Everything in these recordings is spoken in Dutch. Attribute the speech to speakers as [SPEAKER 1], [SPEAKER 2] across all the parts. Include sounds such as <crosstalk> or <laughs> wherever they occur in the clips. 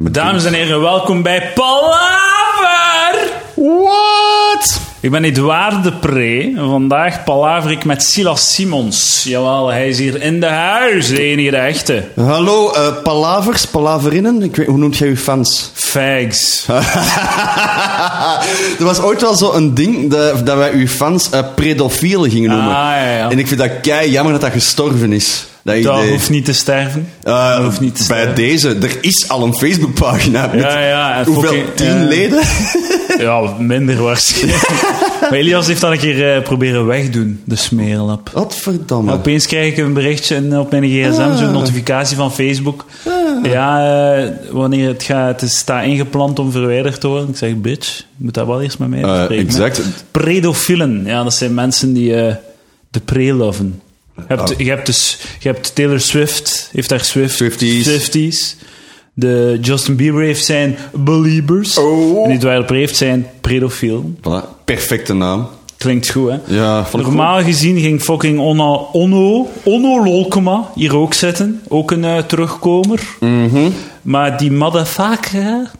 [SPEAKER 1] Dames en heren, welkom bij Palaver!
[SPEAKER 2] What?
[SPEAKER 1] Ik ben Edouard de Pre. Vandaag palaver ik met Silas Simons. Jawel, hij is hier in de huis, de enige de echte.
[SPEAKER 2] Hallo, eh, palavers, palaverinnen. Ik weet, hoe noemt jij uw fans? <laughs>
[SPEAKER 1] Fags.
[SPEAKER 2] Ah, er was ooit wel zo'n ding dat, dat wij uw fans eh, predofielen gingen noemen.
[SPEAKER 1] Ah, ja, ja.
[SPEAKER 2] En ik vind dat kei jammer dat dat gestorven is. Dat idee.
[SPEAKER 1] Dat hoeft niet te sterven.
[SPEAKER 2] Eh,
[SPEAKER 1] dat hoeft niet te
[SPEAKER 2] bij
[SPEAKER 1] sterven.
[SPEAKER 2] deze, er is al een Facebookpagina met
[SPEAKER 1] Ja, ja, en
[SPEAKER 2] hoeveel,
[SPEAKER 1] fucking- eh,
[SPEAKER 2] tien
[SPEAKER 1] ja. <laughs>
[SPEAKER 2] leden?
[SPEAKER 1] Ja, minder
[SPEAKER 2] <laughs>
[SPEAKER 1] waarschijnlijk. maar Elias heeft dat een keer eh, proberen wegdoen, de smeerlap.
[SPEAKER 2] Wat verdomme.
[SPEAKER 1] Opeens krijg ik een berichtje in- op mijn gsm,
[SPEAKER 2] Ah.
[SPEAKER 1] zo'n notificatie van Facebook. Ja, eh, wanneer het gaat, het staat ingepland om verwijderd te worden. Ik zeg, bitch, je moet dat wel eerst met mij
[SPEAKER 2] Eh,
[SPEAKER 1] bespreken. hè.
[SPEAKER 2] exact.
[SPEAKER 1] Predofielen, ja, dat zijn mensen die eh, de pre loven. Je hebt,
[SPEAKER 2] Ah.
[SPEAKER 1] je, hebt dus, je hebt Taylor Swift, heeft daar Swift,
[SPEAKER 2] Swifties.
[SPEAKER 1] Swifties. De Justin Bieber heeft zijn believers.
[SPEAKER 2] Oh.
[SPEAKER 1] En die Dwyer Pre heeft zijn predofiel.
[SPEAKER 2] Voilà, perfecte naam.
[SPEAKER 1] Klinkt goed, hè?
[SPEAKER 2] Ja, vond ik
[SPEAKER 1] Normaal gezien ging fucking Onno, Onno, Onno Lolkema hier ook zitten. Ook een eh, terugkomer.
[SPEAKER 2] Mhm.
[SPEAKER 1] Maar die motherfucker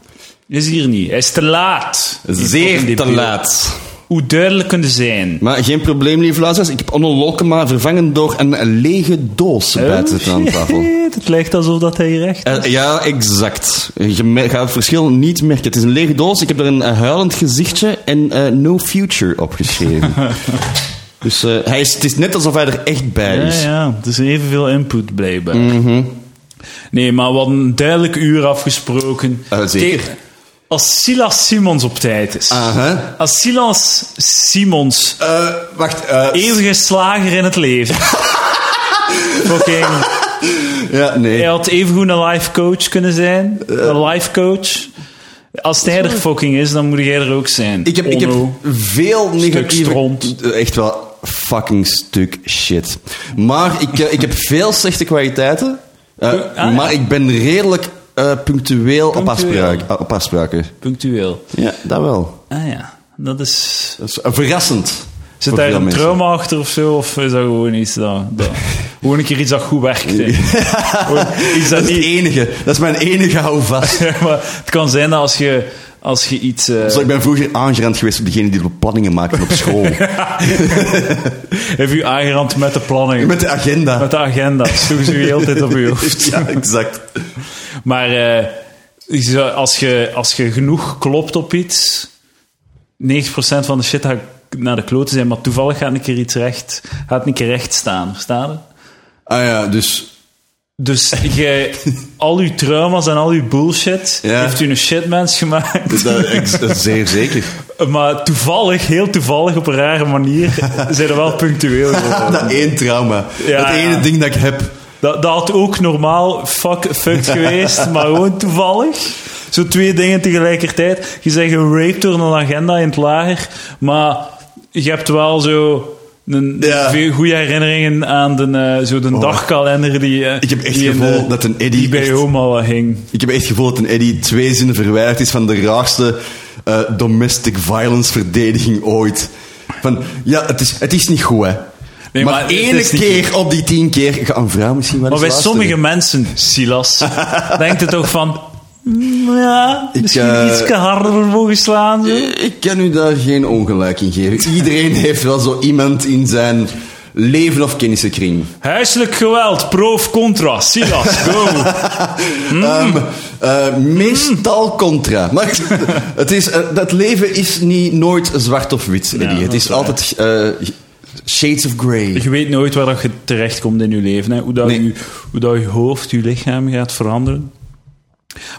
[SPEAKER 1] is hier niet. Hij is te laat. Die fucking
[SPEAKER 2] Zeer te
[SPEAKER 1] debiel.
[SPEAKER 2] laat.
[SPEAKER 1] Hoe duidelijk kunnen zijn.
[SPEAKER 2] Maar geen probleem, lieve luisteraars. Ik heb Onno Lolkema vervangen door een lege doos buiten het aan
[SPEAKER 1] <laughs>
[SPEAKER 2] tafel.
[SPEAKER 1] Shit, het lijkt alsof dat hij hier echt...
[SPEAKER 2] Eh, ja, exact. Je mer- gaat het verschil niet merken. Het is een lege doos. Ik heb er een eh, huilend gezichtje en eh, no future
[SPEAKER 1] <laughs>
[SPEAKER 2] opgeschreven. dus eh, hij is, het is net alsof hij er echt bij
[SPEAKER 1] Ja,
[SPEAKER 2] is. Mhm.
[SPEAKER 1] ja, het is evenveel input blijkbaar. Nee, maar we hadden een duidelijk uur afgesproken.
[SPEAKER 2] Eh, zeker.
[SPEAKER 1] Kijk, Als Silas Simons op tijd is.
[SPEAKER 2] Aha.
[SPEAKER 1] Als Silas Simons
[SPEAKER 2] Eh, wacht. eh,
[SPEAKER 1] Eeuwige slager in het
[SPEAKER 2] <laughs>
[SPEAKER 1] leven. Fucking.
[SPEAKER 2] ja, nee.
[SPEAKER 1] Hij had evengoed een life coach kunnen zijn.
[SPEAKER 2] Eh.
[SPEAKER 1] Een life coach. Als hij er fucking is, dan moet jij er ook zijn.
[SPEAKER 2] Ik heb, ik heb
[SPEAKER 1] Onno.
[SPEAKER 2] veel negatieve...
[SPEAKER 1] stront.
[SPEAKER 2] Echt wel fucking stuk shit. Maar ik, eh, ik heb veel slechte kwaliteiten. eh,
[SPEAKER 1] ah, ja.
[SPEAKER 2] Maar ik ben redelijk eh, punctueel, Op,
[SPEAKER 1] Punctueel.
[SPEAKER 2] afspraak, eh, op afspraken.
[SPEAKER 1] Punctueel.
[SPEAKER 2] Ja, dat wel.
[SPEAKER 1] Ah ja, dat is...
[SPEAKER 2] Dat is eh, verrassend.
[SPEAKER 1] Zit
[SPEAKER 2] voor
[SPEAKER 1] daar
[SPEAKER 2] veel
[SPEAKER 1] een
[SPEAKER 2] mensen.
[SPEAKER 1] trauma achter of zo? Of is dat gewoon iets dat...
[SPEAKER 2] <laughs>
[SPEAKER 1] dat gewoon een keer iets dat goed werkt. hè. <laughs> Gewoon Iets
[SPEAKER 2] Dat
[SPEAKER 1] dat
[SPEAKER 2] is
[SPEAKER 1] niet...
[SPEAKER 2] het
[SPEAKER 1] <laughs>
[SPEAKER 2] enige. Dat is mijn enige houvast.
[SPEAKER 1] maar het kan zijn dat als je, als je iets... eh,
[SPEAKER 2] Dus ik ben vroeger aangerend geweest op degene die de planningen maakten op
[SPEAKER 1] <laughs>
[SPEAKER 2] school.
[SPEAKER 1] Heb je aangerand met de planning?
[SPEAKER 2] Met de agenda.
[SPEAKER 1] Met de agenda. Sloegen ze je heel de tijd op
[SPEAKER 2] <laughs>
[SPEAKER 1] je hoofd.
[SPEAKER 2] Ja, exact.
[SPEAKER 1] Maar eh, je zou- als, je, als je genoeg klopt op iets, 90% van de shit gaat naar de kloten zijn, maar toevallig gaat een keer iets recht, gaat een keer recht staan. Verstaan je?
[SPEAKER 2] Ah ja, dus...
[SPEAKER 1] Dus je, al uw trauma's en al uw bullshit
[SPEAKER 2] Ja.
[SPEAKER 1] heeft u een shitmens gemaakt.
[SPEAKER 2] <laughs> Dat, ex- dat is zeer zeker.
[SPEAKER 1] Maar toevallig, heel toevallig, op een rare manier, zijn er wel punctueel geworden.
[SPEAKER 2] <laughs> Dat één trauma.
[SPEAKER 1] Ja,
[SPEAKER 2] dat ene
[SPEAKER 1] ja.
[SPEAKER 2] ding dat ik heb.
[SPEAKER 1] Dat, dat had ook normaal fuck,
[SPEAKER 2] <laughs>
[SPEAKER 1] fucked geweest, maar gewoon toevallig. Zo twee dingen tegelijkertijd. Je bent geraped door een agenda in het lager, maar je hebt wel zo een
[SPEAKER 2] Ja. Oh.
[SPEAKER 1] veel goede herinneringen aan de, eh, zo de dagkalender die, eh,
[SPEAKER 2] Ik heb echt
[SPEAKER 1] die
[SPEAKER 2] het
[SPEAKER 1] in
[SPEAKER 2] gevoel
[SPEAKER 1] de-
[SPEAKER 2] dat een Eddy
[SPEAKER 1] die bij
[SPEAKER 2] echt-
[SPEAKER 1] oma wel hing.
[SPEAKER 2] Ik heb echt het gevoel dat een Eddy twee zinnen verwijderd is van de raarste eh, domestic violence verdediging ooit. Van, ja, het is, het is niet goed, hè.
[SPEAKER 1] Nee,
[SPEAKER 2] maar,
[SPEAKER 1] maar het
[SPEAKER 2] ene
[SPEAKER 1] is niet
[SPEAKER 2] keer op die tien keer gaat een vrouw misschien wel
[SPEAKER 1] Maar
[SPEAKER 2] eens
[SPEAKER 1] bij
[SPEAKER 2] luisteren.
[SPEAKER 1] sommige mensen,
[SPEAKER 2] <laughs>
[SPEAKER 1] Silas, denkt het toch van... "Mm, Ja,
[SPEAKER 2] Ik,
[SPEAKER 1] misschien
[SPEAKER 2] eh,
[SPEAKER 1] iets harder mogen slaan. Zo.
[SPEAKER 2] Ik kan u daar geen ongelijk in geven. Iedereen <laughs> heeft wel zo iemand in zijn leven of kennissenkring.
[SPEAKER 1] Huiselijk geweld, pro of contra, Silas, go!
[SPEAKER 2] Ehm, eh, meestal contra. Maar <laughs> het is, eh, dat leven is niet nooit zwart of wit, Eddie.
[SPEAKER 1] dat
[SPEAKER 2] het
[SPEAKER 1] is
[SPEAKER 2] is
[SPEAKER 1] waar.
[SPEAKER 2] altijd eh, shades of grey.
[SPEAKER 1] Je weet nooit waar dat je terechtkomt in je leven. Hè? Hoe, dat
[SPEAKER 2] Nee.
[SPEAKER 1] je, hoe dat je hoofd, je lichaam gaat veranderen.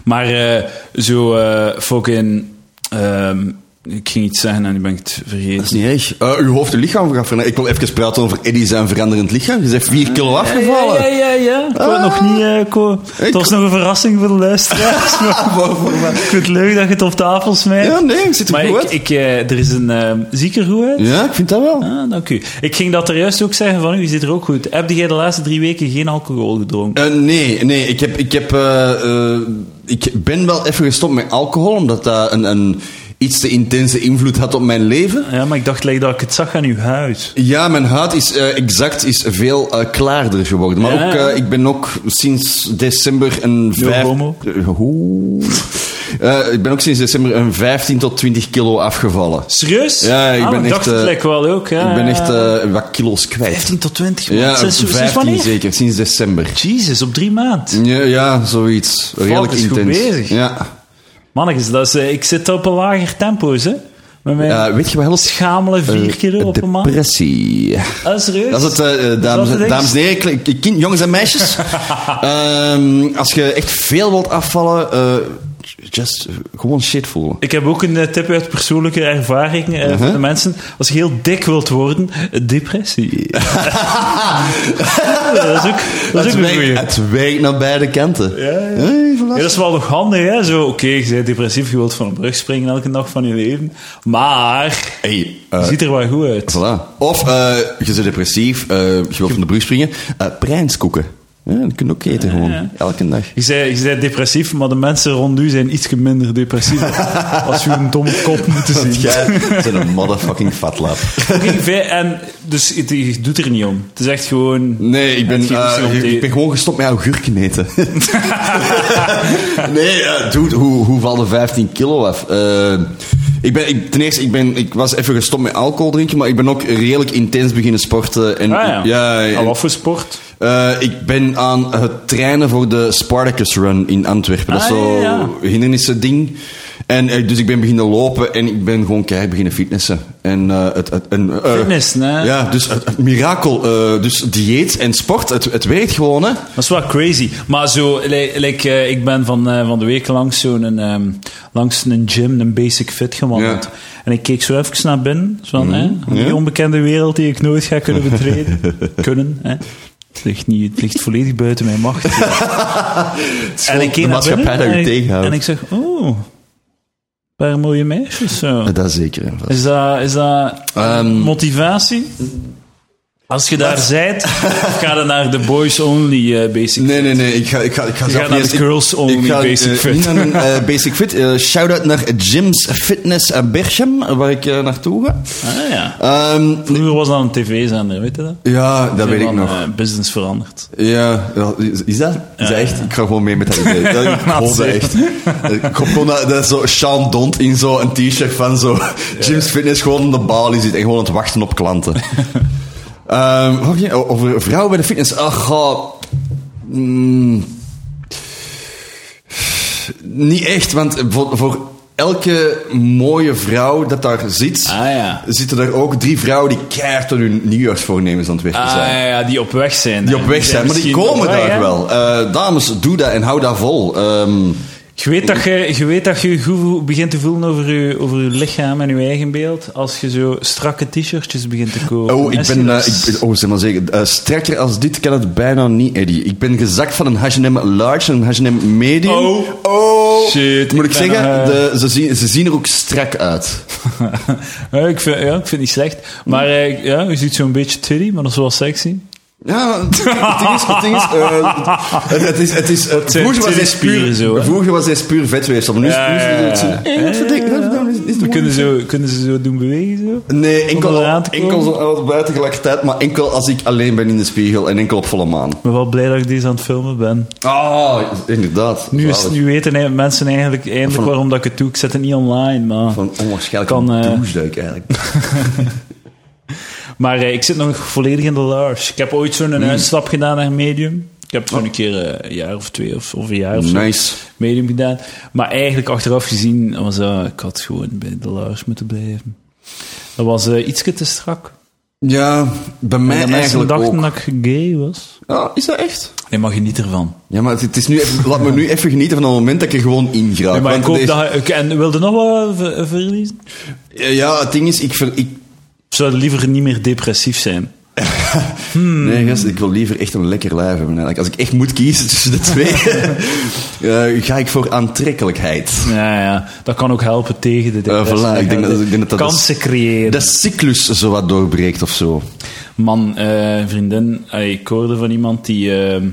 [SPEAKER 1] Maar eh, zo eh, fucking... ehm, ik ging iets zeggen en nu ben ik het
[SPEAKER 2] Dat is
[SPEAKER 1] vergeten.
[SPEAKER 2] niet erg. Eh, uw hoofd en lichaam gaan veranderen. Ik wil even praten over Eddie zijn veranderend lichaam. Je bent vier kilo afgevallen.
[SPEAKER 1] Ja, ja, ja. ja. Ik wou het
[SPEAKER 2] Ah.
[SPEAKER 1] nog niet... eh, ik wou-
[SPEAKER 2] Ik-
[SPEAKER 1] het was nog een verrassing voor de
[SPEAKER 2] <laughs>
[SPEAKER 1] luisteraars. maar
[SPEAKER 2] Voor- voor mij.
[SPEAKER 1] ik vind het leuk dat je het op tafel smijt.
[SPEAKER 2] Ja, nee, ik zit er
[SPEAKER 1] maar
[SPEAKER 2] goed
[SPEAKER 1] ik,
[SPEAKER 2] uit.
[SPEAKER 1] ik, eh, er is een ehm ziekengoed.
[SPEAKER 2] Ja, ik vind dat wel.
[SPEAKER 1] Ah, dank u. Ik ging dat er juist ook zeggen van u, je zit er ook goed. Heb jij de laatste drie weken geen alcohol gedronken?
[SPEAKER 2] Eh, nee, nee, ik, heb, ik, heb, eh, eh, ik ben wel even gestopt met alcohol, omdat dat een, een iets te intense invloed had op mijn leven.
[SPEAKER 1] Ja, maar ik dacht like, dat ik het zag aan uw huid.
[SPEAKER 2] Ja, mijn huid is eh, exact is veel eh, klaarder geworden. Maar
[SPEAKER 1] Ja,
[SPEAKER 2] ook,
[SPEAKER 1] ja.
[SPEAKER 2] eh, ik ben ook sinds december een vijf...
[SPEAKER 1] homo.
[SPEAKER 2] Eh, hoe? Eh, ik ben ook sinds december een 15 tot 20 kilo afgevallen.
[SPEAKER 1] Serieus?
[SPEAKER 2] Ja, ik
[SPEAKER 1] Ah,
[SPEAKER 2] ben
[SPEAKER 1] maar
[SPEAKER 2] echt,
[SPEAKER 1] dacht het
[SPEAKER 2] eh,
[SPEAKER 1] lijkt wel ook. Ja,
[SPEAKER 2] ik ben echt
[SPEAKER 1] ja.
[SPEAKER 2] eh, wat kilo's kwijt.
[SPEAKER 1] 15 tot 20 man.
[SPEAKER 2] Ja,
[SPEAKER 1] Sinds- sinds
[SPEAKER 2] 15
[SPEAKER 1] wanneer?
[SPEAKER 2] zeker, sinds december.
[SPEAKER 1] Jezus, op drie maanden.
[SPEAKER 2] Ja, ja zoiets. Redelijk
[SPEAKER 1] is goed
[SPEAKER 2] intens.
[SPEAKER 1] bezig.
[SPEAKER 2] Ja.
[SPEAKER 1] Mannetjes, dat is, eh, ik zit op een lager tempo, hè? Met mijn
[SPEAKER 2] Eh, weet je wat helpt?
[SPEAKER 1] schamele vier
[SPEAKER 2] Eh,
[SPEAKER 1] kilo op een maand.
[SPEAKER 2] Depressie.
[SPEAKER 1] Ah, serieus?
[SPEAKER 2] Dat is het, eh, eh,
[SPEAKER 1] dat
[SPEAKER 2] dames,
[SPEAKER 1] het echt?
[SPEAKER 2] dames en heren, kle- k- kind, jongens en
[SPEAKER 1] <laughs>
[SPEAKER 2] meisjes. Ehm, als je echt veel wilt afvallen, eh, just eh, gewoon shit voelen.
[SPEAKER 1] Ik heb ook een eh, tip uit persoonlijke ervaring eh, voor de
[SPEAKER 2] Uh-huh.
[SPEAKER 1] mensen. Als je heel dik wilt worden, eh,
[SPEAKER 2] <laughs>
[SPEAKER 1] depressie. <laughs> dat is ook, dat is
[SPEAKER 2] het,
[SPEAKER 1] ook een goeie.
[SPEAKER 2] werkt, het werkt naar beide kanten.
[SPEAKER 1] Ja, ja.
[SPEAKER 2] Hey, voilà.
[SPEAKER 1] Ja, dat is wel nog handig, hè? Zo, oké, je bent depressief, je wilt van een brug springen elke dag van je leven. Maar,
[SPEAKER 2] Hey,
[SPEAKER 1] je
[SPEAKER 2] eh,
[SPEAKER 1] ziet er wel goed uit.
[SPEAKER 2] voilà. Of eh, je bent depressief, eh, je wilt van de brug springen. Eh prijnskoeken. Ja, dat kun je ook eten gewoon,
[SPEAKER 1] <laughs>
[SPEAKER 2] elke dag.
[SPEAKER 1] Je zei, je zei depressief, maar de mensen rond u zijn iets minder
[SPEAKER 2] <laughs>
[SPEAKER 1] depressief. als u een domme kop moeten zien.
[SPEAKER 2] Want jij bent een motherfucking fatlap.
[SPEAKER 1] Oké, vij- en dus het, je doet er niet om. Het is echt gewoon.
[SPEAKER 2] Nee, ik ben,
[SPEAKER 1] Het
[SPEAKER 2] eh,
[SPEAKER 1] gevoel om te-
[SPEAKER 2] ik ben gewoon gestopt met augurken eten. <laughs> nee, eh, dude, hoe, hoe vallen 15 kilo af? Eh, ik ben, ik, ten eerste, ik, ben, ik was even gestopt met alcohol drinken, maar ik ben ook redelijk intens beginnen sporten. En,
[SPEAKER 1] Ah ja.
[SPEAKER 2] en-
[SPEAKER 1] Al wat voor sport?
[SPEAKER 2] eh, ik ben aan het trainen voor de Spartacus Run in Antwerpen. Dat is
[SPEAKER 1] Ah,
[SPEAKER 2] zo
[SPEAKER 1] ja, ja.
[SPEAKER 2] hindernissen ding. En, eh, dus ik ben beginnen lopen en ik ben gewoon keihard beginnen fitnessen. En, eh, het, het, en, eh,
[SPEAKER 1] Fitnessen, hè?
[SPEAKER 2] Ja, dus het, het mirakel. eh, dus dieet en sport, het, het werkt gewoon, hè.
[SPEAKER 1] Dat is wel crazy. Maar zo, li- like, eh, ik ben van, eh, van de week langs zo'n ehm, langs een gym, een basic fit gewandeld.
[SPEAKER 2] Ja. Mhm.
[SPEAKER 1] En ik keek zo even naar binnen, zo van, hè, die
[SPEAKER 2] ja.
[SPEAKER 1] onbekende wereld die ik nooit ga kunnen
[SPEAKER 2] <laughs>
[SPEAKER 1] betreden. kunnen, hè. Het ligt, niet, het ligt volledig buiten mijn
[SPEAKER 2] <laughs>
[SPEAKER 1] macht. en ik keek
[SPEAKER 2] de
[SPEAKER 1] naar binnen
[SPEAKER 2] maatschappij dat
[SPEAKER 1] en,
[SPEAKER 2] je
[SPEAKER 1] ik-
[SPEAKER 2] tegenhoudt.
[SPEAKER 1] en ik zeg, oh, een paar mooie meisjes. Zo.
[SPEAKER 2] Dat zeker. en vast.
[SPEAKER 1] Is dat, is dat
[SPEAKER 2] Ehm,
[SPEAKER 1] motivatie? Als je daar zijt,
[SPEAKER 2] <laughs>
[SPEAKER 1] of ga dan naar de boys only eh, basic
[SPEAKER 2] Nee, nee, nee. Ik ga, ik ga, ik ga zelf
[SPEAKER 1] gaat naar
[SPEAKER 2] niet
[SPEAKER 1] de
[SPEAKER 2] eens-
[SPEAKER 1] girls only Basic
[SPEAKER 2] eh,
[SPEAKER 1] Fit.
[SPEAKER 2] niet naar een
[SPEAKER 1] <laughs>
[SPEAKER 2] eh, Basic Fit. Eh, Shout-out naar Jim's Fitness eh, Berchem, waar ik eh, naartoe ga.
[SPEAKER 1] Ah ja.
[SPEAKER 2] Ehm,
[SPEAKER 1] Vroeger was dat een tv-zender, weet je dat?
[SPEAKER 2] ja, dat weet ik
[SPEAKER 1] Van,
[SPEAKER 2] nog.
[SPEAKER 1] eh, business veranderd.
[SPEAKER 2] Ja, ja, is is dat? Is dat echt? Ik ga gewoon mee met dat idee.
[SPEAKER 1] <laughs>
[SPEAKER 2] Dat, ik hoop dat echt. Eh, Ik hoop gewoon dat, dat zo Sean Dont in zo'n t-shirt van zo Jim's Fitness gewoon aan de balie zit en gewoon aan het wachten op
[SPEAKER 1] <laughs>
[SPEAKER 2] klanten. Ehm, wat ging- over vrouwen bij de fitness. Ach, goh. Mm. niet echt, want voor, voor elke mooie vrouw dat daar zit,
[SPEAKER 1] Ah, ja.
[SPEAKER 2] zitten er ook drie vrouwen die keihard aan hun nieuwjaarsvoornemens aan het werken
[SPEAKER 1] Ah
[SPEAKER 2] zijn.
[SPEAKER 1] ja, ja, die op weg zijn.
[SPEAKER 2] Die op weg zijn, maar die
[SPEAKER 1] misschien
[SPEAKER 2] komen
[SPEAKER 1] op weg,
[SPEAKER 2] daar
[SPEAKER 1] hè?
[SPEAKER 2] wel. Eh, dames, doe dat en hou dat vol. Ehm,
[SPEAKER 1] Je weet dat je, je, weet dat je goed begint te voelen over je, over je lichaam en je eigen beeld als je zo strakke t-shirtjes begint te kopen.
[SPEAKER 2] oh, ik
[SPEAKER 1] Is je
[SPEAKER 2] ben,
[SPEAKER 1] dat?
[SPEAKER 2] eh, ik ben- oh, zeg maar zeggen, eh, strekker als dit kan het bijna niet, Eddie. Ik ben gezakt van een H&M large en een H&M medium.
[SPEAKER 1] Oh.
[SPEAKER 2] Oh.
[SPEAKER 1] Shit,
[SPEAKER 2] Moet
[SPEAKER 1] ik
[SPEAKER 2] ik,
[SPEAKER 1] ben,
[SPEAKER 2] zeggen,
[SPEAKER 1] eh,
[SPEAKER 2] de- ze, zien, ze zien er ook strak uit.
[SPEAKER 1] <laughs> ja, ik vind, ja, ik vind het niet slecht. Maar eh, ja, je ziet zo'n beetje titty, maar dat is wel sexy.
[SPEAKER 2] Ja, maar het ding is, het ding is, eh, het, het is, het is, het,
[SPEAKER 1] zijn
[SPEAKER 2] vroeger was hij
[SPEAKER 1] tittenspieren
[SPEAKER 2] puur,
[SPEAKER 1] zo, hè?
[SPEAKER 2] vroeger was hij puur vetweefsel, maar nu is
[SPEAKER 1] Ja,
[SPEAKER 2] nu is
[SPEAKER 1] ja, ja.
[SPEAKER 2] het zo, eh, wat verdikt, wat verdikt, is- is het
[SPEAKER 1] We kunnen,
[SPEAKER 2] moeilijk.
[SPEAKER 1] zo, kunnen ze zo doen bewegen, zo.
[SPEAKER 2] Nee,
[SPEAKER 1] Om
[SPEAKER 2] enkel,
[SPEAKER 1] eraan te komen.
[SPEAKER 2] enkel zo aan het buiten tegelijkertijd, maar enkel als ik alleen ben in de spiegel en enkel op volle maan.
[SPEAKER 1] Ik ben wel blij dat ik deze aan het filmen ben.
[SPEAKER 2] Ah, inderdaad.
[SPEAKER 1] Nu, is,
[SPEAKER 2] Zalig.
[SPEAKER 1] nu weten eh, mensen eigenlijk eindelijk waarom dat ik het doe. Ik zet het niet online, maar...
[SPEAKER 2] Van onwaarschijnlijk
[SPEAKER 1] Kan,
[SPEAKER 2] een
[SPEAKER 1] eh,
[SPEAKER 2] doucheduik eigenlijk.
[SPEAKER 1] Maar eh, ik zit nog volledig in de large. Ik heb ooit zo'n uitstap gedaan naar medium. Ik heb zo'n keer eh, een jaar of twee of, of een jaar of zo
[SPEAKER 2] Nice.
[SPEAKER 1] medium gedaan. Maar eigenlijk achteraf gezien was dat... Ik had gewoon bij de large moeten blijven. Dat was eh ietsje te strak.
[SPEAKER 2] Ja, bij
[SPEAKER 1] En
[SPEAKER 2] mij
[SPEAKER 1] de mensen
[SPEAKER 2] eigenlijk
[SPEAKER 1] dachten
[SPEAKER 2] ook.
[SPEAKER 1] dat ik gay was.
[SPEAKER 2] Ah, is dat echt?
[SPEAKER 1] Nee, maar geniet ervan.
[SPEAKER 2] Ja, maar het, het is nu even, laat me nu even genieten van het moment dat ik er gewoon in ga.
[SPEAKER 1] Nee, maar ik hoop dat... je- En wilde nog wat ver- verliezen?
[SPEAKER 2] Ja, het ding is, ik... ver- ik
[SPEAKER 1] Of zou je liever niet meer depressief zijn? Hmm.
[SPEAKER 2] Nee, gast, ik wil liever echt een lekker lijf hebben. eigenlijk. Als ik echt moet kiezen tussen de
[SPEAKER 1] <laughs>
[SPEAKER 2] twee, eh, ga ik voor aantrekkelijkheid.
[SPEAKER 1] Ja, ja, dat kan ook helpen tegen de depressie.
[SPEAKER 2] Eh, voilà, ik denk dat- ik denk dat dat
[SPEAKER 1] Kansen
[SPEAKER 2] is-
[SPEAKER 1] creëren.
[SPEAKER 2] De cyclus zo wat doorbreekt of zo.
[SPEAKER 1] Man, eh, vriendin, eh, ik hoorde van iemand die... eh, ehm,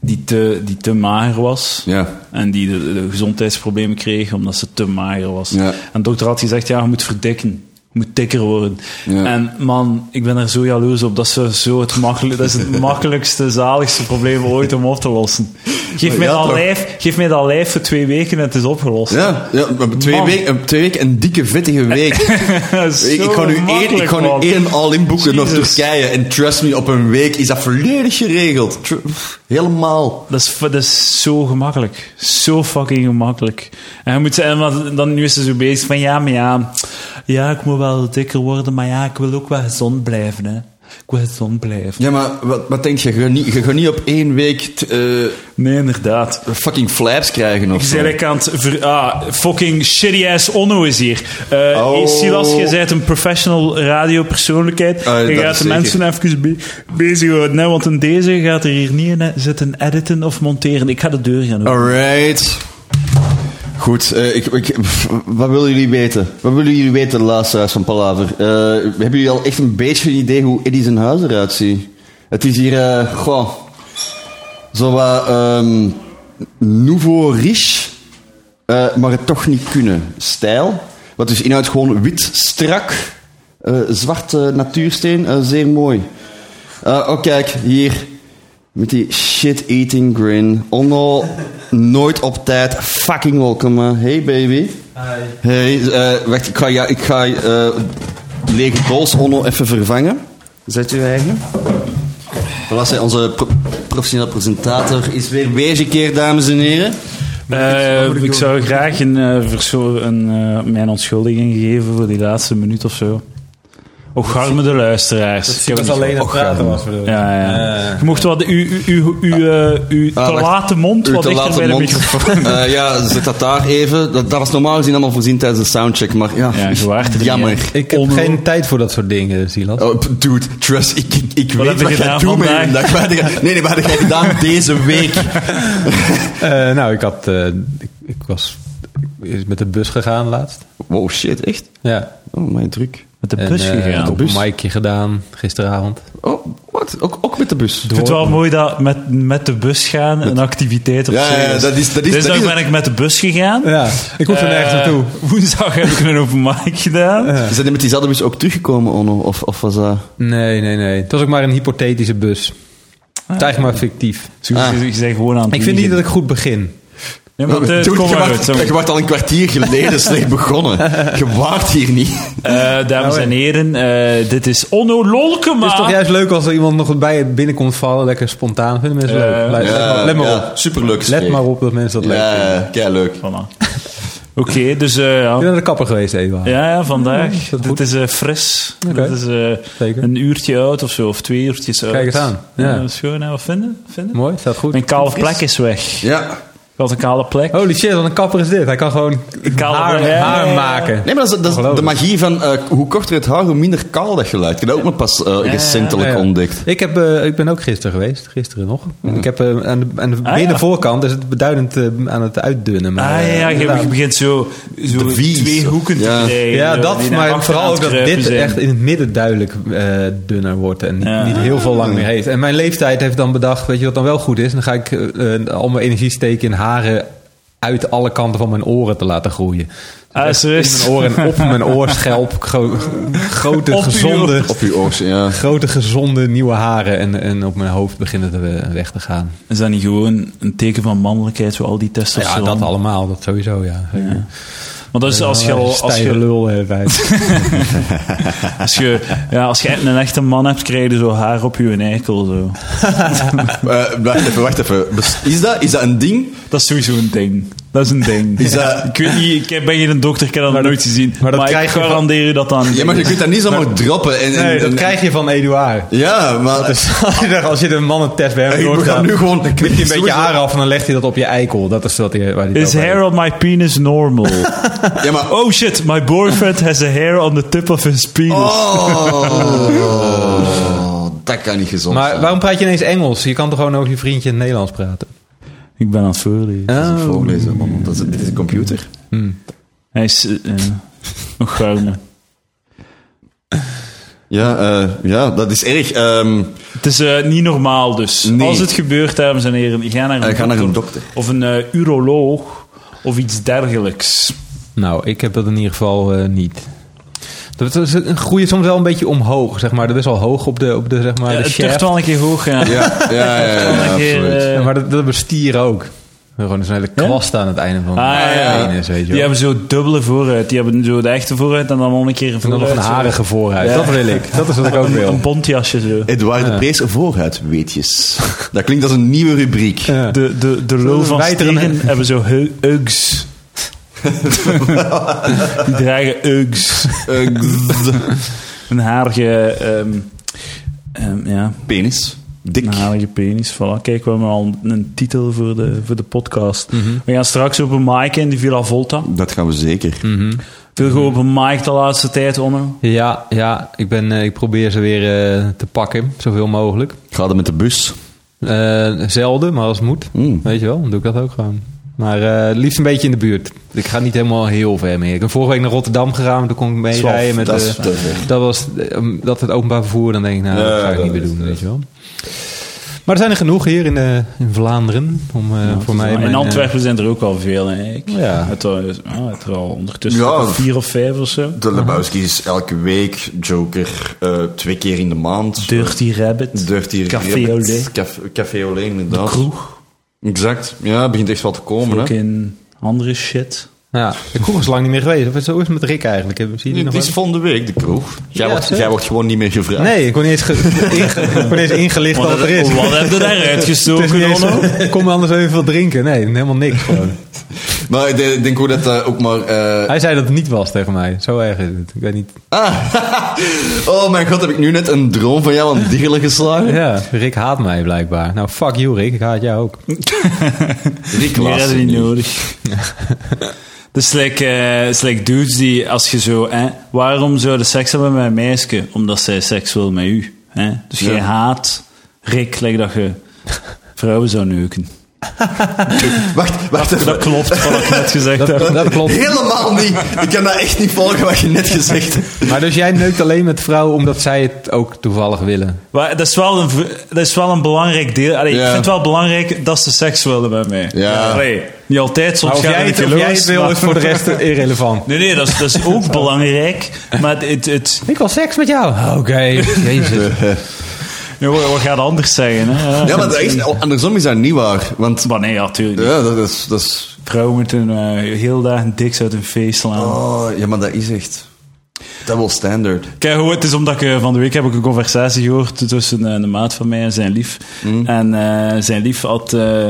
[SPEAKER 1] die te, die te mager was.
[SPEAKER 2] Ja.
[SPEAKER 1] En die de, de gezondheidsproblemen kreeg omdat ze te mager was.
[SPEAKER 2] Ja.
[SPEAKER 1] En de dokter had gezegd, ja, je moet verdikken. Je moet dikker worden.
[SPEAKER 2] Ja.
[SPEAKER 1] En man, ik ben er zo jaloers op. Dat is, zo- zo het, makkelijk, dat is het makkelijkste, zaligste probleem ooit om op te lossen. Geef,
[SPEAKER 2] Maar
[SPEAKER 1] mij
[SPEAKER 2] ja,
[SPEAKER 1] dat
[SPEAKER 2] toch.
[SPEAKER 1] lijf, geef mij dat lijf voor twee weken en het is opgelost.
[SPEAKER 2] Ja, ja maar twee,
[SPEAKER 1] Man.
[SPEAKER 2] weken, twee weken een dikke, vettige
[SPEAKER 1] <laughs>
[SPEAKER 2] week. ik, ik ga nu één, ik ga nu één all-in boeken naar
[SPEAKER 1] Jezus.
[SPEAKER 2] Turkije. En trust me, op een week is dat volledig geregeld. Tr- pff, Helemaal.
[SPEAKER 1] Dat is, f- dat is zo gemakkelijk. Zo fucking gemakkelijk. En, je moet, en wat- dan nu is ze zo bezig van, ja, maar ja... Ja, ik moet wel dikker worden, maar ja, ik wil ook wel gezond blijven, hè. Ik wil gezond blijven.
[SPEAKER 2] Ja, maar wat, wat denk je? Je gaat niet, je gaat niet op één week t- eh,
[SPEAKER 1] Nee, inderdaad.
[SPEAKER 2] fucking flaps krijgen of
[SPEAKER 1] Ik
[SPEAKER 2] zo.
[SPEAKER 1] zei like aan het... ver- ah, fucking shitty-ass Onno is hier. Eh
[SPEAKER 2] Oh.
[SPEAKER 1] hey, Silas, je bent een professional radiopersoonlijkheid.
[SPEAKER 2] Ah,
[SPEAKER 1] je
[SPEAKER 2] dat
[SPEAKER 1] gaat
[SPEAKER 2] is
[SPEAKER 1] de
[SPEAKER 2] zeker.
[SPEAKER 1] mensen even be- bezighouden, hè, want in deze gaat er hier niet in hè, zitten editen of monteren. Ik ga de deur gaan doen.
[SPEAKER 2] Alright. Goed, eh, ik, ik, pff, wat willen jullie weten? Wat willen jullie weten, luisteraars van Palaver? Eh, hebben jullie al echt een beetje een idee hoe Eddie zijn huis eruit ziet? Het is hier, eh, goh, zo wat ehm, nouveau riche, eh, maar het toch niet kunnen. Stijl, wat dus inhoudt gewoon wit, strak, eh, zwarte natuursteen, eh, zeer mooi. Eh, oh, kijk, hier. Met die shit-eating grin. Onno, nooit op tijd. Fucking welkom, man. Hey, baby. Hi. Hey, eh, wacht, ik ga, ja, ik ga eh, lege doos Onno even vervangen. Zet uw eigen. Voilà, zij, onze pro- professionele presentator is weer weergekeerd, dames en heren.
[SPEAKER 1] Eh,
[SPEAKER 3] moet ik
[SPEAKER 1] ik
[SPEAKER 3] doen?
[SPEAKER 1] zou graag een, eh, verso- een, eh, mijn ontschuldiging geven voor die laatste minuut of zo. Och, arme de luisteraars. Ik heb
[SPEAKER 3] Dat
[SPEAKER 1] het
[SPEAKER 3] alleen aan het praten was, bedoel
[SPEAKER 1] niet-
[SPEAKER 3] ik.
[SPEAKER 1] Ja, ja.
[SPEAKER 3] Eh,
[SPEAKER 1] Je mocht wat... Uw u, u, u, eh, uw te
[SPEAKER 2] Ah, wacht.
[SPEAKER 1] late mond
[SPEAKER 2] Uw
[SPEAKER 1] wat
[SPEAKER 2] te
[SPEAKER 1] dichter
[SPEAKER 2] late
[SPEAKER 1] bij de
[SPEAKER 2] mond.
[SPEAKER 1] microfoon.
[SPEAKER 2] <laughs>
[SPEAKER 3] <laughs>
[SPEAKER 2] Eh, ja, zet dat daar even. Dat, dat was normaal gezien allemaal voorzien tijdens de soundcheck, maar ja,
[SPEAKER 1] Ja, je waart er niet,
[SPEAKER 2] <laughs> jammer.
[SPEAKER 1] hè.
[SPEAKER 3] ik heb
[SPEAKER 1] Onno-
[SPEAKER 3] geen tijd voor dat soort dingen, Silas.
[SPEAKER 2] Oh, p- dude, trust, ik, ik, ik
[SPEAKER 1] Wat heb
[SPEAKER 2] weet
[SPEAKER 1] je
[SPEAKER 2] wat jij
[SPEAKER 1] gedaan
[SPEAKER 2] doet met
[SPEAKER 1] vandaag?
[SPEAKER 2] je dag. Wat heb jij- Nee, nee, wat heb jij
[SPEAKER 1] <laughs>
[SPEAKER 2] gedaan deze week?
[SPEAKER 3] Eh, nou, ik, had, eh, ik, ik was is met de bus gegaan laatst.
[SPEAKER 2] Wow, shit, echt?
[SPEAKER 3] Ja.
[SPEAKER 2] Oh, mijn druk.
[SPEAKER 1] Met de
[SPEAKER 3] En,
[SPEAKER 1] bus
[SPEAKER 3] eh,
[SPEAKER 1] gegaan.
[SPEAKER 3] Op
[SPEAKER 1] Ik
[SPEAKER 3] een micje gedaan gisteravond.
[SPEAKER 2] Oh, wat? Ook, ook met de bus?
[SPEAKER 1] vind het wel mooi dat met, met de bus gaan een activiteit op
[SPEAKER 2] Ja,
[SPEAKER 1] zich
[SPEAKER 2] ja, ja, dat is- dat is-
[SPEAKER 1] dus
[SPEAKER 2] dat
[SPEAKER 1] dan
[SPEAKER 2] is-
[SPEAKER 1] ben ik met de bus gegaan.
[SPEAKER 3] Ja, ik hoef er nergens
[SPEAKER 1] Eh,
[SPEAKER 3] naartoe.
[SPEAKER 1] Woensdag heb ik een open mic gedaan.
[SPEAKER 2] Zijn die met diezelfde bus ook teruggekomen, Onno? Of, of was dat...
[SPEAKER 3] Nee, nee, nee. Het was ook maar een hypothetische bus. Het is eigenlijk maar fictief.
[SPEAKER 1] Dus
[SPEAKER 2] Ah.
[SPEAKER 1] je, je bent gewoon aan het
[SPEAKER 3] Ik vind niet
[SPEAKER 1] liegen.
[SPEAKER 3] dat ik goed begin.
[SPEAKER 1] Ja,
[SPEAKER 3] <laughs>
[SPEAKER 1] maar, eh, het
[SPEAKER 2] <laughs> Dude,
[SPEAKER 1] komt
[SPEAKER 2] je,
[SPEAKER 1] maar
[SPEAKER 2] waart-
[SPEAKER 1] uit, zo.
[SPEAKER 2] je waart al een kwartier geleden slecht begonnen. Je waart hier niet.
[SPEAKER 1] Eh, dames en heren, eh, dit is Onno Lolkema.
[SPEAKER 3] Het is toch juist leuk als er iemand nog bij je binnenkomt vallen. Lekker spontaan. Vinden mensen
[SPEAKER 1] Eh,
[SPEAKER 3] leuk. Let, let maar- let maar
[SPEAKER 2] ja,
[SPEAKER 3] op.
[SPEAKER 2] Superleuk.
[SPEAKER 3] Let
[SPEAKER 2] gesprek.
[SPEAKER 3] maar op dat mensen dat leuk vinden.
[SPEAKER 2] Ja, kei leuk.
[SPEAKER 1] Voilà. Oké, dus eh,
[SPEAKER 3] Ik ben
[SPEAKER 1] ja.
[SPEAKER 3] naar de kapper geweest, Eva.
[SPEAKER 1] Ja, ja, vandaag.
[SPEAKER 3] is dat
[SPEAKER 1] dit
[SPEAKER 3] goed?
[SPEAKER 1] is eh, fris.
[SPEAKER 3] Oké.
[SPEAKER 1] Dit is eh,
[SPEAKER 3] Zeker.
[SPEAKER 1] een uurtje oud of zo, of twee uurtjes uit.
[SPEAKER 3] Kijk eens aan, ja.
[SPEAKER 1] dat is schoon, hè? Wat vinden? vinden?
[SPEAKER 3] Mooi, staat goed.
[SPEAKER 1] Mijn kale plek is weg.
[SPEAKER 2] Ja.
[SPEAKER 1] Ik had een kale plek. Ah,
[SPEAKER 3] Holy shit, wat een kapper is dit. Hij kan gewoon
[SPEAKER 1] Kaal-
[SPEAKER 3] haar,
[SPEAKER 1] Ja, ja, ja.
[SPEAKER 3] haar maken.
[SPEAKER 2] Nee, maar dat is, dat is de magie van eh, hoe korter het haar, hoe minder kaal dat geluid. Ik heb dat ook nog pas eh, recentelijk
[SPEAKER 3] Ja, ja.
[SPEAKER 2] ontdekt.
[SPEAKER 3] Ik, heb, eh, ik ben ook gisteren geweest, gisteren nog. En ik heb eh, aan de, aan de
[SPEAKER 1] Ah, ja.
[SPEAKER 3] binnenvoorkant is het beduidend eh, aan het uitdunnen.
[SPEAKER 1] Ah
[SPEAKER 3] Maar,
[SPEAKER 1] ja,
[SPEAKER 3] eh,
[SPEAKER 1] ja, je
[SPEAKER 3] inderdaad.
[SPEAKER 1] begint zo, zo
[SPEAKER 2] De vies.
[SPEAKER 1] twee hoeken te
[SPEAKER 2] Ja.
[SPEAKER 1] krijgen.
[SPEAKER 3] ja,
[SPEAKER 1] zo, die
[SPEAKER 3] dat,
[SPEAKER 1] naar
[SPEAKER 3] maar
[SPEAKER 1] achteren
[SPEAKER 3] vooral
[SPEAKER 1] aan
[SPEAKER 3] ook
[SPEAKER 1] het
[SPEAKER 3] dat
[SPEAKER 1] kruipen
[SPEAKER 3] dit
[SPEAKER 1] zijn.
[SPEAKER 3] echt in het midden duidelijk eh, dunner wordt en niet,
[SPEAKER 1] Ja.
[SPEAKER 3] niet heel veel lang meer heeft. En mijn leeftijd heeft dan bedacht, weet je wat dan wel goed is? Dan ga ik eh, eh, al mijn energie steken in haren uit alle kanten van mijn oren te laten groeien.
[SPEAKER 1] Ah,
[SPEAKER 3] Dus
[SPEAKER 1] zo is
[SPEAKER 3] in mijn oren en op mijn oorschelp gro- grote,
[SPEAKER 1] Op uw-
[SPEAKER 3] gezonde,
[SPEAKER 2] Op uw oors, ja.
[SPEAKER 3] grote, gezonde nieuwe haren en, en op mijn hoofd beginnen te, eh, weg te gaan.
[SPEAKER 1] Is dat niet gewoon een teken van mannelijkheid, zo al die
[SPEAKER 3] Ja,
[SPEAKER 1] testosteron?
[SPEAKER 3] dat allemaal, dat sowieso, ja. ja.
[SPEAKER 1] Want dat is Dus als je, al- als je
[SPEAKER 3] lul eh, hebt.
[SPEAKER 1] Als <laughs> je, ja, als je echt een echte man hebt, krijg je zo haar op je eikel. Zo.
[SPEAKER 2] Eh, wacht even, wacht even. Bes- Is dat, is dat een ding?
[SPEAKER 1] Dat is sowieso een ding. Dat is een ding.
[SPEAKER 2] Is dat-
[SPEAKER 1] Ik weet niet, ik ben geen dokter, ik heb dat
[SPEAKER 3] Maar
[SPEAKER 1] nooit
[SPEAKER 3] dat-
[SPEAKER 1] gezien. Maar,
[SPEAKER 3] maar dat
[SPEAKER 1] ik
[SPEAKER 3] krijg je van-
[SPEAKER 1] garandeer je dat dan.
[SPEAKER 2] Ja, maar je kunt dat niet zomaar droppen. En, en-
[SPEAKER 3] <laughs> Nee, dat
[SPEAKER 2] en-
[SPEAKER 3] krijg je van Eduard.
[SPEAKER 2] Ja, maar...
[SPEAKER 3] Dus <laughs> als je er- als je de
[SPEAKER 1] <laughs>
[SPEAKER 3] mannentest bij hem
[SPEAKER 2] Hey, we
[SPEAKER 3] doorgaat,
[SPEAKER 2] gaan nu gewoon-
[SPEAKER 3] dan knip je een beetje
[SPEAKER 2] Sowieso-
[SPEAKER 3] haar af en dan legt hij dat op je eikel. Dat is wat hij, waar hij
[SPEAKER 1] Is
[SPEAKER 3] het over
[SPEAKER 1] hair on my penis normal?
[SPEAKER 2] <laughs> Ja, maar...
[SPEAKER 1] oh shit, my boyfriend has a hair on the tip of his penis.
[SPEAKER 2] Oh, dat kan niet gezond
[SPEAKER 3] heeft. Maar
[SPEAKER 2] zijn.
[SPEAKER 3] waarom praat je ineens Engels? Je kan toch gewoon over je vriendje in het Nederlands praten?
[SPEAKER 1] Ik ben aan het voorlezen.
[SPEAKER 2] Dat is een voorlezen, man. Dat is, dit is een computer.
[SPEAKER 1] Hij is... eh, eh, nog garmen.
[SPEAKER 2] Ja, eh, ja, dat is erg. Ehm,
[SPEAKER 1] Het is eh, niet normaal dus.
[SPEAKER 2] Nee.
[SPEAKER 1] Als het gebeurt, dames en heren, ga naar een,
[SPEAKER 2] Eh, ga naar een dokter.
[SPEAKER 1] Of een eh, uroloog of iets
[SPEAKER 2] Ah,
[SPEAKER 1] dergelijks.
[SPEAKER 3] Nou, ik heb dat in ieder geval eh, niet. Dat is een groei soms wel een beetje omhoog, zeg maar. Dat is wel hoog op de, op de zeg
[SPEAKER 1] Ja,
[SPEAKER 3] maar, de
[SPEAKER 1] Eh, het
[SPEAKER 3] shaft.
[SPEAKER 1] durft wel een keer hoog gaan.
[SPEAKER 2] ja, ja, ja,
[SPEAKER 3] <laughs>
[SPEAKER 2] ja,
[SPEAKER 1] Wel een keer,
[SPEAKER 2] absoluut.
[SPEAKER 1] eh,
[SPEAKER 3] Ja, maar dat, dat bestieren ook. Gewoon zo'n hele kwast aan het einde van
[SPEAKER 1] Ah,
[SPEAKER 3] de
[SPEAKER 1] ja.
[SPEAKER 3] penis, weet je
[SPEAKER 1] Die
[SPEAKER 3] wel.
[SPEAKER 1] hebben zo dubbele vooruit. Die hebben zo de echte vooruit en dan nog een keer een
[SPEAKER 3] En dan nog
[SPEAKER 1] vooruit.
[SPEAKER 3] een harige vooruit.
[SPEAKER 1] Ja.
[SPEAKER 3] Dat wil ik. Dat is wat ik ook
[SPEAKER 1] zo. Een,
[SPEAKER 3] wil.
[SPEAKER 1] een bontjasje zo.
[SPEAKER 2] Edouard de Prees vooruit, weetjes. Dat klinkt als een nieuwe rubriek.
[SPEAKER 3] Ja.
[SPEAKER 1] De, de, de lul
[SPEAKER 3] Zo'n
[SPEAKER 1] van
[SPEAKER 3] wijterende-
[SPEAKER 1] Stegen
[SPEAKER 3] <laughs>
[SPEAKER 1] hebben zo heu- Uggs. Die dragen Uggs.
[SPEAKER 2] Eh, gzz.
[SPEAKER 1] Een harige... ehm, ehm, ja,
[SPEAKER 2] penis. Dik.
[SPEAKER 3] Nou.
[SPEAKER 1] Een halige penis, voilà. Kijk, we hebben al een titel voor de, voor de podcast.
[SPEAKER 3] Mhm.
[SPEAKER 1] We gaan straks op een mic in de Villa Volta.
[SPEAKER 2] Dat gaan we zeker.
[SPEAKER 3] Hm.
[SPEAKER 1] Veel gewoon op een mic de laatste tijd, Onno.
[SPEAKER 3] Mhm. Ja, ja ik, ben, eh, ik probeer ze weer eh, te pakken, zoveel mogelijk.
[SPEAKER 2] Ga dan met de bus.
[SPEAKER 3] Eh, zelden, maar als het moet.
[SPEAKER 2] Mm.
[SPEAKER 3] Weet je wel, dan doe ik dat ook gewoon. Maar eh, het liefst een beetje in de buurt. Ik ga niet helemaal heel ver meer. Ik ben vorige week naar Rotterdam gegaan, maar toen kon ik
[SPEAKER 2] is wel-
[SPEAKER 3] meerijden. met
[SPEAKER 2] dat
[SPEAKER 3] de-
[SPEAKER 2] is te ver.
[SPEAKER 3] dat was eh, dat het openbaar vervoer. Dan denk ik, nou, dat
[SPEAKER 2] Nee,
[SPEAKER 3] ga ik
[SPEAKER 2] dat
[SPEAKER 3] niet meer
[SPEAKER 2] is-
[SPEAKER 3] doen,
[SPEAKER 2] dat
[SPEAKER 3] weet je wel. Maar er zijn er genoeg hier in, eh, in Vlaanderen om eh, voor mij. mijn,
[SPEAKER 1] in
[SPEAKER 3] eh,
[SPEAKER 1] Antwerpen zijn er ook al veel, hè. Ik
[SPEAKER 3] Ja.
[SPEAKER 1] het, al- ah, het er al ondertussen
[SPEAKER 2] Ja.
[SPEAKER 1] vier of vijf of zo.
[SPEAKER 2] De Lebowski is elke week Joker, eh, twee keer in de maand.
[SPEAKER 1] Dirty Rabbit.
[SPEAKER 2] Dirty
[SPEAKER 1] Café
[SPEAKER 2] Rabbit.
[SPEAKER 1] Olé.
[SPEAKER 2] Caf- Café Olé, inderdaad.
[SPEAKER 1] Kroeg.
[SPEAKER 2] Exact. Ja, het begint echt wel te komen,
[SPEAKER 1] Ook
[SPEAKER 2] hè.
[SPEAKER 1] in andere shit.
[SPEAKER 3] nou ja, de kroeg is lang niet meer geweest. Of Zo is het met Rick eigenlijk. Hebben we- Zie je die
[SPEAKER 2] Het
[SPEAKER 3] nog
[SPEAKER 2] is
[SPEAKER 3] wel?
[SPEAKER 2] volgende week, de kroeg. Jij,
[SPEAKER 3] Ja,
[SPEAKER 2] wordt,
[SPEAKER 3] zeker.
[SPEAKER 2] jij wordt gewoon niet meer gevraagd.
[SPEAKER 3] Nee, ik kon niet eens, ge-
[SPEAKER 2] <laughs>
[SPEAKER 3] inge- ik kon niet eens ingelicht wat er is. <laughs>
[SPEAKER 1] Wat heb je daaruit
[SPEAKER 3] Het is niet
[SPEAKER 1] gestoken,
[SPEAKER 3] eens-
[SPEAKER 1] Onno?
[SPEAKER 3] <laughs> Kom anders even wat drinken. Nee, helemaal niks gewoon.
[SPEAKER 2] Maar ik denk- ik denk ook dat dat ook maar... eh,
[SPEAKER 3] Hij zei dat het niet was tegen mij. Zo erg is het. Ik weet niet.
[SPEAKER 2] Ah, oh mijn god, heb ik nu net een droom van jou aan diggelen geslagen?
[SPEAKER 3] Ja, Rick haat mij blijkbaar. Nou, fuck you Rick, ik haat jou ook.
[SPEAKER 2] Rick
[SPEAKER 1] Meer
[SPEAKER 2] Klaassen
[SPEAKER 1] hadden niet
[SPEAKER 2] nu.
[SPEAKER 3] <laughs>
[SPEAKER 1] nodig. Dus like, eh, is like dudes die, als je zo... Hè, waarom zouden seks hebben met een meisje? Omdat zij seks wil met u. Hè? Dus
[SPEAKER 2] Ja.
[SPEAKER 1] jij haat Rick, like dat je vrouwen zou
[SPEAKER 3] <laughs>
[SPEAKER 1] neuken.
[SPEAKER 2] Wacht, wacht even.
[SPEAKER 1] Dat klopt, wat ik net gezegd
[SPEAKER 3] <laughs> Dat,
[SPEAKER 1] heb.
[SPEAKER 3] dat klopt.
[SPEAKER 2] Helemaal niet. Ik kan dat echt niet volgen wat je net gezegd hebt.
[SPEAKER 3] Maar dus jij neukt alleen met vrouwen omdat zij het ook toevallig willen.
[SPEAKER 1] Maar dat is wel een, v- dat is wel een belangrijk deel. Allee,
[SPEAKER 2] Ja.
[SPEAKER 1] Ik vind het wel belangrijk dat ze seks willen met mij.
[SPEAKER 2] Ja.
[SPEAKER 1] Allee, niet altijd, soms
[SPEAKER 3] Maar Nou,
[SPEAKER 1] gaat
[SPEAKER 3] of jij
[SPEAKER 1] het
[SPEAKER 3] het,
[SPEAKER 1] niet
[SPEAKER 3] of jij het
[SPEAKER 1] los,
[SPEAKER 3] wil
[SPEAKER 1] maar-
[SPEAKER 3] is voor de rest irrelevant.
[SPEAKER 1] Nee, nee, dat is, dat is ook
[SPEAKER 3] <laughs>
[SPEAKER 1] belangrijk. Maar het... het, het
[SPEAKER 3] Ik wil seks met jou. Oké,
[SPEAKER 1] <laughs>
[SPEAKER 3] jezus.
[SPEAKER 1] ja, wat wat gaat anders zeggen, hè?
[SPEAKER 2] Ja, maar dat is, oh, andersom is dat niet waar. Want
[SPEAKER 1] Maar nee, ja, tuurlijk niet.
[SPEAKER 2] ja, dat is... Dat is
[SPEAKER 1] Vrouwen moeten eh, heel dagen diks uit hun feest slaan.
[SPEAKER 2] oh, ja, maar dat is echt... Double standard.
[SPEAKER 1] Kijk, hoe het is omdat ik eh, van de week heb ik een conversatie gehoord tussen eh, een maat van mij en zijn lief.
[SPEAKER 2] Mm.
[SPEAKER 1] En eh, zijn lief had, eh,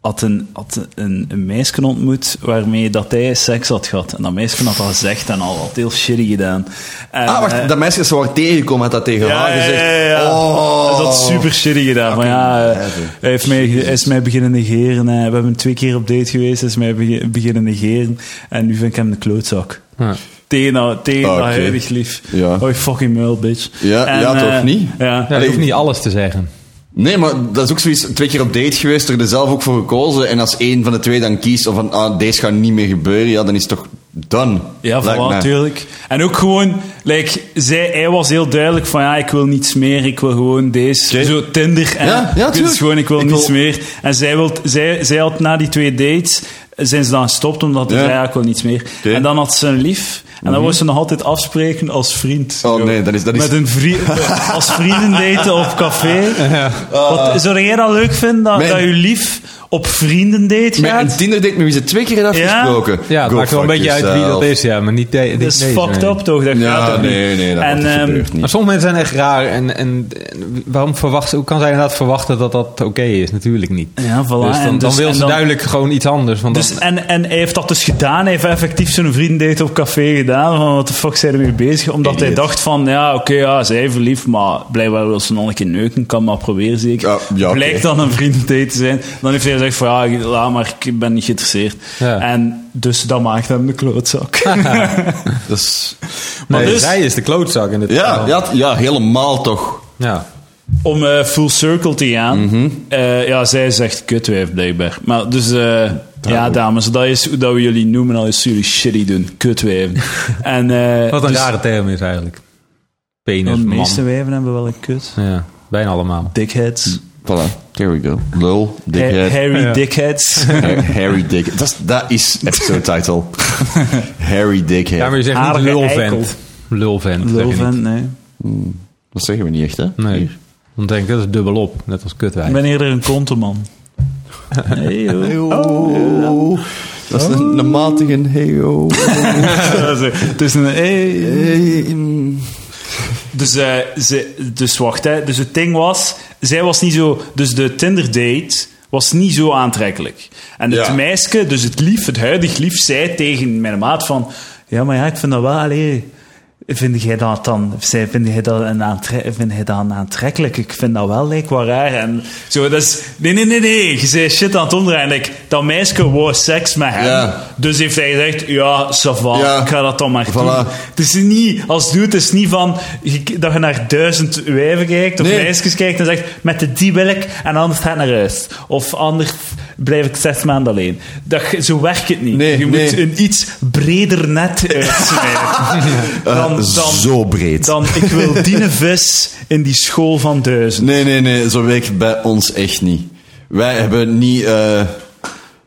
[SPEAKER 1] had, een, had een, een meisje ontmoet waarmee dat hij seks had gehad. En dat meisje had dat gezegd en al had heel shitty gedaan. En,
[SPEAKER 2] Ah,
[SPEAKER 1] eh,
[SPEAKER 2] wacht, dat meisje is zo hard tegengekomen, had dat tegen
[SPEAKER 1] ja,
[SPEAKER 2] haar
[SPEAKER 1] ja,
[SPEAKER 2] gezegd.
[SPEAKER 1] ja, ja.
[SPEAKER 2] Oh.
[SPEAKER 1] Dat is super shitty gedaan. Maar ja, eh,
[SPEAKER 2] Fucking
[SPEAKER 1] hij, heeft mij, hij is mij beginnen negeren. eh. We hebben twee keer op date geweest. Hij is mij bege- beginnen negeren. En nu vind ik hem de klootzak.
[SPEAKER 3] Ja.
[SPEAKER 1] Tegen dat, tegen dat
[SPEAKER 2] Ah, Oké.
[SPEAKER 1] huidig lief.
[SPEAKER 2] Ja.
[SPEAKER 1] Oh, je fucking muil, bitch.
[SPEAKER 2] Ja, ja, toch
[SPEAKER 1] eh,
[SPEAKER 2] niet?
[SPEAKER 1] Ja.
[SPEAKER 3] Ja, Nou, je hoeft niet alles te zeggen.
[SPEAKER 2] Nee, maar dat is ook zoiets. Twee keer op date geweest, er zelf ook voor gekozen. En als één van de twee dan kiest, of van ah, deze gaat niet meer gebeuren, ja, dan is het toch done.
[SPEAKER 1] Ja,
[SPEAKER 2] Lijkt
[SPEAKER 1] voilà,
[SPEAKER 2] mij.
[SPEAKER 1] natuurlijk. En ook gewoon, like, zij, hij was heel duidelijk van ja, ik wil niets meer, ik wil gewoon deze.
[SPEAKER 2] Oké.
[SPEAKER 1] Zo Tinder en
[SPEAKER 2] Ja, ja,
[SPEAKER 1] ik wil
[SPEAKER 2] tuurlijk.
[SPEAKER 1] dus gewoon, ik wil
[SPEAKER 2] Ik
[SPEAKER 1] niets
[SPEAKER 2] wil-
[SPEAKER 1] meer. En zij, wilt, zij, zij had na die twee dates, eh, zijn ze dan gestopt omdat ze
[SPEAKER 2] Ja.
[SPEAKER 1] zei ja, ik wil niets meer.
[SPEAKER 2] Oké. Mhm.
[SPEAKER 1] En dan had ze een lief, en dan wou ze nog altijd afspreken als vriend.
[SPEAKER 2] Oh,
[SPEAKER 1] Zo.
[SPEAKER 2] nee, dat is- dat is-
[SPEAKER 1] Met een
[SPEAKER 2] <laughs>
[SPEAKER 1] vri als vrienden daten op café. Wat, zou jij dat leuk vinden, dat,
[SPEAKER 2] Ah. Mijn-
[SPEAKER 1] dat je lief op vrienden date
[SPEAKER 2] Met
[SPEAKER 1] gaat?
[SPEAKER 2] een Tinder date met wie ze twee keer heeft
[SPEAKER 1] Ja?
[SPEAKER 2] afgesproken.
[SPEAKER 3] Ja, het
[SPEAKER 2] Go
[SPEAKER 3] maakt wel een
[SPEAKER 2] fuck
[SPEAKER 3] beetje uit wie dat
[SPEAKER 2] yourself.
[SPEAKER 3] is, ja. Maar niet de,
[SPEAKER 1] Dat is fucked up toch? Dat gaat
[SPEAKER 2] Ja,
[SPEAKER 1] toch
[SPEAKER 2] nee,
[SPEAKER 1] niet?
[SPEAKER 2] nee, dat
[SPEAKER 1] En,
[SPEAKER 2] wordt- dat
[SPEAKER 1] ehm,
[SPEAKER 2] gebeurt
[SPEAKER 3] Maar
[SPEAKER 2] niet.
[SPEAKER 3] sommige mensen zijn echt raar. En, en, en waarom verwacht, hoe kan zij inderdaad verwachten dat dat oké is? Natuurlijk niet.
[SPEAKER 1] Ja, voilà.
[SPEAKER 3] Dus dan,
[SPEAKER 1] En
[SPEAKER 3] dan
[SPEAKER 1] dus-
[SPEAKER 3] wil
[SPEAKER 1] en
[SPEAKER 3] ze
[SPEAKER 1] dan-
[SPEAKER 3] duidelijk gewoon iets anders. Want
[SPEAKER 1] Dus,
[SPEAKER 3] dan-
[SPEAKER 1] en, en hij heeft dat dus gedaan. Hij heeft effectief zijn vriendendate op café gedaan. Van wat de fuck zijn we mee bezig? Omdat hij
[SPEAKER 2] Idiot.
[SPEAKER 1] dacht van, ja, oké, ja, zij verliefd, maar blijkbaar wil ze nog een keer neuken. Kan maar proberen zeker.
[SPEAKER 2] Ja, ja, oké.
[SPEAKER 1] Blijkt dan een vriendendate te zijn. Dan heeft hij gezegd van, ja, laat maar, ik ben niet geïnteresseerd.
[SPEAKER 3] Ja.
[SPEAKER 1] En dus dat maakt hem de
[SPEAKER 3] <laughs>
[SPEAKER 1] klootzak.
[SPEAKER 2] Dat is-
[SPEAKER 1] maar
[SPEAKER 3] Nee,
[SPEAKER 1] dus-
[SPEAKER 3] zij is de klootzak in dit
[SPEAKER 2] ja,
[SPEAKER 3] geval.
[SPEAKER 2] ja, t- ja, helemaal toch.
[SPEAKER 3] ja.
[SPEAKER 1] Om eh, full circle te gaan.
[SPEAKER 3] Mhm.
[SPEAKER 1] eh, ja, zij is echt kutwijf blijkbaar. Maar dus... eh, ja, dames, dat is hoe dat we jullie
[SPEAKER 3] <laughs>
[SPEAKER 1] noemen als jullie shitty doen. Kutwijven. en, eh,
[SPEAKER 3] Wat een
[SPEAKER 1] dus-
[SPEAKER 3] rare term is eigenlijk. penis,
[SPEAKER 1] Want de
[SPEAKER 3] man.
[SPEAKER 1] meeste wijven hebben wel een kut.
[SPEAKER 3] Ja, bijna allemaal.
[SPEAKER 1] Dickheads.
[SPEAKER 2] Voilà, there we go. Lul,
[SPEAKER 1] Ha-
[SPEAKER 2] dickhead.
[SPEAKER 1] Harry
[SPEAKER 3] Ja. <laughs>
[SPEAKER 1] Dickheads.
[SPEAKER 2] Ha- Harry Dick. Dat is, dat is episode title. Harry Dickhead.
[SPEAKER 3] Ja, maar je zegt niet
[SPEAKER 1] Aardige eikel.
[SPEAKER 3] lulvent. Lulvent. zeg je niet.
[SPEAKER 1] Lulvent, nee.
[SPEAKER 2] Dat zeggen we niet echt, hè?
[SPEAKER 3] Nee.
[SPEAKER 2] Hier.
[SPEAKER 3] Dan denk ik, dat is dubbel op. Net als
[SPEAKER 1] Ik
[SPEAKER 3] kutwijn. <laughs>
[SPEAKER 1] ben eerder een konteman. Nee, joh.
[SPEAKER 3] Oh.
[SPEAKER 2] Heyo. Dat is een, een matige heyo.
[SPEAKER 1] Dat is- Het is een... hey.
[SPEAKER 2] Hey, mm.
[SPEAKER 1] Dus, eh, ze, dus wacht, hè. Dus het ding was, zij was niet zo... Dus de Tinder-date was niet zo aantrekkelijk. En het
[SPEAKER 2] Ja.
[SPEAKER 1] meisje, dus het lief, het huidig lief, zei tegen mijn maat van... Ja, maar ja, ik vind dat wel... Allee, vind jij dat dan... Zij, vind, jij dat een aantre- vind jij dat een aantrekkelijk? Ik vind dat wel lijkbaar raar. En zo, dat is... Nee, nee, nee, nee. Je zei shit aan het omdraaien. Ik, dat meisje wou seks met hem.
[SPEAKER 2] Ja.
[SPEAKER 1] Dus heeft hij gezegd... Ja, ça va.
[SPEAKER 2] Ja.
[SPEAKER 1] Ik ga dat dan maar doen.
[SPEAKER 2] Voilà.
[SPEAKER 1] Het is niet, als dude, het is niet van je- dat je naar duizend wijven kijkt of
[SPEAKER 2] Nee.
[SPEAKER 1] meisjes kijkt en zegt met de die wil ik en anders ga ik naar huis. Of anders blijf ik zes maanden alleen. Dat, ge- zo werkt het niet.
[SPEAKER 2] Nee,
[SPEAKER 1] je moet
[SPEAKER 2] nee.
[SPEAKER 1] een iets breder net
[SPEAKER 2] <laughs>
[SPEAKER 1] uitsmijten. dan, dan,
[SPEAKER 2] Eh, Zo breed.
[SPEAKER 1] dan ik wil die vis in die school van duizend.
[SPEAKER 2] Nee, nee, nee. Zo werkt bij ons echt niet. Wij hebben niet eh,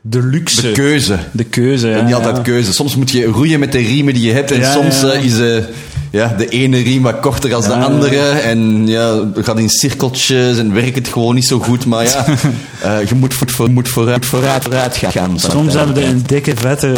[SPEAKER 1] De luxe.
[SPEAKER 2] de keuze.
[SPEAKER 1] De keuze,
[SPEAKER 2] En
[SPEAKER 1] ja.
[SPEAKER 2] niet altijd keuze. Soms moet je roeien met de riemen die je hebt. En
[SPEAKER 1] Ja,
[SPEAKER 2] soms
[SPEAKER 1] ja, ja.
[SPEAKER 2] eh, is eh, ja, de ene riem wat korter als de andere. En ja, het gaat in cirkeltjes en werkt het gewoon niet zo goed. Maar
[SPEAKER 1] <laughs>
[SPEAKER 2] ja, eh, je moet, voet voor, moet vooruit, vooruit, vooruit gaan.
[SPEAKER 1] Soms hebben we een dikke vette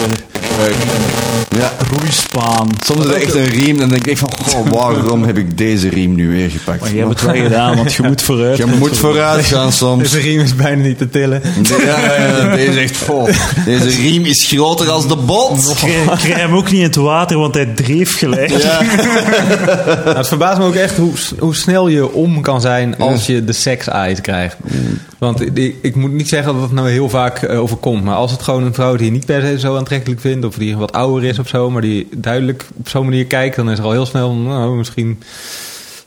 [SPEAKER 2] Ja,
[SPEAKER 1] roeispaan.
[SPEAKER 2] soms is er echt een riem. En dan denk ik van, goh, waarom heb ik deze riem nu weer gepakt?
[SPEAKER 1] Maar je hebt het wel gedaan, want je moet vooruit.
[SPEAKER 2] je moet vooruit gaan
[SPEAKER 1] <laughs>
[SPEAKER 2] soms.
[SPEAKER 3] Deze riem is bijna niet te tillen.
[SPEAKER 2] Ja, ja, ja, deze, echt, goh, deze riem is groter als de bot.
[SPEAKER 1] Ik krijg krijg hem ook niet in het water, want hij dreef gelijk.
[SPEAKER 2] Ja.
[SPEAKER 3] Nou, het verbaast me ook echt hoe, s- hoe snel je om kan zijn als je de seks-eyes krijgt. Want ik, ik moet niet zeggen dat het nou heel vaak eh, overkomt. Maar als het gewoon een vrouw die je niet per se zo aantrekkelijk vindt... of die wat ouder is of zo, maar die duidelijk op zo'n manier kijkt... dan is er al heel snel, nou, misschien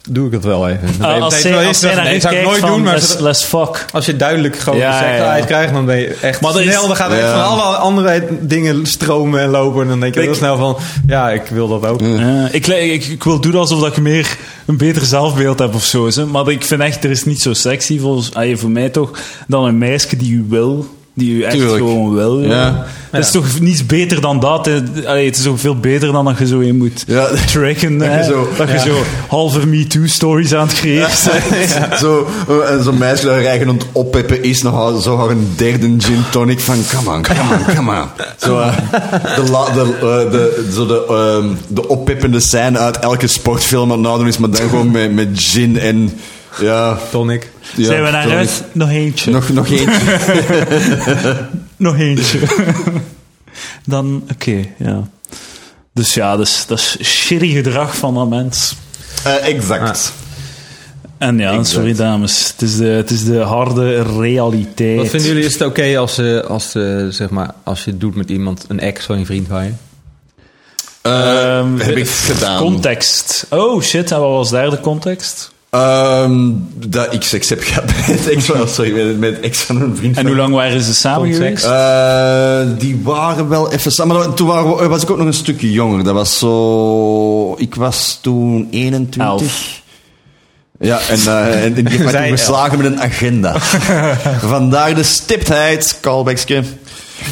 [SPEAKER 3] doe ik het wel even. Dan ben je
[SPEAKER 1] Ah, als
[SPEAKER 3] meteen
[SPEAKER 1] zij, als
[SPEAKER 3] wel eens
[SPEAKER 1] zij
[SPEAKER 3] terug,
[SPEAKER 1] naar
[SPEAKER 3] nee,
[SPEAKER 1] u
[SPEAKER 3] zou ik
[SPEAKER 1] kijkt
[SPEAKER 3] nooit
[SPEAKER 1] van,
[SPEAKER 3] doen, maar
[SPEAKER 1] let's,
[SPEAKER 3] ze-
[SPEAKER 1] let's fuck.
[SPEAKER 3] als je duidelijk gewoon
[SPEAKER 1] Ja,
[SPEAKER 3] de seks-eyes
[SPEAKER 1] ja, ja.
[SPEAKER 3] krijgt... dan ben je echt
[SPEAKER 1] Maar er is-
[SPEAKER 3] snel, dan gaan er echt
[SPEAKER 2] Ja.
[SPEAKER 3] van alle andere dingen stromen en lopen... en dan denk je heel
[SPEAKER 1] Ik-
[SPEAKER 3] snel van, ja, ik wil dat ook.
[SPEAKER 1] Eh, ik, le- ik, ik wil doen alsof dat ik meer een beter zelfbeeld heb of zo. Hè? Maar ik vind echt, er is niet zo sexy volgens, ah, voor mij toch, dan een meisje die u wil. Die u echt
[SPEAKER 2] Tuurlijk.
[SPEAKER 1] gewoon wil. joh.
[SPEAKER 2] Ja.
[SPEAKER 1] Dat is toch niets beter dan dat. hè? Allee, het is ook veel beter dan dat je zo in moet
[SPEAKER 2] Ja.
[SPEAKER 1] tracken.
[SPEAKER 2] <laughs> Dat je
[SPEAKER 1] hè.
[SPEAKER 2] zo-
[SPEAKER 1] dat je zo halve MeToo-stories aan het creëren bent.
[SPEAKER 2] <laughs> Zo, eh, en zo'n meisje dat haar eigen aan het oppeppen is, nog haar- zo haar een derde gin tonic van come on, come on, come on. Zo, eh, de, la, de, eh, de, zo de, ehm, de oppeppende scène uit elke sportfilm aan het nadoen is, maar dan gewoon met, met gin en... Ja,
[SPEAKER 3] Tonic.
[SPEAKER 2] ja,
[SPEAKER 1] Zijn we naar
[SPEAKER 2] tonic.
[SPEAKER 1] huis? Nog eentje.
[SPEAKER 2] Nog, nog eentje.
[SPEAKER 1] Nog eentje. <laughs> Dan, oké, ja. Dus ja, dat is, dat is shitty gedrag van dat mens.
[SPEAKER 2] Eh, exact.
[SPEAKER 1] En ja,
[SPEAKER 2] Exact.
[SPEAKER 1] sorry dames, het is de, het is de harde realiteit.
[SPEAKER 3] Wat vinden jullie, is het oké als, eh, als, eh, zeg maar, als je het doet met iemand, een ex van je vriend van je?
[SPEAKER 1] Ehm,
[SPEAKER 2] heb ik gedaan.
[SPEAKER 1] Context. Oh shit, en wat was daar de context?
[SPEAKER 2] Ehm, dat ik seks heb gehad met ex van, sorry, met, met ex van een vriend
[SPEAKER 1] En
[SPEAKER 2] van
[SPEAKER 1] hoe lang waren ze samen
[SPEAKER 3] Context.
[SPEAKER 1] geweest?
[SPEAKER 2] Eh, die waren wel even samen. Maar toen waren we- eh, was ik ook nog een stukje jonger. Dat was zo. Ik was toen
[SPEAKER 3] Eh,
[SPEAKER 2] 21.
[SPEAKER 1] Elf.
[SPEAKER 2] Ja, en, eh, <laughs> en, en die werd
[SPEAKER 3] Zij
[SPEAKER 2] toen
[SPEAKER 3] elf.
[SPEAKER 2] geslagen met een <laughs> agenda. Vandaar de stiptheid, callbackske.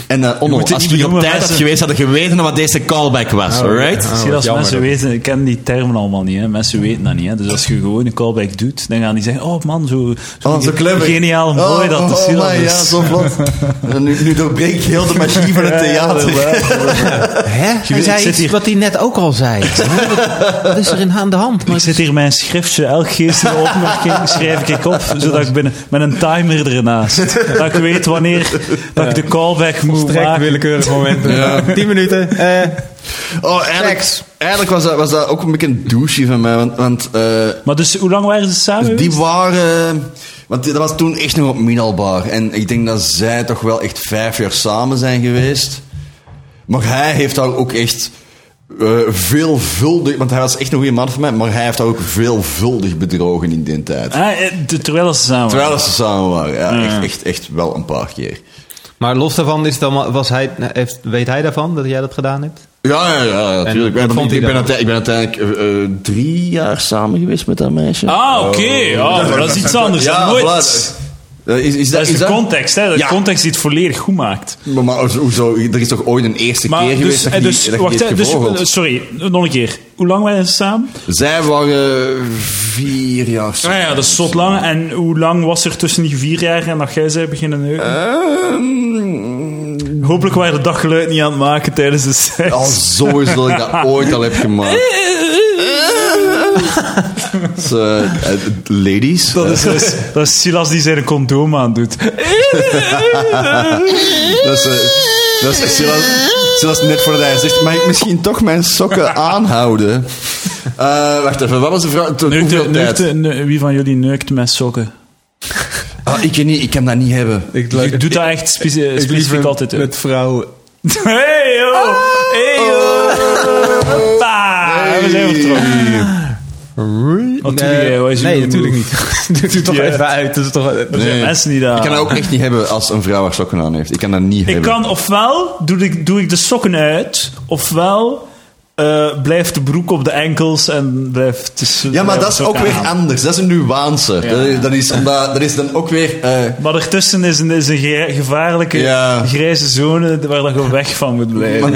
[SPEAKER 2] En eh Onno,
[SPEAKER 1] moet het
[SPEAKER 2] als
[SPEAKER 1] niet
[SPEAKER 2] je hier op
[SPEAKER 1] benoemen,
[SPEAKER 2] tijd had
[SPEAKER 1] mensen.
[SPEAKER 2] geweest, had je geweten wat deze callback was,
[SPEAKER 3] Oh,
[SPEAKER 2] alright?
[SPEAKER 3] ja.
[SPEAKER 1] Misschien
[SPEAKER 3] wat
[SPEAKER 1] als
[SPEAKER 3] jammer
[SPEAKER 1] mensen
[SPEAKER 3] dat-
[SPEAKER 1] weten, ik ken die termen allemaal niet. Hè. Mensen weten dat niet. Hè. Dus als je gewoon een callback doet, dan gaan die zeggen: Oh man, zo, zo,
[SPEAKER 2] Oh, zo clever.
[SPEAKER 1] geniaal mooi
[SPEAKER 2] Oh,
[SPEAKER 1] dat
[SPEAKER 2] oh,
[SPEAKER 1] de
[SPEAKER 2] oh,
[SPEAKER 1] syllabus.
[SPEAKER 2] my, ja, zo vlot. <laughs> En nu, nu doorbreek ik heel de magie van het theater.
[SPEAKER 3] Hè? Hij
[SPEAKER 1] weet, ik
[SPEAKER 3] zei
[SPEAKER 1] zit
[SPEAKER 3] iets
[SPEAKER 1] hier-
[SPEAKER 3] wat hij net ook al
[SPEAKER 1] <laughs>
[SPEAKER 3] zei. Hè? Wat- Wat is er in aan de hand? Maar
[SPEAKER 1] Ik zit hier mijn schriftje, elk geestige opmerking schrijf ik op, zodat ik binnen, met een timer ernaast, dat ik weet wanneer dat ik de callback moet
[SPEAKER 3] Trek,
[SPEAKER 1] maken.
[SPEAKER 3] willekeurig moment. <laughs> Tien minuten. eh,
[SPEAKER 2] Oh, eigenlijk,
[SPEAKER 3] Seks.
[SPEAKER 2] eigenlijk was, dat, was dat ook een beetje een douche van mij. Want, want eh,
[SPEAKER 1] Maar dus, hoe lang waren ze samen?
[SPEAKER 2] die waren. Want dat was toen echt nog op middelbaar. En ik denk dat zij toch wel echt vijf jaar samen zijn geweest. Maar hij heeft daar ook echt eh, veelvuldig. Want hij was echt een goede man voor mij. Maar hij heeft daar ook veelvuldig bedrogen in die tijd.
[SPEAKER 1] Ah, eh, de- terwijl ze samen waren.
[SPEAKER 2] Terwijl ze samen waren. Ja, echt, echt, echt wel een paar keer.
[SPEAKER 3] nou, Maar los daarvan, is dan, was hij, heeft, weet hij daarvan dat jij dat gedaan hebt?
[SPEAKER 2] Ja, ja, ja, natuurlijk.
[SPEAKER 3] wat
[SPEAKER 2] Ik, ben-
[SPEAKER 3] vond hij
[SPEAKER 2] ik ben
[SPEAKER 3] daarvan?
[SPEAKER 2] uiteindelijk- ik ben uiteindelijk eh, eh, drie jaar samen geweest met dat meisje.
[SPEAKER 1] Ah, oké. Ah, maar dat is iets anders.
[SPEAKER 2] Oh. ja,
[SPEAKER 1] nooit.
[SPEAKER 2] voilà. Eh, Is, is dat,
[SPEAKER 1] Dat is, de context, hè? De
[SPEAKER 2] Ja.
[SPEAKER 1] context die het volledig goed maakt.
[SPEAKER 2] Maar, maar hoezo- hoezo? Er is toch ooit een eerste
[SPEAKER 1] Maar
[SPEAKER 2] keer
[SPEAKER 1] dus,
[SPEAKER 2] geweest dat
[SPEAKER 1] eh,
[SPEAKER 2] je
[SPEAKER 1] dus,
[SPEAKER 2] die, dat je
[SPEAKER 1] wacht,
[SPEAKER 2] die
[SPEAKER 1] hè,
[SPEAKER 2] hebt
[SPEAKER 1] dus,
[SPEAKER 2] gevogeld?
[SPEAKER 1] eh, sorry, nog een keer. Hoe lang waren ze samen?
[SPEAKER 2] Zij waren vier jaar
[SPEAKER 1] Nou ja, dat is zot lang. En hoe lang was er tussen die vier jaar en dat jij zei beginnen
[SPEAKER 2] Eh.
[SPEAKER 1] neuken?
[SPEAKER 2] Ehm,
[SPEAKER 1] Hopelijk waren de daggeluid niet aan het maken tijdens de seks.
[SPEAKER 2] Al zo is dat ik
[SPEAKER 1] <laughs>
[SPEAKER 2] dat ooit al heb gemaakt. Dus, eh, eh, ladies.
[SPEAKER 1] Dat is, dat,
[SPEAKER 2] <laughs>
[SPEAKER 1] is, dat is Silas die zijn condoom aandoet.
[SPEAKER 2] Dat is, eh, dat is Silas, Silas net voordat hij zegt, mag ik misschien toch mijn
[SPEAKER 1] <laughs>
[SPEAKER 2] sokken aanhouden? Eh, wacht even, wat was de vraag? Tot
[SPEAKER 1] Neukt,
[SPEAKER 2] hoeveel tijd?
[SPEAKER 1] neukt- ne- wie van jullie neukt met sokken?
[SPEAKER 2] Ah, ik, niet, ik kan dat niet hebben.
[SPEAKER 3] Ik,
[SPEAKER 1] Je doet dat echt spe- specifiek altijd. hè?
[SPEAKER 3] Met vrouwen.
[SPEAKER 1] <laughs> Hey yo!
[SPEAKER 2] Ah!
[SPEAKER 1] Hey
[SPEAKER 2] Oh!
[SPEAKER 1] yo! Pa! Ah, We zijn vertrokken. Wat doe
[SPEAKER 3] Nee,
[SPEAKER 1] jij? Wat is
[SPEAKER 3] nee,
[SPEAKER 1] uw
[SPEAKER 3] natuurlijk <laughs>
[SPEAKER 1] move?
[SPEAKER 3] niet. Doe het toch
[SPEAKER 1] Ja.
[SPEAKER 3] even uit. Dat is toch...
[SPEAKER 1] zijn Dus mensen die dat-
[SPEAKER 2] Ik kan dat ook echt niet hebben als een vrouw haar sokken aan heeft. Ik kan dat niet
[SPEAKER 1] Ik
[SPEAKER 2] hebben.
[SPEAKER 1] kan ofwel doe ik, doe ik de sokken uit, ofwel eh, blijft de broek op de enkels en blijft tussen.
[SPEAKER 2] Ja, maar
[SPEAKER 1] blijft
[SPEAKER 2] dat is ook
[SPEAKER 1] sokken
[SPEAKER 2] weer
[SPEAKER 1] aan.
[SPEAKER 2] anders. Dat is een nuance. Dat, is, dat, is omdat, dat is dan ook weer... eh,
[SPEAKER 1] Maar ertussen is een, is een ge- gevaarlijke
[SPEAKER 2] Ja.
[SPEAKER 1] grijze zone waar dat je weg van moet <laughs> blijven.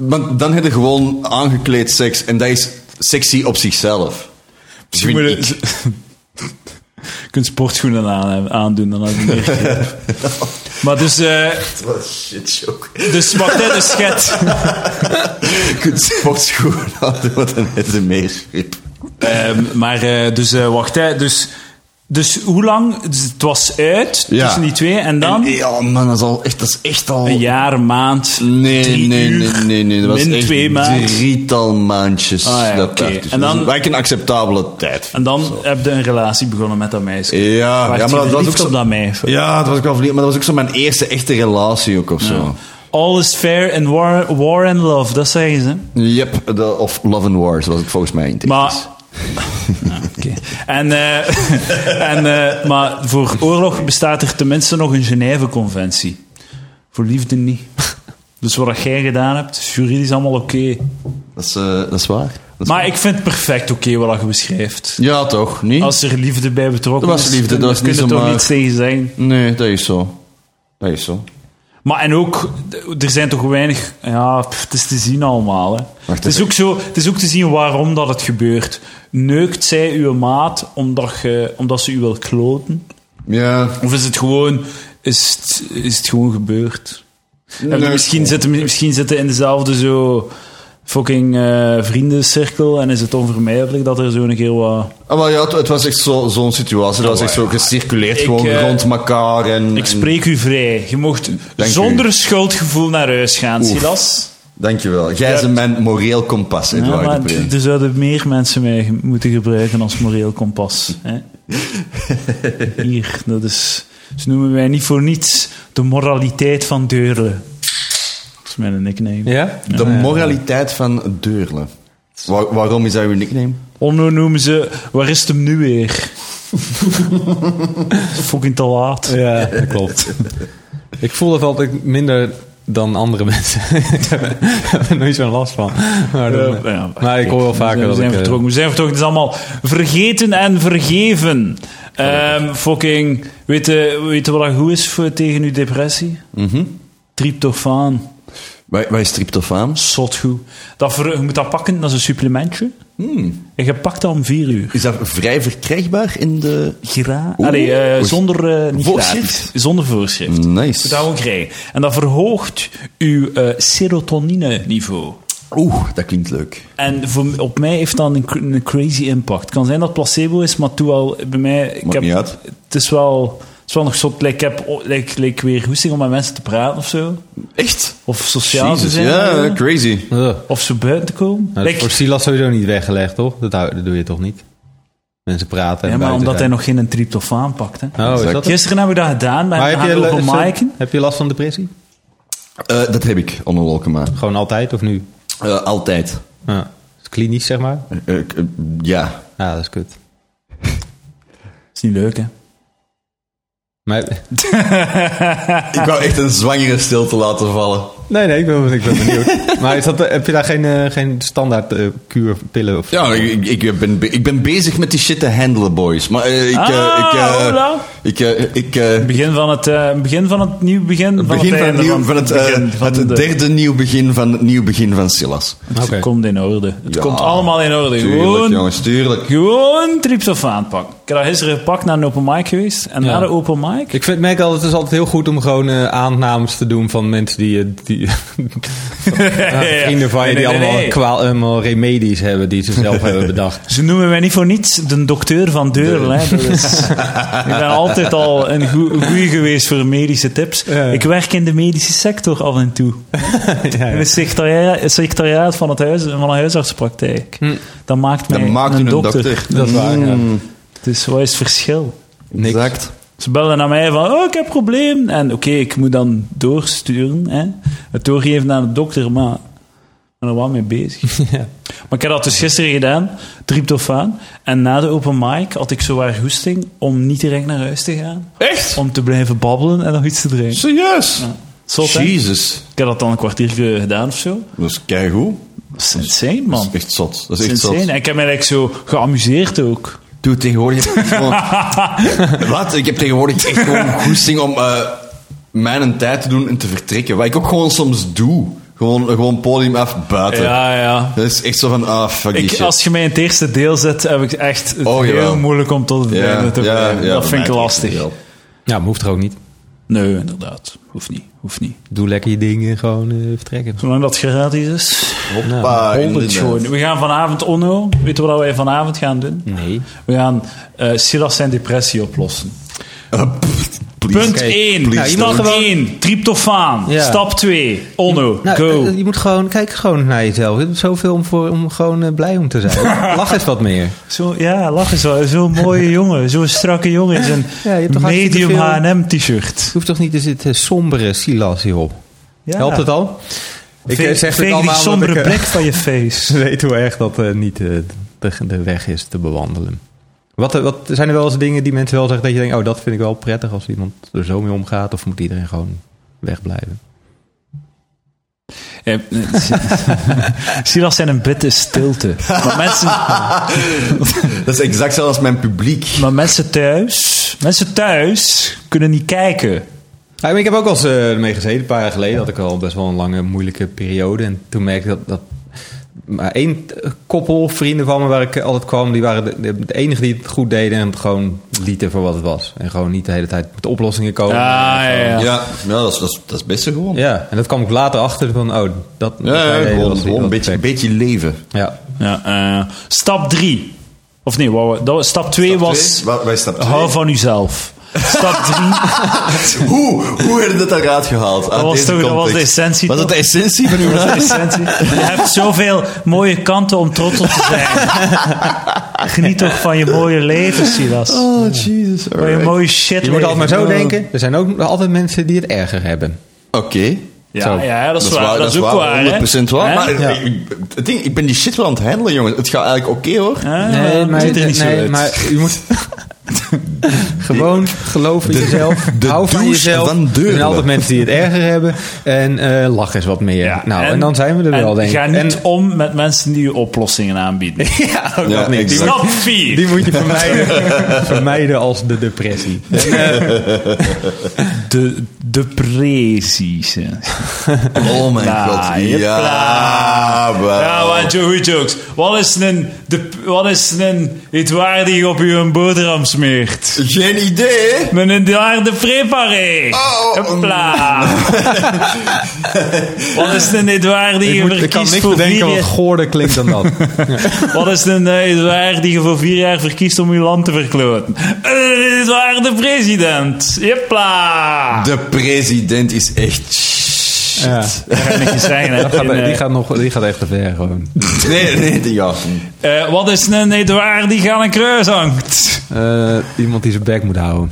[SPEAKER 2] maar, maar dan heb je gewoon aangekleed seks. En dat is sexy op zichzelf.
[SPEAKER 1] Je
[SPEAKER 2] Vind
[SPEAKER 1] moet-
[SPEAKER 2] ik.
[SPEAKER 1] <laughs> Je kunt sportschoenen aan, aandoen, dan had je meer gekregen.
[SPEAKER 2] <laughs>
[SPEAKER 1] Maar dus, eh
[SPEAKER 2] Wat shit joke.
[SPEAKER 1] dus wacht, hè, dus
[SPEAKER 2] <laughs>
[SPEAKER 1] schet.
[SPEAKER 2] Je kunt sportschoenen aan <laughs> wat dan is de meeschip.
[SPEAKER 1] Ehm, maar eh, dus eh, wacht, hè, dus, dus hoe lang? Dus het was uit
[SPEAKER 2] Ja.
[SPEAKER 1] tussen die twee en dan?
[SPEAKER 2] En, ja, man, dat is, al echt, dat is echt al...
[SPEAKER 1] Een jaar, een maand,
[SPEAKER 2] Nee,
[SPEAKER 1] drie
[SPEAKER 2] nee,
[SPEAKER 1] uur,
[SPEAKER 2] nee, nee, nee. Dat was
[SPEAKER 1] min
[SPEAKER 2] echt
[SPEAKER 1] twee maanden.
[SPEAKER 2] drietal maandjes.
[SPEAKER 1] Ah, ja,
[SPEAKER 2] dat
[SPEAKER 1] oké.
[SPEAKER 2] daar tussen.
[SPEAKER 1] En dan-
[SPEAKER 2] Dat is wel echt een acceptabele tijd.
[SPEAKER 1] En dan heb je een relatie begonnen met dat meisje.
[SPEAKER 2] Ja,
[SPEAKER 1] Waar
[SPEAKER 2] ja,
[SPEAKER 1] je
[SPEAKER 2] maar dat was ook
[SPEAKER 1] verliefd
[SPEAKER 2] zo...
[SPEAKER 1] op dat meisje.
[SPEAKER 2] Ja, dat was ik wel verliefd, maar dat was ook zo mijn eerste echte relatie ook of zo.
[SPEAKER 1] All is fair in war, war and love, dat zeggen ze.
[SPEAKER 2] Yep, de- of Love and Wars was ik volgens mij in het echt.
[SPEAKER 1] Maar... <laughs> Ah, oké. En, eh, <laughs> en, eh, maar voor oorlog bestaat er tenminste nog een Genève-conventie. Voor liefde niet. Dus wat jij gedaan hebt, is juridisch allemaal oké.
[SPEAKER 2] Dat is, eh, dat is waar. Dat
[SPEAKER 1] Maar
[SPEAKER 2] is waar.
[SPEAKER 1] ik vind het perfect oké wat je beschrijft.
[SPEAKER 2] Ja, toch? Niet?
[SPEAKER 1] Als er liefde bij betrokken
[SPEAKER 2] Er was
[SPEAKER 1] is,
[SPEAKER 2] liefde,
[SPEAKER 1] dan
[SPEAKER 2] dat was
[SPEAKER 1] kun je
[SPEAKER 2] niet
[SPEAKER 1] toch
[SPEAKER 2] zomaar-
[SPEAKER 1] niets tegen zeggen.
[SPEAKER 2] Nee, dat is zo. Dat is zo.
[SPEAKER 1] Maar en ook, d- er zijn toch weinig... Ja, pff, het is te zien allemaal. Hè. Het, is
[SPEAKER 2] even.
[SPEAKER 1] ook zo, het is ook te zien waarom dat het gebeurt. Neukt zij uw maat omdat, je, omdat ze u wil kloten?
[SPEAKER 2] Ja.
[SPEAKER 1] Of is het gewoon, is het, is het gewoon gebeurd? Hebben die misschien, zitten, misschien zitten in dezelfde zo fucking eh, vriendencirkel en is het onvermijdelijk dat er zo'n keer wat...
[SPEAKER 2] Ah, maar ja, het, het was echt zo- zo'n situatie. Dat was echt zo gecirculeerd
[SPEAKER 1] Oh, Ik,
[SPEAKER 2] gewoon
[SPEAKER 1] eh,
[SPEAKER 2] rond elkaar. En,
[SPEAKER 1] Ik spreek u vrij. Je mocht
[SPEAKER 2] Dank u.
[SPEAKER 1] zonder schuldgevoel naar huis gaan,
[SPEAKER 2] Oef.
[SPEAKER 1] Silas.
[SPEAKER 2] en- dankjewel. Jij is mijn moreel kompas,
[SPEAKER 1] Ja,
[SPEAKER 2] Edouard
[SPEAKER 1] maar
[SPEAKER 2] de Pre.
[SPEAKER 1] d- er zouden meer mensen mij ge- moeten gebruiken als moreel kompas. Hè? Hier, dat is... Ze noemen mij niet voor niets de moraliteit van Deurle. Dat is mijn nickname.
[SPEAKER 3] Ja?
[SPEAKER 2] De moraliteit van Deurle. Waar- waarom is dat uw nickname?
[SPEAKER 1] Onno noemen ze, waar is het hem nu
[SPEAKER 3] <laughs>
[SPEAKER 1] weer? Fucking te laat.
[SPEAKER 3] Ja, dat klopt. <laughs> ik voel dat altijd minder dan andere mensen. <laughs> ik heb er nooit zo'n last van. Maar, dan-
[SPEAKER 1] Eh, Ja, ja,
[SPEAKER 3] maar ik hoor wel vaker
[SPEAKER 1] we
[SPEAKER 3] dat
[SPEAKER 1] zijn
[SPEAKER 3] ik... eh,
[SPEAKER 1] vertrokken. We zijn vertrokken. Het is allemaal vergeten en vergeven. Ehm, fucking, weet je, weet je wat dat goed is voor, tegen uw depressie?
[SPEAKER 3] Mhm.
[SPEAKER 1] Tryptofaan.
[SPEAKER 2] Wij, wij is tryptofaan?
[SPEAKER 1] Zot goed. Dat ver- je moet dat pakken, dat is een supplementje.
[SPEAKER 3] Hmm.
[SPEAKER 1] En je pakt dat om vier uur.
[SPEAKER 2] Is dat vrij verkrijgbaar in de...
[SPEAKER 1] Gra
[SPEAKER 2] Oeh.
[SPEAKER 1] Allee, eh,
[SPEAKER 2] Oei.
[SPEAKER 1] zonder, eh niet
[SPEAKER 2] Voorschrift?
[SPEAKER 1] gratis. Zonder voorschrift.
[SPEAKER 2] Nice.
[SPEAKER 1] Dat we krijgen. En dat verhoogt uw eh serotonine-niveau.
[SPEAKER 2] Oeh, dat klinkt leuk.
[SPEAKER 1] En voor, op mij heeft dat een, cr- een crazy impact. Het kan zijn dat het placebo is, maar toen al bij mij. Ik
[SPEAKER 2] Maakt niet uit.
[SPEAKER 1] Het is wel, het is wel nog zo. like, Ik heb o- like, like weer hoesting om met mensen te praten of zo.
[SPEAKER 2] Echt?
[SPEAKER 1] Of sociaal te
[SPEAKER 2] Jezus,
[SPEAKER 1] zijn. eh,
[SPEAKER 2] ja, crazy.
[SPEAKER 3] ugh. Nou,
[SPEAKER 1] Of zo buiten te komen.
[SPEAKER 3] dat is
[SPEAKER 1] Like,
[SPEAKER 3] Nou, voor Silas sowieso niet weggelegd, toch? Dat, hou- dat doe je toch niet? Mensen praten en
[SPEAKER 1] ja, maar
[SPEAKER 3] buiten
[SPEAKER 1] omdat hij
[SPEAKER 3] zijn.
[SPEAKER 1] nog geen tryptofaan pakt. Hè.
[SPEAKER 3] Oh, is
[SPEAKER 2] Exact.
[SPEAKER 3] dat het?
[SPEAKER 1] Gisteren hebben we dat gedaan bij
[SPEAKER 3] Maar heb je,
[SPEAKER 1] een
[SPEAKER 3] la- zo-
[SPEAKER 1] over Maiken.
[SPEAKER 3] heb je last van depressie?
[SPEAKER 2] Eh, dat heb ik, onder Wolkema.
[SPEAKER 3] Gewoon altijd of nu?
[SPEAKER 2] Eh, altijd.
[SPEAKER 3] Ja. Is Klinisch, zeg maar?
[SPEAKER 2] Eh, eh, ja.
[SPEAKER 3] Ja, dat is kut.
[SPEAKER 1] Is niet leuk, hè?
[SPEAKER 3] Maar
[SPEAKER 2] Ik wou echt een zwangere stilte laten vallen.
[SPEAKER 3] Nee, nee, ik ben, ik ben benieuwd. <laughs> maar is dat, heb je daar geen, eh, geen standaard eh, kuurpillen of
[SPEAKER 2] Ja, ik, ik- ik, ben, be- ik ben bezig met die shit te handelen, boys. Maar eh, ik... eh,
[SPEAKER 1] Ah,
[SPEAKER 2] ik, eh,
[SPEAKER 1] hola.
[SPEAKER 2] ik, eh, ik eh,
[SPEAKER 1] Begin van het, eh, begin van het nieuw begin. Van
[SPEAKER 2] begin van het,
[SPEAKER 1] einde
[SPEAKER 2] nieuw, van het, eh,
[SPEAKER 1] begin van
[SPEAKER 2] het
[SPEAKER 1] de-
[SPEAKER 2] derde nieuw begin van het nieuw begin van Silas.
[SPEAKER 1] Dus Het
[SPEAKER 3] Oké.
[SPEAKER 1] komt in orde. Het
[SPEAKER 2] Ja,
[SPEAKER 1] komt allemaal in orde.
[SPEAKER 2] Tuurlijk,
[SPEAKER 1] Gewoon,
[SPEAKER 2] jongens, tuurlijk.
[SPEAKER 1] gewoon tryptofaan aanpakken. Ik heb dat gisteren gepakt naar een open mic geweest. En
[SPEAKER 3] Ja.
[SPEAKER 1] na de open mic... <laughs>
[SPEAKER 3] Ik vind, merk altijd, het is altijd heel goed om gewoon eh, aannames te doen van mensen die, eh, die <laughs>
[SPEAKER 1] Ja, ja.
[SPEAKER 3] vrienden van
[SPEAKER 1] Nee, nee,
[SPEAKER 3] je, die
[SPEAKER 1] nee,
[SPEAKER 3] allemaal,
[SPEAKER 1] nee.
[SPEAKER 3] kwaal- allemaal remedies hebben die ze
[SPEAKER 1] <laughs>
[SPEAKER 3] zelf hebben bedacht.
[SPEAKER 1] Ze noemen mij niet voor niets de dokter van Deurle. hè. Dat is-
[SPEAKER 3] <laughs>
[SPEAKER 1] ik ben altijd al een goede geweest voor medische tips.
[SPEAKER 3] Ja.
[SPEAKER 1] Ik werk in de medische sector af en toe. In het secretaria- secretariaat van, het huis, van een huisartspraktijk. Dat maakt mij
[SPEAKER 2] Hm. Dat maakt u
[SPEAKER 1] een,
[SPEAKER 2] een
[SPEAKER 1] dokter.
[SPEAKER 2] dokter.
[SPEAKER 3] Dat is waar, ja.
[SPEAKER 1] Dus wat is het verschil?
[SPEAKER 3] Niks.
[SPEAKER 2] Exact.
[SPEAKER 1] Ze belden naar mij van, oh, ik heb een probleem. En oké, ik moet dan doorsturen. Hè? Het doorgeven aan de dokter, maar ik ben er wel mee bezig. <laughs> Maar ik heb dat dus gisteren gedaan, tryptofaan. En na de open mic had ik zowaar goesting om niet direct naar huis te gaan.
[SPEAKER 2] Echt?
[SPEAKER 1] Om te blijven babbelen en nog iets te drinken.
[SPEAKER 2] Serieus?
[SPEAKER 1] Zot, hè?
[SPEAKER 2] Jezus.
[SPEAKER 1] Ik heb dat dan een kwartiertje gedaan of zo.
[SPEAKER 2] Dat is keigoed.
[SPEAKER 1] Dat is insane,
[SPEAKER 2] Dat
[SPEAKER 1] man.
[SPEAKER 2] is echt zot. Dat
[SPEAKER 1] Dat
[SPEAKER 2] is
[SPEAKER 1] is
[SPEAKER 2] echt zot.
[SPEAKER 1] insane. En ik heb me eigenlijk zo geamuseerd ook.
[SPEAKER 2] Doe tegenwoordig.
[SPEAKER 1] <laughs>
[SPEAKER 2] heb ik gewoon- Wat? Ik heb tegenwoordig echt gewoon goesting om eh, mijn tijd te doen en te vertrekken. Wat ik ook gewoon soms doe. Gewoon, gewoon podium af buiten.
[SPEAKER 1] Ja, ja.
[SPEAKER 2] Dat is echt zo van, ah, fuck die
[SPEAKER 1] Ik,
[SPEAKER 2] shit.
[SPEAKER 1] als je mij in het eerste deel zet, heb ik echt het
[SPEAKER 2] Oh,
[SPEAKER 1] heel
[SPEAKER 2] jawel.
[SPEAKER 1] moeilijk om tot het
[SPEAKER 2] Ja,
[SPEAKER 1] einde te
[SPEAKER 2] ja,
[SPEAKER 1] blijven.
[SPEAKER 2] ja,
[SPEAKER 1] dat
[SPEAKER 2] bij
[SPEAKER 1] vind ik
[SPEAKER 2] mij
[SPEAKER 1] lastig.
[SPEAKER 2] wel.
[SPEAKER 3] Ja, maar hoeft er ook niet.
[SPEAKER 1] Nee, inderdaad. Hoeft niet. Hoeft niet.
[SPEAKER 3] Doe lekker je dingen gewoon eh, vertrekken.
[SPEAKER 1] Zolang dat gratis is.
[SPEAKER 2] Hoppa,
[SPEAKER 1] Honderd
[SPEAKER 2] inderdaad.
[SPEAKER 1] gewoon. We gaan vanavond Onno. Weet je wat wij vanavond gaan doen?
[SPEAKER 3] Nee.
[SPEAKER 1] We gaan eh, Silas zijn depressie oplossen.
[SPEAKER 2] Eh, pff, please.
[SPEAKER 1] Punt
[SPEAKER 3] Oké.
[SPEAKER 1] 1.
[SPEAKER 3] Nou, je mag
[SPEAKER 1] Stap
[SPEAKER 3] gewoon-
[SPEAKER 1] 1. Tryptofaan.
[SPEAKER 3] Ja.
[SPEAKER 1] Stap 2. Onno.
[SPEAKER 3] Nou,
[SPEAKER 1] go.
[SPEAKER 3] eh, Je moet gewoon, kijk gewoon naar jezelf. Je hebt zoveel om, voor, om gewoon eh, blij om te
[SPEAKER 1] <laughs>
[SPEAKER 3] zijn. Lach eens wat meer.
[SPEAKER 1] Zo, ja, lach eens wel. <laughs> Zo'n mooie jongen. Zo'n strakke jongen. in Zijn
[SPEAKER 3] Ja, je hebt toch hartstikke
[SPEAKER 1] medium
[SPEAKER 3] veel-
[SPEAKER 1] H&M t-shirt.
[SPEAKER 3] Je hoeft toch niet te zitten eh, sombere Silas hierop.
[SPEAKER 1] Ja.
[SPEAKER 3] Helpt het al? Ik eh,
[SPEAKER 1] Veeg-
[SPEAKER 3] zeg
[SPEAKER 1] veeg
[SPEAKER 3] dit
[SPEAKER 1] die
[SPEAKER 3] allemaal omdat
[SPEAKER 1] sombere
[SPEAKER 3] ik, eh,
[SPEAKER 1] blik van je face.
[SPEAKER 3] <laughs> weet hoe erg dat eh, niet eh, de, de weg is te bewandelen. Wat, eh, wat zijn er wel eens dingen die mensen wel zeggen dat je denkt, oh dat vind ik wel prettig als iemand er zo mee omgaat of moet iedereen gewoon wegblijven?
[SPEAKER 1] Ja, Eh, <laughs> Silas zijn een bitte stilte. Maar mensen,
[SPEAKER 2] Dat is exact zoals mijn publiek.
[SPEAKER 1] maar mensen thuis... Mensen thuis kunnen niet kijken.
[SPEAKER 3] Ja, maar ik heb ook al eens eh, ermee gezeten, een paar jaar geleden had ik al best wel een lange moeilijke periode en toen merkte ik dat, dat maar één eh, koppel vrienden van me waar ik eh, altijd kwam, die waren de, de, de enige die het goed deden en het gewoon lieten voor wat het was. En gewoon niet de hele tijd met oplossingen komen.
[SPEAKER 1] Ah, ja, ja.
[SPEAKER 2] Ja, ja dat, is, dat, is, dat is best gewoon. Ja,
[SPEAKER 3] Ja, en dat kwam ik later achter van, oh, dat... dat
[SPEAKER 2] ja,
[SPEAKER 3] wij deden
[SPEAKER 2] gewoon,
[SPEAKER 3] was-
[SPEAKER 2] gewoon
[SPEAKER 3] was
[SPEAKER 2] een beetje,
[SPEAKER 3] perfect.
[SPEAKER 2] beetje leven.
[SPEAKER 3] Ja,
[SPEAKER 1] Ja, eh, stap 3. Of nee, wou- dat was- stap 2 was...
[SPEAKER 2] Wa- wij stap twee.
[SPEAKER 1] Hou van uzelf. <laughs> Stap 3.
[SPEAKER 2] <laughs> Hoe, hoe heb je dat eruit gehaald? Dat
[SPEAKER 1] was toch- dat was de essentie,
[SPEAKER 2] Was dat de essentie van uw naam?
[SPEAKER 1] Je hebt zoveel mooie kanten om trots op te zijn. Geniet toch van je mooie leven, Silas.
[SPEAKER 2] <laughs> Oh, Jesus.
[SPEAKER 1] Van je
[SPEAKER 2] alright.
[SPEAKER 1] mooie shit
[SPEAKER 3] Je moet altijd maar zo denken. Er zijn ook altijd mensen die het erger hebben.
[SPEAKER 2] Oké.
[SPEAKER 1] Ja, ja, dat is waar. Dat is ook waar. hè.
[SPEAKER 2] 100% waar.
[SPEAKER 1] Hè?
[SPEAKER 2] Maar
[SPEAKER 3] Ja.
[SPEAKER 2] ik- ik- het ding, ik ben die shit wel aan het handelen, jongen. Het gaat eigenlijk oké, hoor.
[SPEAKER 1] Hè? Het ziet Oh. er niet zo
[SPEAKER 3] nee,
[SPEAKER 1] uit.
[SPEAKER 3] maar je moet... Gewoon geloof in jezelf.
[SPEAKER 2] de
[SPEAKER 3] hou van
[SPEAKER 2] douche
[SPEAKER 3] jezelf.
[SPEAKER 2] van
[SPEAKER 3] er zijn
[SPEAKER 2] Deurle.
[SPEAKER 3] altijd mensen die het erger hebben. En eh, lach eens wat meer.
[SPEAKER 1] Ja,
[SPEAKER 3] nou, en, dan zijn we er
[SPEAKER 1] en
[SPEAKER 3] wel, denk ik.
[SPEAKER 1] Ga niet
[SPEAKER 3] En-
[SPEAKER 1] om met mensen die je oplossingen aanbieden.
[SPEAKER 3] <laughs>
[SPEAKER 1] <laughs>
[SPEAKER 3] ja, ook
[SPEAKER 2] Ja,
[SPEAKER 3] dat niet. Die
[SPEAKER 2] exact.
[SPEAKER 1] Stap 4.
[SPEAKER 3] Die moet je
[SPEAKER 1] <laughs>
[SPEAKER 3] vermijden, vermijden als de depressie.
[SPEAKER 1] De depressies. hè.
[SPEAKER 2] Oh mijn
[SPEAKER 1] Nou,
[SPEAKER 2] god.
[SPEAKER 1] je
[SPEAKER 2] Ja,
[SPEAKER 1] <laughs>
[SPEAKER 2] wel.
[SPEAKER 1] Ja, want jo- goed jokes. Wat is een, de, wat is een iets waar die je op je boterham smeert?
[SPEAKER 2] Geen idee.
[SPEAKER 1] Met een de preparé.
[SPEAKER 2] Oh, oh,
[SPEAKER 3] <laughs>
[SPEAKER 1] Hopla. wat is een Edouard die
[SPEAKER 3] Ik,
[SPEAKER 1] je
[SPEAKER 3] moet, ik kan
[SPEAKER 1] verkiest
[SPEAKER 3] niks
[SPEAKER 1] voor vier
[SPEAKER 3] bedenken wat
[SPEAKER 1] jaar...
[SPEAKER 3] goorder klinkt dan
[SPEAKER 1] <laughs>
[SPEAKER 3] dat.
[SPEAKER 1] Wat is een eh, Edouard die je voor vier jaar verkiest om je land te verkloten? Eh, Een Edouard de president. Jepla.
[SPEAKER 2] De president is echt shit.
[SPEAKER 3] Ja.
[SPEAKER 1] Dat ga ik niks zeggen. hè.
[SPEAKER 3] <laughs> Dat gaat,
[SPEAKER 1] In, eh,
[SPEAKER 3] die, gaat nog, die gaat echt te ver gewoon.
[SPEAKER 2] Nee, nee, <laughs> die gaat niet.
[SPEAKER 1] eh, wat is een Edouard die aan een kruis hangt?
[SPEAKER 3] Eh, iemand die zijn bek moet houden.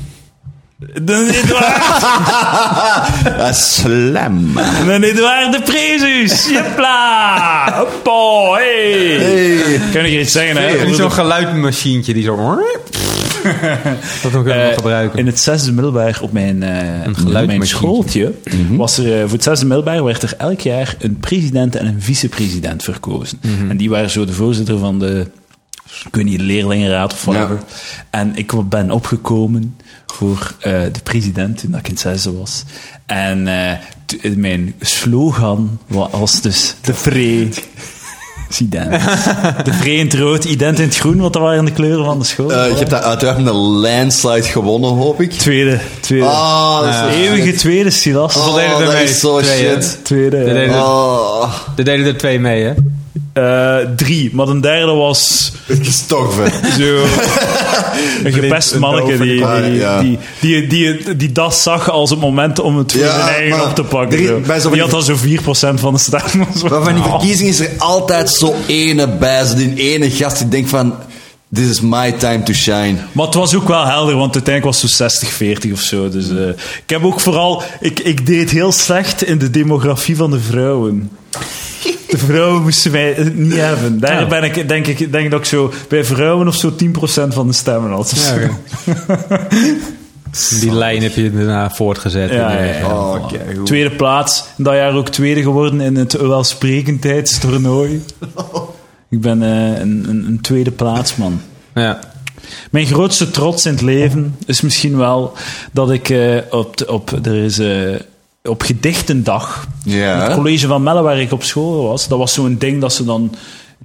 [SPEAKER 1] Een
[SPEAKER 3] <laughs>
[SPEAKER 1] Edouard,
[SPEAKER 2] Dat is slim.
[SPEAKER 1] een Edouard de president. Jepla. Hoppa. Hey.
[SPEAKER 2] Hey.
[SPEAKER 1] Kan ik iets zeggen? Hè? <laughs>
[SPEAKER 3] Niet zo'n geluidmachientje die zo... Dat ook helemaal
[SPEAKER 1] Eh,
[SPEAKER 3] gebruiken.
[SPEAKER 1] In het zesde middelbaar op mijn, eh, op mijn
[SPEAKER 3] geluidmachientje.
[SPEAKER 1] schooltje was er eh, voor het zesde middelbaar werd er elk jaar een president en een vicepresident verkozen. En die waren zo de voorzitter van de ik weet niet, leerlingenraad of whatever.
[SPEAKER 2] Ja.
[SPEAKER 1] En ik ben opgekomen voor eh, de president toen ik in het zesde was. En eh, t- mijn slogan wa- was dus de vree. De vree in het rood, ident in het groen, want dat waren de kleuren van de school.
[SPEAKER 2] Eh, je hebt dat uiteraard met een landslide gewonnen, hoop ik.
[SPEAKER 1] Tweede, tweede.
[SPEAKER 2] Ah, dat is
[SPEAKER 1] De
[SPEAKER 2] zo
[SPEAKER 1] eeuwige tweede, Silas.
[SPEAKER 2] Oh,
[SPEAKER 3] deden er
[SPEAKER 2] dat
[SPEAKER 3] mee?
[SPEAKER 2] is zo
[SPEAKER 3] Twee, hè?
[SPEAKER 2] shit.
[SPEAKER 1] Tweede.
[SPEAKER 3] De derde-
[SPEAKER 2] Oh,
[SPEAKER 3] Er deden er twee mee, hè?
[SPEAKER 1] Eh, drie, maar de derde was
[SPEAKER 2] gestorven. <laughs>
[SPEAKER 1] zo... een gepest
[SPEAKER 3] een
[SPEAKER 1] manneke
[SPEAKER 3] doof in de
[SPEAKER 1] die,
[SPEAKER 2] kamer,
[SPEAKER 1] die,
[SPEAKER 2] ja.
[SPEAKER 1] die, die, die, die dat zag als het moment om het voor
[SPEAKER 2] Ja,
[SPEAKER 1] zijn eigen
[SPEAKER 2] maar
[SPEAKER 1] op te pakken.
[SPEAKER 2] drie-
[SPEAKER 1] zo.
[SPEAKER 2] bij zo'n-
[SPEAKER 1] Die had dan zo 4% van de stem. Oh.
[SPEAKER 2] Maar van die
[SPEAKER 1] Ah.
[SPEAKER 2] verkiezingen is er altijd zo ene bij, zo die ene gast die denkt van, this is my time to shine.
[SPEAKER 1] Maar het was ook wel helder, want uiteindelijk was het zo 60-40 of zo. Dus eh, ik heb ook vooral... Ik, ik deed heel slecht in de demografie van de vrouwen. De vrouwen moesten mij eh, niet hebben. Daar ben ik, denk ik denk dat ik zo bij vrouwen of zo 10% van de stemmen had. of zo.
[SPEAKER 3] Die lijn heb je daarna voortgezet.
[SPEAKER 1] Ja, ja,
[SPEAKER 3] inderdaad.
[SPEAKER 1] ja.
[SPEAKER 2] Oh, kijk hoe.
[SPEAKER 1] Tweede plaats. Dat jaar ook tweede geworden in het welsprekendheidstoernooi. Ik ben eh, een, een, een tweede plaatsman.
[SPEAKER 3] Ja.
[SPEAKER 1] Mijn grootste trots in het leven is misschien wel dat ik eh, op, de- op, er is, eh, op gedichtendag,
[SPEAKER 2] Ja.
[SPEAKER 1] in het college van Melle waar ik op school was, dat was zo'n ding dat ze dan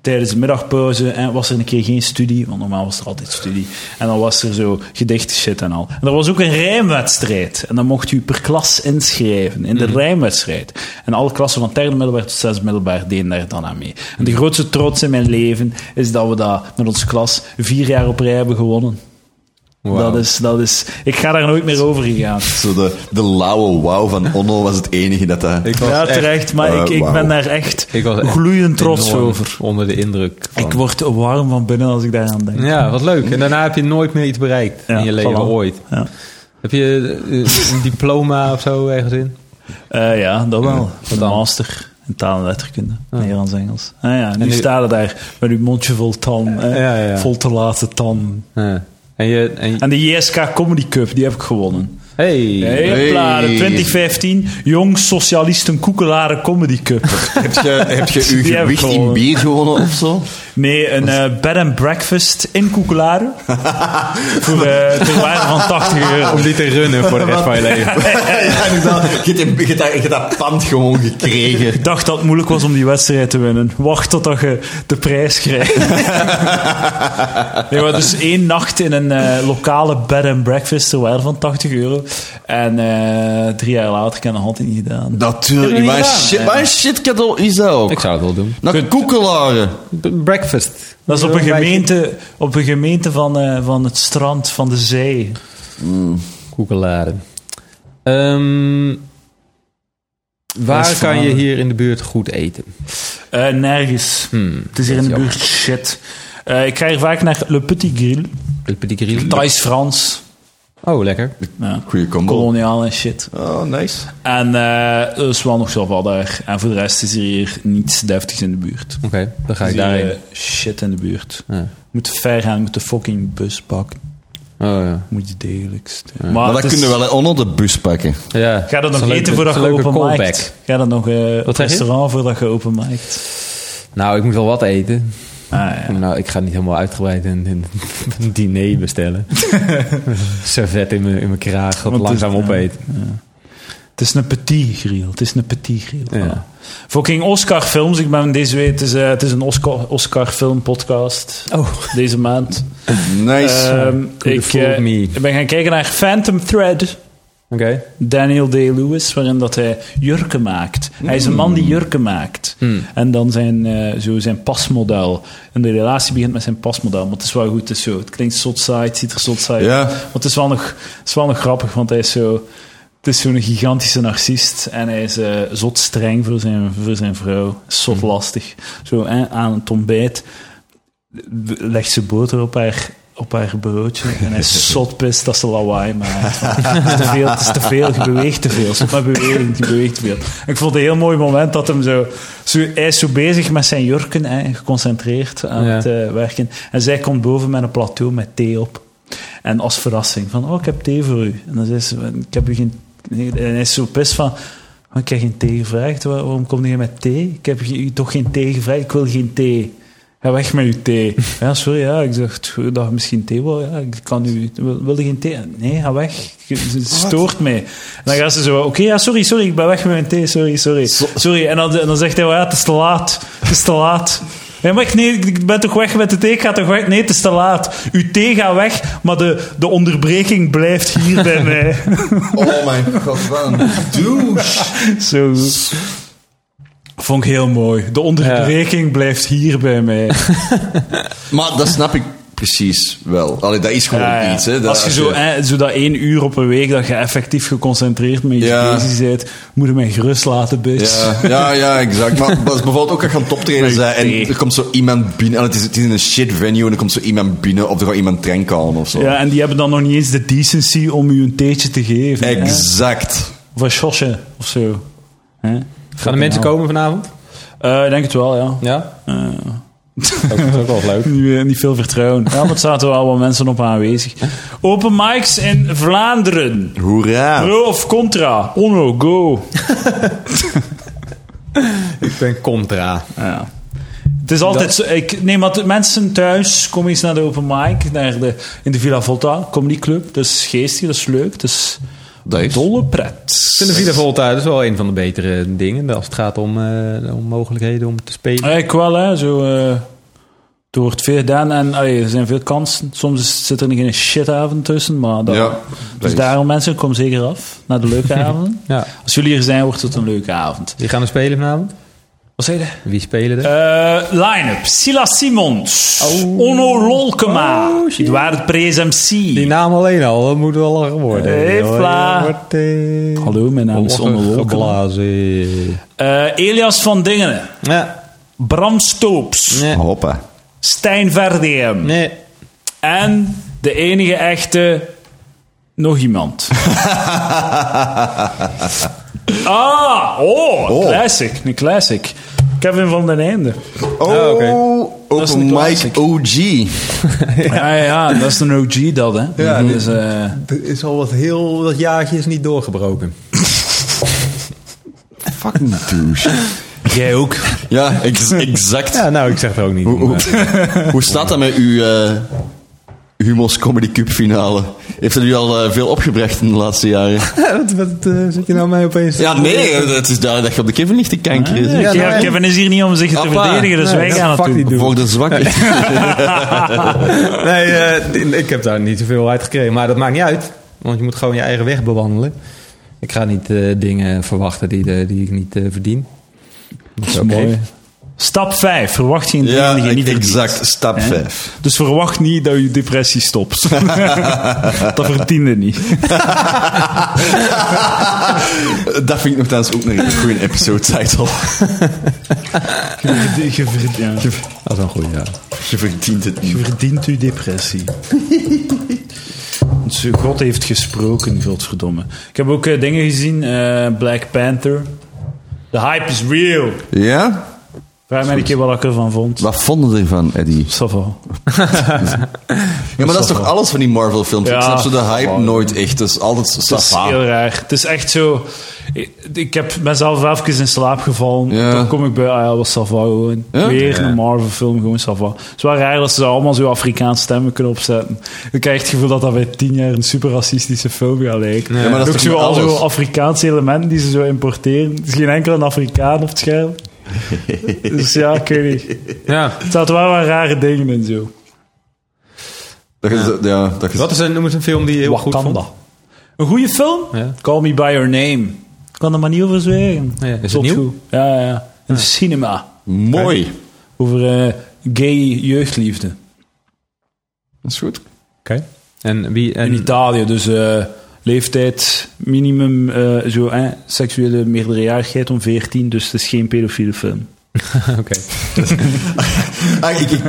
[SPEAKER 1] tijdens de middagpauze en was er een keer geen studie, want normaal was er altijd studie. En dan was er zo gedichten shit en al. En er was ook een rijmwedstrijd. En dan mocht u per klas inschrijven in de
[SPEAKER 3] Mhm.
[SPEAKER 1] rijmwedstrijd. En alle klassen van derde middelbaar tot zesde middelbaar deden daar dan aan mee. En de grootste trots in mijn leven is dat we dat met onze klas vier jaar op rij hebben gewonnen.
[SPEAKER 3] Wauw.
[SPEAKER 1] Dat is, dat is, ik ga daar nooit meer over gegaan.
[SPEAKER 2] Zo de, de lauwe wow van Onno was het enige dat hij...
[SPEAKER 3] Ik was
[SPEAKER 1] Ja,
[SPEAKER 3] echt-
[SPEAKER 1] terecht, maar
[SPEAKER 2] eh,
[SPEAKER 1] ik, ik
[SPEAKER 2] wauw.
[SPEAKER 1] ben daar echt
[SPEAKER 3] Ik was echt
[SPEAKER 1] gloeiend trots
[SPEAKER 3] enorm
[SPEAKER 1] over.
[SPEAKER 3] Onder de indruk. van-
[SPEAKER 1] Ik word warm van binnen als ik daaraan denk.
[SPEAKER 3] Ja, wat leuk. En daarna heb je nooit meer iets bereikt
[SPEAKER 1] Ja,
[SPEAKER 3] in je leven,
[SPEAKER 1] voilà.
[SPEAKER 3] ooit.
[SPEAKER 1] Ja,
[SPEAKER 3] Heb je eh,
[SPEAKER 1] <laughs>
[SPEAKER 3] een diploma of zo ergens in?
[SPEAKER 1] Eh, ja dat wel. Een
[SPEAKER 3] dan?
[SPEAKER 1] master in taal en letterkunde, Nederlands-Engels. Ah, ja, nu,
[SPEAKER 3] nu-
[SPEAKER 1] staat het daar met uw mondje vol tan, hè,
[SPEAKER 3] Ja, ja, ja.
[SPEAKER 1] vol te laten tan.
[SPEAKER 3] Ja. En je... En je-
[SPEAKER 1] En de JSK Comedy Cup, die heb ik gewonnen.
[SPEAKER 3] hey.
[SPEAKER 1] Hey. Hopla, de
[SPEAKER 2] Hey.
[SPEAKER 1] 2015 Jong Socialisten Koekelaren Comedy Cup.
[SPEAKER 3] <laughs>
[SPEAKER 2] Heb je, heb je uw
[SPEAKER 1] Die heb ik
[SPEAKER 2] gewicht in
[SPEAKER 1] gewoon.
[SPEAKER 2] bier gewonnen of zo?
[SPEAKER 1] Nee, een eh, bed and breakfast in
[SPEAKER 3] <laughs>
[SPEAKER 1] Koekelaren. voor eh ter waarde van 80 euro.
[SPEAKER 3] <laughs> Om die te runnen voor de rest
[SPEAKER 1] <laughs>
[SPEAKER 3] van je leven.
[SPEAKER 2] ja, inderdaad. Je hebt- je hebt dat- je hebt dat pand gewoon gekregen.
[SPEAKER 1] Ik dacht dat het moeilijk was om die wedstrijd te winnen. Wacht totdat je de prijs <laughs> krijgt. nee, maar dus één nacht in een eh, lokale bed and breakfast ter waarde van 80 euro. En eh, drie jaar later kan ik dat altijd niet gedaan.
[SPEAKER 2] Natuurlijk,
[SPEAKER 3] Heb je
[SPEAKER 2] maar een
[SPEAKER 3] niet gedaan?
[SPEAKER 2] shit, maar een shit cadeau is dat ook.
[SPEAKER 3] Ik zou het wel doen.
[SPEAKER 2] Naar koekelaren.
[SPEAKER 3] B- Breakfast.
[SPEAKER 1] Dat is op een
[SPEAKER 3] Zo'n beetje
[SPEAKER 1] gemeente, op een gemeente van, eh, van het strand, van de zee.
[SPEAKER 3] Koekelaren. Ehm,
[SPEAKER 1] Dat
[SPEAKER 3] waar
[SPEAKER 1] is
[SPEAKER 3] kan je
[SPEAKER 1] van-
[SPEAKER 3] hier in de buurt goed eten?
[SPEAKER 1] Eh, nergens. het Hmm, is hier in de buurt shit. Eh, ik ga hier vaak naar Le Petit Grill.
[SPEAKER 3] Le Petit Grill.
[SPEAKER 1] Thais Frans.
[SPEAKER 3] Oh, lekker.
[SPEAKER 1] Ja.
[SPEAKER 2] Goeie combo.
[SPEAKER 1] Koloniaal en shit.
[SPEAKER 2] Oh,
[SPEAKER 3] Ah,
[SPEAKER 2] nice.
[SPEAKER 1] En eh er is wel nog zoveel daar. En voor de rest is er hier niets deftigs in de buurt.
[SPEAKER 3] Oké, dan ga
[SPEAKER 1] Is
[SPEAKER 3] ik
[SPEAKER 1] hier,
[SPEAKER 3] daarheen.
[SPEAKER 1] eh, shit in de buurt.
[SPEAKER 3] Ja.
[SPEAKER 1] Moet ver gaan, moet de fucking bus pakken.
[SPEAKER 3] Oh, ja.
[SPEAKER 1] Moet je degelijkst.
[SPEAKER 2] Maar dat
[SPEAKER 1] het is-
[SPEAKER 2] kunnen we wel onder de bus pakken.
[SPEAKER 3] ja.
[SPEAKER 1] Ga dat nog
[SPEAKER 3] is een
[SPEAKER 1] eten
[SPEAKER 3] leuke-
[SPEAKER 1] voordat
[SPEAKER 3] is
[SPEAKER 1] je
[SPEAKER 3] een leuke
[SPEAKER 1] open
[SPEAKER 3] callback.
[SPEAKER 1] maakt? Ga dat nog eh op
[SPEAKER 3] zeg je?
[SPEAKER 1] restaurant voordat je open maakt?
[SPEAKER 3] Nou, ik moet wel wat eten.
[SPEAKER 1] Ah, ja.
[SPEAKER 3] Nou, ik ga niet helemaal uitgebreid een, een, een <laughs> diner bestellen. Servet in mijn, in mijn kraag, dat
[SPEAKER 1] Want het is-
[SPEAKER 3] langzaam opeten.
[SPEAKER 1] Het is een petit grill. Het is een petit grill.
[SPEAKER 3] Ja.
[SPEAKER 1] Voilà. Fucking Oscar films. Ik ben deze week... Het is, eh, het is een Oscar, Oscar film podcast.
[SPEAKER 3] Oh.
[SPEAKER 1] Deze maand.
[SPEAKER 2] Nice.
[SPEAKER 1] Ehm,
[SPEAKER 3] Could
[SPEAKER 1] ik,
[SPEAKER 3] have fooled
[SPEAKER 1] eh,
[SPEAKER 3] me.
[SPEAKER 1] ik ben gaan kijken naar Phantom Thread.
[SPEAKER 3] Oké.
[SPEAKER 1] Daniel Day-Lewis, waarin dat hij jurken maakt. Hij is een man die jurken maakt. En dan zijn, eh, zo zijn pasmodel. En de relatie begint met zijn pasmodel. Maar het is wel goed, het, is zo, het klinkt zot saai, het ziet er zot saai
[SPEAKER 2] Ja.
[SPEAKER 1] uit. Maar het is, wel nog, het is wel nog grappig, want hij is zo... Het is zo'n gigantische narcist en hij is eh, zot streng voor zijn, voor zijn vrouw. Zot lastig. Zo eh, aan het ontbijt legt ze boter op haar, op haar broodje. En hij is zot pist dat ze lawaai maakt. Het is te veel, het is te veel. Je beweegt te veel. Stop met beweging, je beweegt te veel. En ik vond het een heel mooi moment dat hem zo... zo hij is zo bezig met zijn jurken, hè, geconcentreerd aan
[SPEAKER 3] Ja.
[SPEAKER 1] het eh, werken. En zij komt boven met een plateau met thee op. En als verrassing, van, oh, ik heb thee voor u. En dan zei ze, ik heb u geen... nee, En hij is zo pist van, oh, ik heb geen thee gevraagd, Waar- waarom kom je met thee? Ik heb je- u toch geen thee gevraagd, ik wil geen thee. Ga weg met uw thee. Ja, sorry, ja, ik dacht goed, dat je misschien thee wil. Ja, ik kan u, wil, wil je geen thee? Nee, ga weg. Je- Ze stoort mij. En dan gaat ze zo, oké, ja, sorry, sorry, ik ben weg met mijn thee, sorry, sorry. Sorry, en dan, en dan zegt hij, ja, het is te laat, het is te laat. Nee, maar ik, nee, ik ben toch weg met de thee, ik ga toch weg? Nee, het is te laat. Uw thee gaat weg, maar de, de onderbreking blijft hier <laughs> bij mij.
[SPEAKER 2] Oh mijn god, wat een douche.
[SPEAKER 1] Zo goed. Vond ik heel mooi. De onderbreking blijft hier bij mij.
[SPEAKER 2] Maar dat snap ik precies wel. Allee, dat is gewoon
[SPEAKER 1] Ja, ja.
[SPEAKER 2] iets. Hè, dat,
[SPEAKER 1] als je zo, eh, zo dat één uur op een week dat je effectief geconcentreerd met je
[SPEAKER 2] Ja.
[SPEAKER 1] bezig bent, moet je mij gerust laten, bitch.
[SPEAKER 2] Ja, ja, ja, exact. Maar dat is bijvoorbeeld ook als je aan het optreden bent en er komt zo iemand binnen. En het, is, het is in een shit venue en er komt zo iemand binnen of er gaat iemand drinken halen of
[SPEAKER 1] <laughs>
[SPEAKER 2] zo.
[SPEAKER 1] Ja, en die hebben dan nog niet eens de decency om u een theetje te geven. hè.
[SPEAKER 2] Exact.
[SPEAKER 1] Of een shotje of zo. hè.
[SPEAKER 3] Gaan
[SPEAKER 1] Fucking
[SPEAKER 3] er mensen
[SPEAKER 1] hell.
[SPEAKER 3] komen vanavond?
[SPEAKER 1] Eh, ik denk het wel, ja.
[SPEAKER 3] nou. Ja?
[SPEAKER 1] Eh,
[SPEAKER 3] Dat is ook wel leuk.
[SPEAKER 1] nu eh, niet veel vertrouwen. Ja, maar er zaten wel wat mensen op aanwezig. Open mics in Vlaanderen.
[SPEAKER 2] Hoera.
[SPEAKER 1] Pro of contra? Onno, go.
[SPEAKER 3] <laughs> Ik ben contra.
[SPEAKER 1] Ja. Het is altijd zo. Ik, nee, maar de mensen thuis komen eens naar de open mic naar de, in de Villa Volta Comedy Club. Dat is geestig, dat is leuk, dat is
[SPEAKER 2] Dat is.
[SPEAKER 1] dolle pret.
[SPEAKER 3] Ik vind de Villa Volta dat is wel een van de betere dingen als het gaat om, eh, om mogelijkheden om te spelen.
[SPEAKER 1] Ja, Ik wel, hè. Zo, eh, er wordt veel gedaan en allee, er zijn veel kansen. Soms is- zit er geen shitavond tussen, maar dat,
[SPEAKER 2] Ja, dat
[SPEAKER 1] dus
[SPEAKER 2] is.
[SPEAKER 1] daarom mensen, kom zeker af naar de
[SPEAKER 2] <laughs>
[SPEAKER 1] leuke avonden.
[SPEAKER 3] Ja.
[SPEAKER 1] Als jullie hier zijn, wordt het een leuke avond.
[SPEAKER 3] Wie gaan er spelen vanavond?
[SPEAKER 1] Wat zei je?
[SPEAKER 3] Wie spelen er?
[SPEAKER 1] Eh, Line-up. Sila Simons. Onno Lolkema. Eduard Prees MC.
[SPEAKER 3] Die naam alleen al, dat moet wel lachen worden.
[SPEAKER 1] Hepla.
[SPEAKER 3] Dat wordt, eh,
[SPEAKER 1] Hallo, mijn naam is Onno Lolkema.
[SPEAKER 3] opgeblazen.
[SPEAKER 1] Eh, Elias van Dingenen.
[SPEAKER 3] Ja,
[SPEAKER 1] Bram Stoops.
[SPEAKER 3] nee,
[SPEAKER 2] Hoppa.
[SPEAKER 1] Stijn Verdeem.
[SPEAKER 3] nee.
[SPEAKER 1] En de enige echte... Nog
[SPEAKER 3] <laughs>
[SPEAKER 1] iemand. ah, oh, een
[SPEAKER 2] Oh.
[SPEAKER 1] classic. Een classic. Kevin van den
[SPEAKER 3] <laughs>
[SPEAKER 1] Einde.
[SPEAKER 2] Oh,
[SPEAKER 3] oké.
[SPEAKER 1] Dat is
[SPEAKER 2] Open
[SPEAKER 1] een
[SPEAKER 2] mic
[SPEAKER 1] classic.
[SPEAKER 2] OG.
[SPEAKER 1] Ja, ja, ja, dat is een OG dat, hè.
[SPEAKER 3] Ja,
[SPEAKER 1] dus, eh,
[SPEAKER 3] Er is al wat heel dat jaartje is niet doorgebroken.
[SPEAKER 2] Fucking douche.
[SPEAKER 1] jij ook.
[SPEAKER 2] Ja, ex- exact.
[SPEAKER 3] Ja, nou, ik zeg het ook niet.
[SPEAKER 2] Hoe, hoe,
[SPEAKER 3] maar-
[SPEAKER 2] hoe staat dat met uw eh Humos Comedy Cup finale? Heeft het u al eh, veel opgebracht in de laatste jaren?
[SPEAKER 3] <laughs> wat wat eh, zit je nou mij opeens?
[SPEAKER 2] Ja, nee, het is duidelijk dat je op de Kevin ligt te kankeren.
[SPEAKER 1] Ja,
[SPEAKER 2] zeg.
[SPEAKER 3] nou, en-
[SPEAKER 1] Kevin is hier niet om zich te
[SPEAKER 2] Appa.
[SPEAKER 1] verdedigen, dus
[SPEAKER 3] Nee,
[SPEAKER 1] wij
[SPEAKER 3] ja,
[SPEAKER 1] gaan
[SPEAKER 3] fuck
[SPEAKER 1] het doen.
[SPEAKER 3] die
[SPEAKER 2] Voor de zwakke.
[SPEAKER 3] Nee, eh, ik heb daar niet zoveel uit gekregen. Maar dat maakt niet uit. Want je moet gewoon je eigen weg bewandelen. Ik ga niet eh, dingen verwachten die, de- die ik niet eh, verdien. Dat is oké.
[SPEAKER 1] Mooi. Stap 5. Verwacht geen dingen
[SPEAKER 2] Ja,
[SPEAKER 1] die je niet verdient.
[SPEAKER 2] exact. Stap
[SPEAKER 1] Hè?
[SPEAKER 2] 5.
[SPEAKER 1] Dus verwacht niet dat je depressie
[SPEAKER 3] <laughs>
[SPEAKER 1] stopt. dat verdiende niet.
[SPEAKER 2] Eh, Dat vind ik nogthans ook nog een goede episode title.
[SPEAKER 1] Je verdient, ja.
[SPEAKER 3] Dat is wel een goede ja.
[SPEAKER 2] Je verdient het niet.
[SPEAKER 1] verdient uw <laughs> depressie. Want zo- God heeft gesproken, godverdomme. Ik heb ook eh, dingen gezien. eh, Black Panther. De hype is real.
[SPEAKER 2] Ja?
[SPEAKER 1] Vraag mij een keer wat ik ervan vond.
[SPEAKER 2] Wat vonden ze ervan, Eddie?
[SPEAKER 1] Ça va.
[SPEAKER 2] Ja, maar dat is toch alles van die Marvel-films?
[SPEAKER 1] Ja.
[SPEAKER 2] Ik snap zo de hype nooit echt. Dat is altijd
[SPEAKER 1] Het is
[SPEAKER 2] safa.
[SPEAKER 1] heel raar. Het is echt zo... Ik, ik heb mezelf even in slaap gevallen.
[SPEAKER 2] Ja.
[SPEAKER 1] Dan kom ik bij, ah ja, wat Sava gewoon.
[SPEAKER 2] Ja?
[SPEAKER 1] Weer een Marvel-film, gewoon Sava. Het is wel raar dat ze daar allemaal zo Afrikaans stemmen kunnen opzetten. Ik krijg het gevoel dat dat bij tien jaar een super racistische film gaat lijken.
[SPEAKER 2] Ja, maar dat
[SPEAKER 1] ook
[SPEAKER 2] is toch
[SPEAKER 1] zo
[SPEAKER 2] met
[SPEAKER 1] al
[SPEAKER 2] alles?
[SPEAKER 1] zo Afrikaanse elementen die ze zo importeren. Er is geen enkele Afrikaan op het
[SPEAKER 2] <laughs>
[SPEAKER 1] scherm. dus ja, ik weet niet.
[SPEAKER 3] ja.
[SPEAKER 1] Er zaten wel wat rare dingen in zo.
[SPEAKER 2] Dat is, ja, dat is,
[SPEAKER 3] Wat is een, noem eens een film die je heel goed
[SPEAKER 1] Wakanda.
[SPEAKER 3] vond?
[SPEAKER 1] Een goede film?
[SPEAKER 3] Ja.
[SPEAKER 1] Call Me By Your Name. Ik kan er maar niet over zweren.
[SPEAKER 3] Ja, is het
[SPEAKER 1] Zot
[SPEAKER 3] nieuw?
[SPEAKER 1] goed. Ja, ja, ja. Een cinema.
[SPEAKER 2] mooi.
[SPEAKER 1] Over eh, gay jeugdliefde.
[SPEAKER 2] Dat is goed.
[SPEAKER 3] Oké. En wie...
[SPEAKER 1] In
[SPEAKER 3] En,
[SPEAKER 1] Italië, dus eh, leeftijd minimum, eh, zo, eh, seksuele meerderjarigheid om 14, dus het is geen pedofiele film.
[SPEAKER 3] Oké.
[SPEAKER 2] Ah, ik- ik-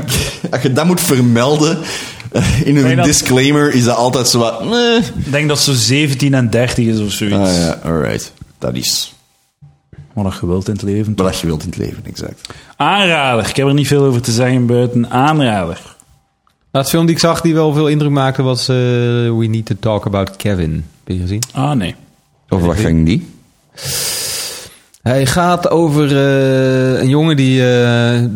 [SPEAKER 2] als je dat moet vermelden eh, in een
[SPEAKER 1] Nee, dat-
[SPEAKER 2] disclaimer, is dat altijd zo wat... eh.
[SPEAKER 1] Ik denk dat ze 17 en 30 is of zoiets.
[SPEAKER 2] Ah ja, alright. Dat is
[SPEAKER 1] Maar dat geweld in het leven.
[SPEAKER 2] wat je wilt in het leven, exact.
[SPEAKER 1] Aanrader. Ik heb er niet veel over te zeggen buiten aanrader.
[SPEAKER 3] Laatste Nou, film die ik zag die wel veel indruk maakte was eh, We Need to Talk About Kevin. Heb je die gezien?
[SPEAKER 1] Ah, nee.
[SPEAKER 2] Over wat ging die?
[SPEAKER 3] Hij gaat over eh, een jongen die eh, eh,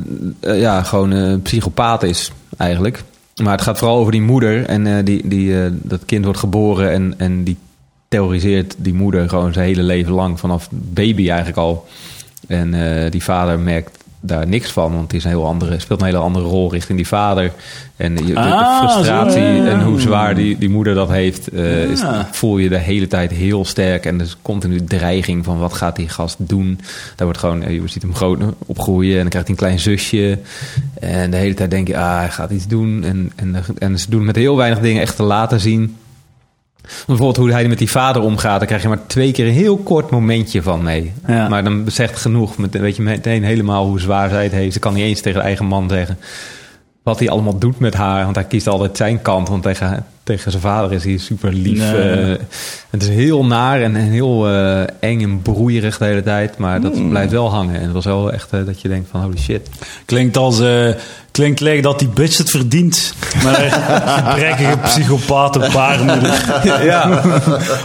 [SPEAKER 3] ja, gewoon eh, een psychopaat is, eigenlijk. Maar het gaat vooral over die moeder. En eh, die, die, eh, dat kind wordt geboren en, en die terroriseert die moeder gewoon zijn hele leven lang. Vanaf baby eigenlijk al. En eh, die vader merkt daar niks van, want die is een heel andere, speelt een hele andere rol richting die vader. En je- de, de
[SPEAKER 1] Ah,
[SPEAKER 3] frustratie
[SPEAKER 1] zo, ja, ja.
[SPEAKER 3] en hoe zwaar die, die moeder dat heeft, eh, is,
[SPEAKER 1] Ja.
[SPEAKER 3] voel je de hele tijd heel sterk. En er is continu dreiging van wat gaat die gast doen. Daar wordt gewoon, eh, je ziet hem groot opgroeien en dan krijgt hij een klein zusje. En de hele tijd denk je, ah, hij gaat iets doen. En, en, en ze doen met heel weinig dingen echt te laten zien. Bijvoorbeeld hoe hij met die vader omgaat, daar krijg je maar twee keer een heel kort momentje van mee.
[SPEAKER 1] Ja.
[SPEAKER 3] Maar dan zegt genoeg, met- weet je meteen helemaal hoe zwaar zij het heeft. Ze kan niet eens tegen haar eigen man zeggen wat hij allemaal doet met haar. Want hij kiest altijd zijn kant, want tegen, tegen zijn vader is hij super lief.
[SPEAKER 1] Nee.
[SPEAKER 3] eh, het is heel naar en, en heel eh, eng en broeierig de hele tijd, maar dat
[SPEAKER 1] Hmm.
[SPEAKER 3] blijft wel hangen. En het was wel echt eh, dat je denkt van holy
[SPEAKER 1] <laughs>
[SPEAKER 3] shit.
[SPEAKER 1] Klinkt als... eh, klinkt lijkt dat die bitch het verdient. Maar eh, gebrekkige psychopaten baarmoeder.
[SPEAKER 3] ja,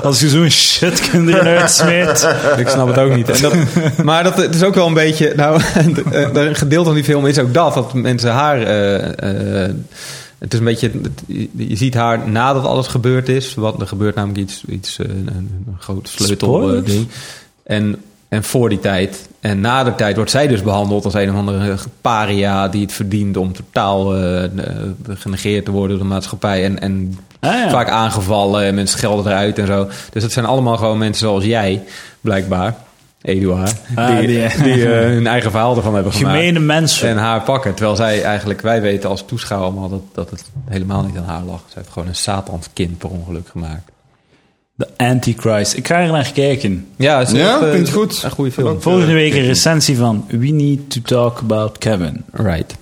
[SPEAKER 1] Als je zo'n shitkind erin uitsmijt.
[SPEAKER 3] Ik snap het ook niet. En dat, maar dat het is ook wel een beetje. Nou, <laughs> eh, een gedeelte van die film is ook dat. Dat mensen haar. eh, eh, het is een beetje. het- Je ziet haar nadat alles gebeurd is. Wat er gebeurt namelijk iets. iets eh, een, een groot sleutel. eh,
[SPEAKER 1] Spoilers?
[SPEAKER 3] ding. En, en voor die tijd. En na de tijd wordt zij dus behandeld als een of andere paria. die het verdient om totaal eh, eh, genegeerd te worden door de maatschappij. En, en
[SPEAKER 1] Ah, ja.
[SPEAKER 3] vaak aangevallen en mensen schelden eruit en zo. Dus dat zijn allemaal gewoon mensen zoals jij, blijkbaar, Eduard,
[SPEAKER 1] Ah,
[SPEAKER 3] die,
[SPEAKER 1] die,
[SPEAKER 3] die, eh, hun eigen verhaal ervan hebben gemaakt.
[SPEAKER 1] Gemene mensen.
[SPEAKER 3] En haar pakken. Terwijl zij eigenlijk, wij weten als toeschouwer allemaal dat, dat het helemaal niet aan haar lag. Ze heeft gewoon een satans kind per ongeluk gemaakt.
[SPEAKER 1] De Antichrist. Ik ga er naar kijken.
[SPEAKER 3] Ja, het is
[SPEAKER 2] Ja,
[SPEAKER 3] echt, eh,
[SPEAKER 2] klinkt goed.
[SPEAKER 3] Een goede film.
[SPEAKER 1] Volgende week een recensie van We Need to Talk About Kevin.
[SPEAKER 3] Right.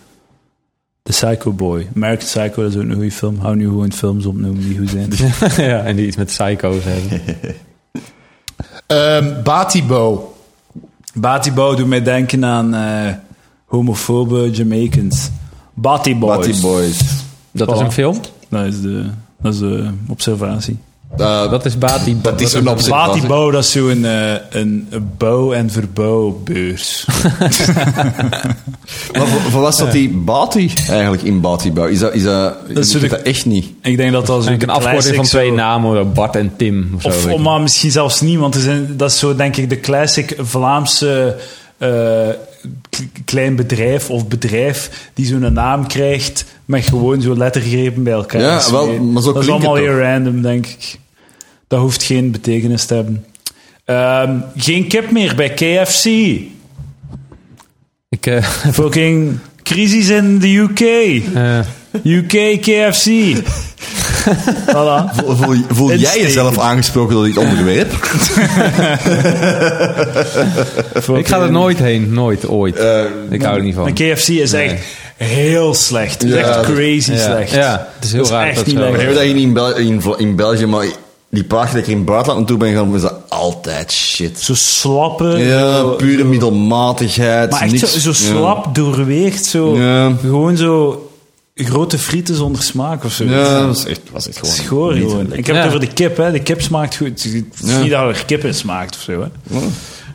[SPEAKER 1] The Psycho Boy. American Psycho, dat is ook een goede film. Hou nu gewoon films opnoemen die goed zijn.
[SPEAKER 3] <laughs> ja, en die iets met psycho's hebben.
[SPEAKER 4] Ehm, Batibo.
[SPEAKER 1] Batibo doet mij denken aan eh, homofobe Jamaicans. Batiboys.
[SPEAKER 2] Batty Boys.
[SPEAKER 3] Dat
[SPEAKER 1] Voilà.
[SPEAKER 3] is een film?
[SPEAKER 1] Dat is de, dat is de observatie.
[SPEAKER 2] Eh,
[SPEAKER 3] Dat is Bati.
[SPEAKER 2] dat is een observatie.
[SPEAKER 1] Batibo, dat is zo'n eh, een bouw- en verbouwbeurs. <laughs>
[SPEAKER 2] Maar voor, voor wat staat die Bati eigenlijk in Batibouw? Is dat, is dat, ik
[SPEAKER 1] is
[SPEAKER 2] weet
[SPEAKER 1] de-
[SPEAKER 2] dat echt niet?
[SPEAKER 1] Ik denk dat dat zo'n
[SPEAKER 3] Een afkorting
[SPEAKER 1] classic
[SPEAKER 3] van twee
[SPEAKER 1] zo-
[SPEAKER 3] namen, Bart en Tim. Of, zo,
[SPEAKER 1] Of
[SPEAKER 3] weet
[SPEAKER 1] oh,
[SPEAKER 3] ik.
[SPEAKER 1] maar misschien zelfs niet, want er zijn, dat is zo denk ik de classic Vlaamse eh, k- klein bedrijf of bedrijf die zo'n naam krijgt met gewoon zo lettergrepen bij elkaar.
[SPEAKER 2] Ja,
[SPEAKER 1] Dus
[SPEAKER 2] wel,
[SPEAKER 1] nee,
[SPEAKER 2] maar zo
[SPEAKER 1] dat
[SPEAKER 2] klinkt
[SPEAKER 1] is
[SPEAKER 2] het
[SPEAKER 1] allemaal
[SPEAKER 2] toch?
[SPEAKER 1] heel random, denk ik. Dat hoeft geen betekenis te hebben. Ehm, geen kip meer bij KFC.
[SPEAKER 3] Ik, eh,
[SPEAKER 1] Fucking crisis in de UK.
[SPEAKER 3] eh,
[SPEAKER 1] UK KFC.
[SPEAKER 3] <laughs>
[SPEAKER 1] voilà.
[SPEAKER 2] Voel, voel- voel jij
[SPEAKER 1] Insteek.
[SPEAKER 2] jezelf aangesproken door dit onderwerp?
[SPEAKER 3] ik ga er
[SPEAKER 1] Fucking-
[SPEAKER 3] nooit heen. Nooit, ooit.
[SPEAKER 2] Eh,
[SPEAKER 3] ik hou er niet van.
[SPEAKER 1] Een KFC is echt heel slecht. Het is
[SPEAKER 2] Ja,
[SPEAKER 1] echt
[SPEAKER 2] dat-
[SPEAKER 1] crazy
[SPEAKER 3] ja.
[SPEAKER 1] slecht.
[SPEAKER 3] Ja, het is heel
[SPEAKER 1] Dat
[SPEAKER 3] raar
[SPEAKER 1] echt
[SPEAKER 3] dat
[SPEAKER 1] niet
[SPEAKER 3] zo.
[SPEAKER 2] We
[SPEAKER 1] lekker.
[SPEAKER 2] hebben dat hier niet in, Bel- in, Vla- in België, maar die plaat dat ik in het buitenland naartoe ben gegaan, is dat altijd shit.
[SPEAKER 1] Zo slappe.
[SPEAKER 2] Ja,
[SPEAKER 1] zo-
[SPEAKER 2] pure middelmatigheid.
[SPEAKER 1] maar echt
[SPEAKER 2] niks,
[SPEAKER 1] zo, zo
[SPEAKER 2] ja.
[SPEAKER 1] slap, doorweegt. Zo,
[SPEAKER 2] Ja.
[SPEAKER 1] Gewoon zo grote frieten zonder smaak of zo.
[SPEAKER 2] Ja, dat is echt, was echt gewoon...
[SPEAKER 1] Schoor
[SPEAKER 2] niet
[SPEAKER 1] gewoon.
[SPEAKER 2] lekker.
[SPEAKER 1] Ik heb het
[SPEAKER 3] Ja.
[SPEAKER 1] over de kip, hè. De kip smaakt goed. Het is niet
[SPEAKER 2] Ja. Oh.
[SPEAKER 1] dat er kip in smaakt of zo, hè.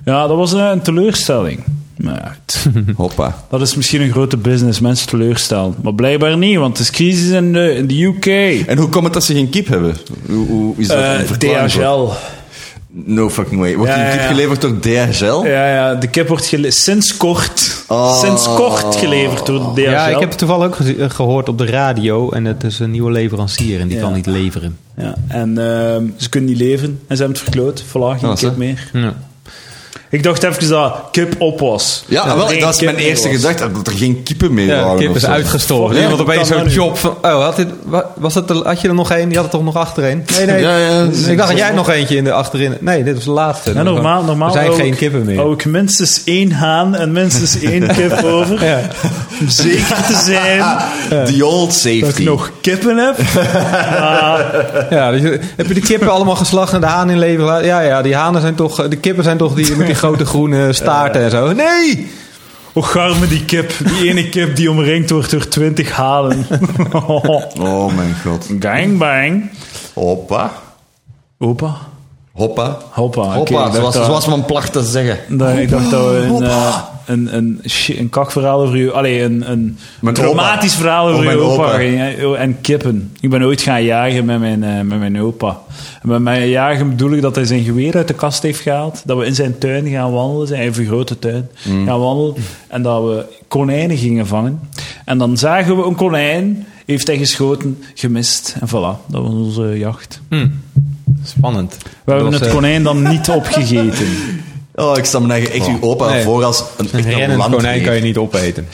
[SPEAKER 1] Ja, dat was eh, een teleurstelling. Maar ja,
[SPEAKER 2] <laughs>
[SPEAKER 1] het-
[SPEAKER 2] Hoppa.
[SPEAKER 1] dat is misschien een grote business, mensen teleurstellen. Maar blijkbaar niet, want het is crisis in de, in de UK.
[SPEAKER 2] En hoe komt het dat ze geen kip hebben? Hoe, hoe is dat
[SPEAKER 1] Eh,
[SPEAKER 2] een verklaring voor?
[SPEAKER 1] DHL.
[SPEAKER 2] No fucking way. Wordt
[SPEAKER 1] Ja,
[SPEAKER 2] die kip
[SPEAKER 1] ja.
[SPEAKER 2] geleverd door DHL?
[SPEAKER 1] Ja, ja, de kip wordt gele- sinds kort,
[SPEAKER 2] Oh.
[SPEAKER 1] sinds kort geleverd door de DHL.
[SPEAKER 3] Ja, ik heb het toevallig ook geze- eh, gehoord op de radio. En het is een nieuwe leverancier en die
[SPEAKER 1] Ja.
[SPEAKER 3] kan niet leveren.
[SPEAKER 1] Ja, en ehm, ze kunnen niet leveren en ze hebben het verkloot. Voilà, geen kip
[SPEAKER 2] Ah, zo.
[SPEAKER 1] meer.
[SPEAKER 3] Ja.
[SPEAKER 1] Ik dacht even dat kip op was.
[SPEAKER 2] Ja,
[SPEAKER 1] Dat er
[SPEAKER 2] wel,
[SPEAKER 1] geen
[SPEAKER 2] dat is
[SPEAKER 1] kip
[SPEAKER 2] mijn
[SPEAKER 1] meer
[SPEAKER 2] eerste
[SPEAKER 1] was.
[SPEAKER 2] gedachte, dat er geen kippen meer
[SPEAKER 3] Ja,
[SPEAKER 2] waren.
[SPEAKER 3] de kip
[SPEAKER 2] of
[SPEAKER 3] is
[SPEAKER 2] zo.
[SPEAKER 3] uitgestorven.
[SPEAKER 1] Ja,
[SPEAKER 3] Iemand
[SPEAKER 1] dat
[SPEAKER 3] opeens
[SPEAKER 1] kan
[SPEAKER 3] zo'n
[SPEAKER 1] nou
[SPEAKER 3] job van... Oh, had, dit, wa- was dat, de- had je er nog één? Je had er toch nog achtereen? Nee, nee.
[SPEAKER 2] Ja, ja.
[SPEAKER 3] ik dacht, had jij nog eentje in de achterin? Nee, dit was de laatste.
[SPEAKER 1] Ja, normaal, normaal
[SPEAKER 3] er zijn
[SPEAKER 1] hou
[SPEAKER 3] geen
[SPEAKER 1] ik-
[SPEAKER 3] kippen meer.
[SPEAKER 1] Hou ik minstens één haan en minstens één kip over.
[SPEAKER 3] <laughs> Ja.
[SPEAKER 1] Om zeker te zijn
[SPEAKER 3] <laughs>
[SPEAKER 2] The old
[SPEAKER 1] dat ik
[SPEAKER 2] safety.
[SPEAKER 1] nog kippen heb.
[SPEAKER 3] Ja, dus, eh, heb je de kippen allemaal geslacht en de haan in leven gelaten? Ja, ja, die hanen zijn toch... eh, De kippen zijn toch die met die grote groene staarten en zo. Nee!
[SPEAKER 1] Och, garme die kip. Die ene kip die omringd wordt door twintig halen. <laughs>
[SPEAKER 2] Oh mijn god.
[SPEAKER 1] Gangbang.
[SPEAKER 2] Hoppa.
[SPEAKER 1] Opa.
[SPEAKER 2] Hoppa. Ah,
[SPEAKER 1] Hoppa. oké, ik
[SPEAKER 2] Hoppa,
[SPEAKER 1] dacht
[SPEAKER 2] zoals,
[SPEAKER 1] dat-
[SPEAKER 2] zoals men placht te zeggen.
[SPEAKER 1] dat- Ik dacht dat we een,
[SPEAKER 2] Hoppa.
[SPEAKER 1] eh, een, een, shi- een kakverhaal over u... Allee, een, een
[SPEAKER 2] Mijn
[SPEAKER 1] traumatisch
[SPEAKER 2] opa.
[SPEAKER 1] verhaal
[SPEAKER 2] Oh,
[SPEAKER 1] over
[SPEAKER 2] mijn
[SPEAKER 1] uw opa,
[SPEAKER 2] opa.
[SPEAKER 1] gingen. En kippen. Ik ben ooit gaan jagen met mijn, eh, met mijn opa. En met mijn jagen bedoel ik dat hij zijn geweer uit de kast heeft gehaald. Dat we in zijn tuin gaan wandelen. Zijn hij heeft een grote tuin. Gaan wandelen. En dat we konijnen gingen vangen. En dan zagen we een konijn. Heeft hij geschoten, gemist. En voilà, dat was onze jacht.
[SPEAKER 3] Spannend.
[SPEAKER 1] We hebben
[SPEAKER 3] Dat was,
[SPEAKER 1] het
[SPEAKER 3] eh,
[SPEAKER 1] konijn dan niet opgegeten.
[SPEAKER 2] Oh, ik stel me eigen echt uw opa
[SPEAKER 3] Nee.
[SPEAKER 2] voor als een, echt
[SPEAKER 3] eh, Een
[SPEAKER 2] een
[SPEAKER 3] rennend
[SPEAKER 2] landweer.
[SPEAKER 3] konijn kan je niet opeten.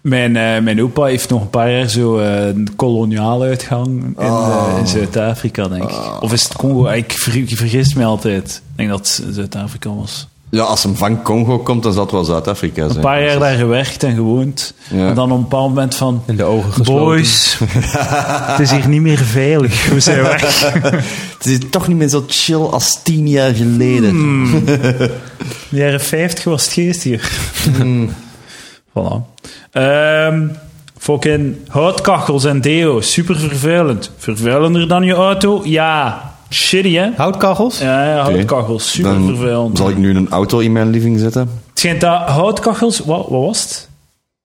[SPEAKER 1] Mijn, eh, mijn opa heeft nog een paar jaar zo eh, een koloniale uitgang in,
[SPEAKER 3] Ah.
[SPEAKER 1] eh, in Zuid-Afrika, denk ik. Of is het Congo? Ah, Ik, ver, ik vergis me altijd. Ik denk dat het Zuid-Afrika was.
[SPEAKER 2] Ja, als hem van Congo komt, dan zal het wel Zuid-Afrika zijn.
[SPEAKER 1] Een paar jaar daar gewerkt en gewoond.
[SPEAKER 2] Ja.
[SPEAKER 1] En dan op een bepaald moment van...
[SPEAKER 3] In de ogen gesloten. <laughs>
[SPEAKER 1] Boys, het is hier niet meer veilig. <laughs> We zijn weg.
[SPEAKER 2] Het is toch niet meer zo chill als tien jaar geleden.
[SPEAKER 1] In de jaren 50 was het geest hier. <laughs>
[SPEAKER 3] Hmm.
[SPEAKER 1] Voilà. Ehm, fucking houtkachels en deo. Super vervuilend. Vervuilender dan je auto? Ja. Shitty, hè?
[SPEAKER 3] Houtkachels?
[SPEAKER 1] Ja, ja
[SPEAKER 2] Oké.
[SPEAKER 1] houtkachels. Super
[SPEAKER 2] Dan
[SPEAKER 1] vervuilend.
[SPEAKER 2] Zal ik nu een auto in mijn living zetten?
[SPEAKER 1] Het schijnt dat houtkachels... Wat, wat was het?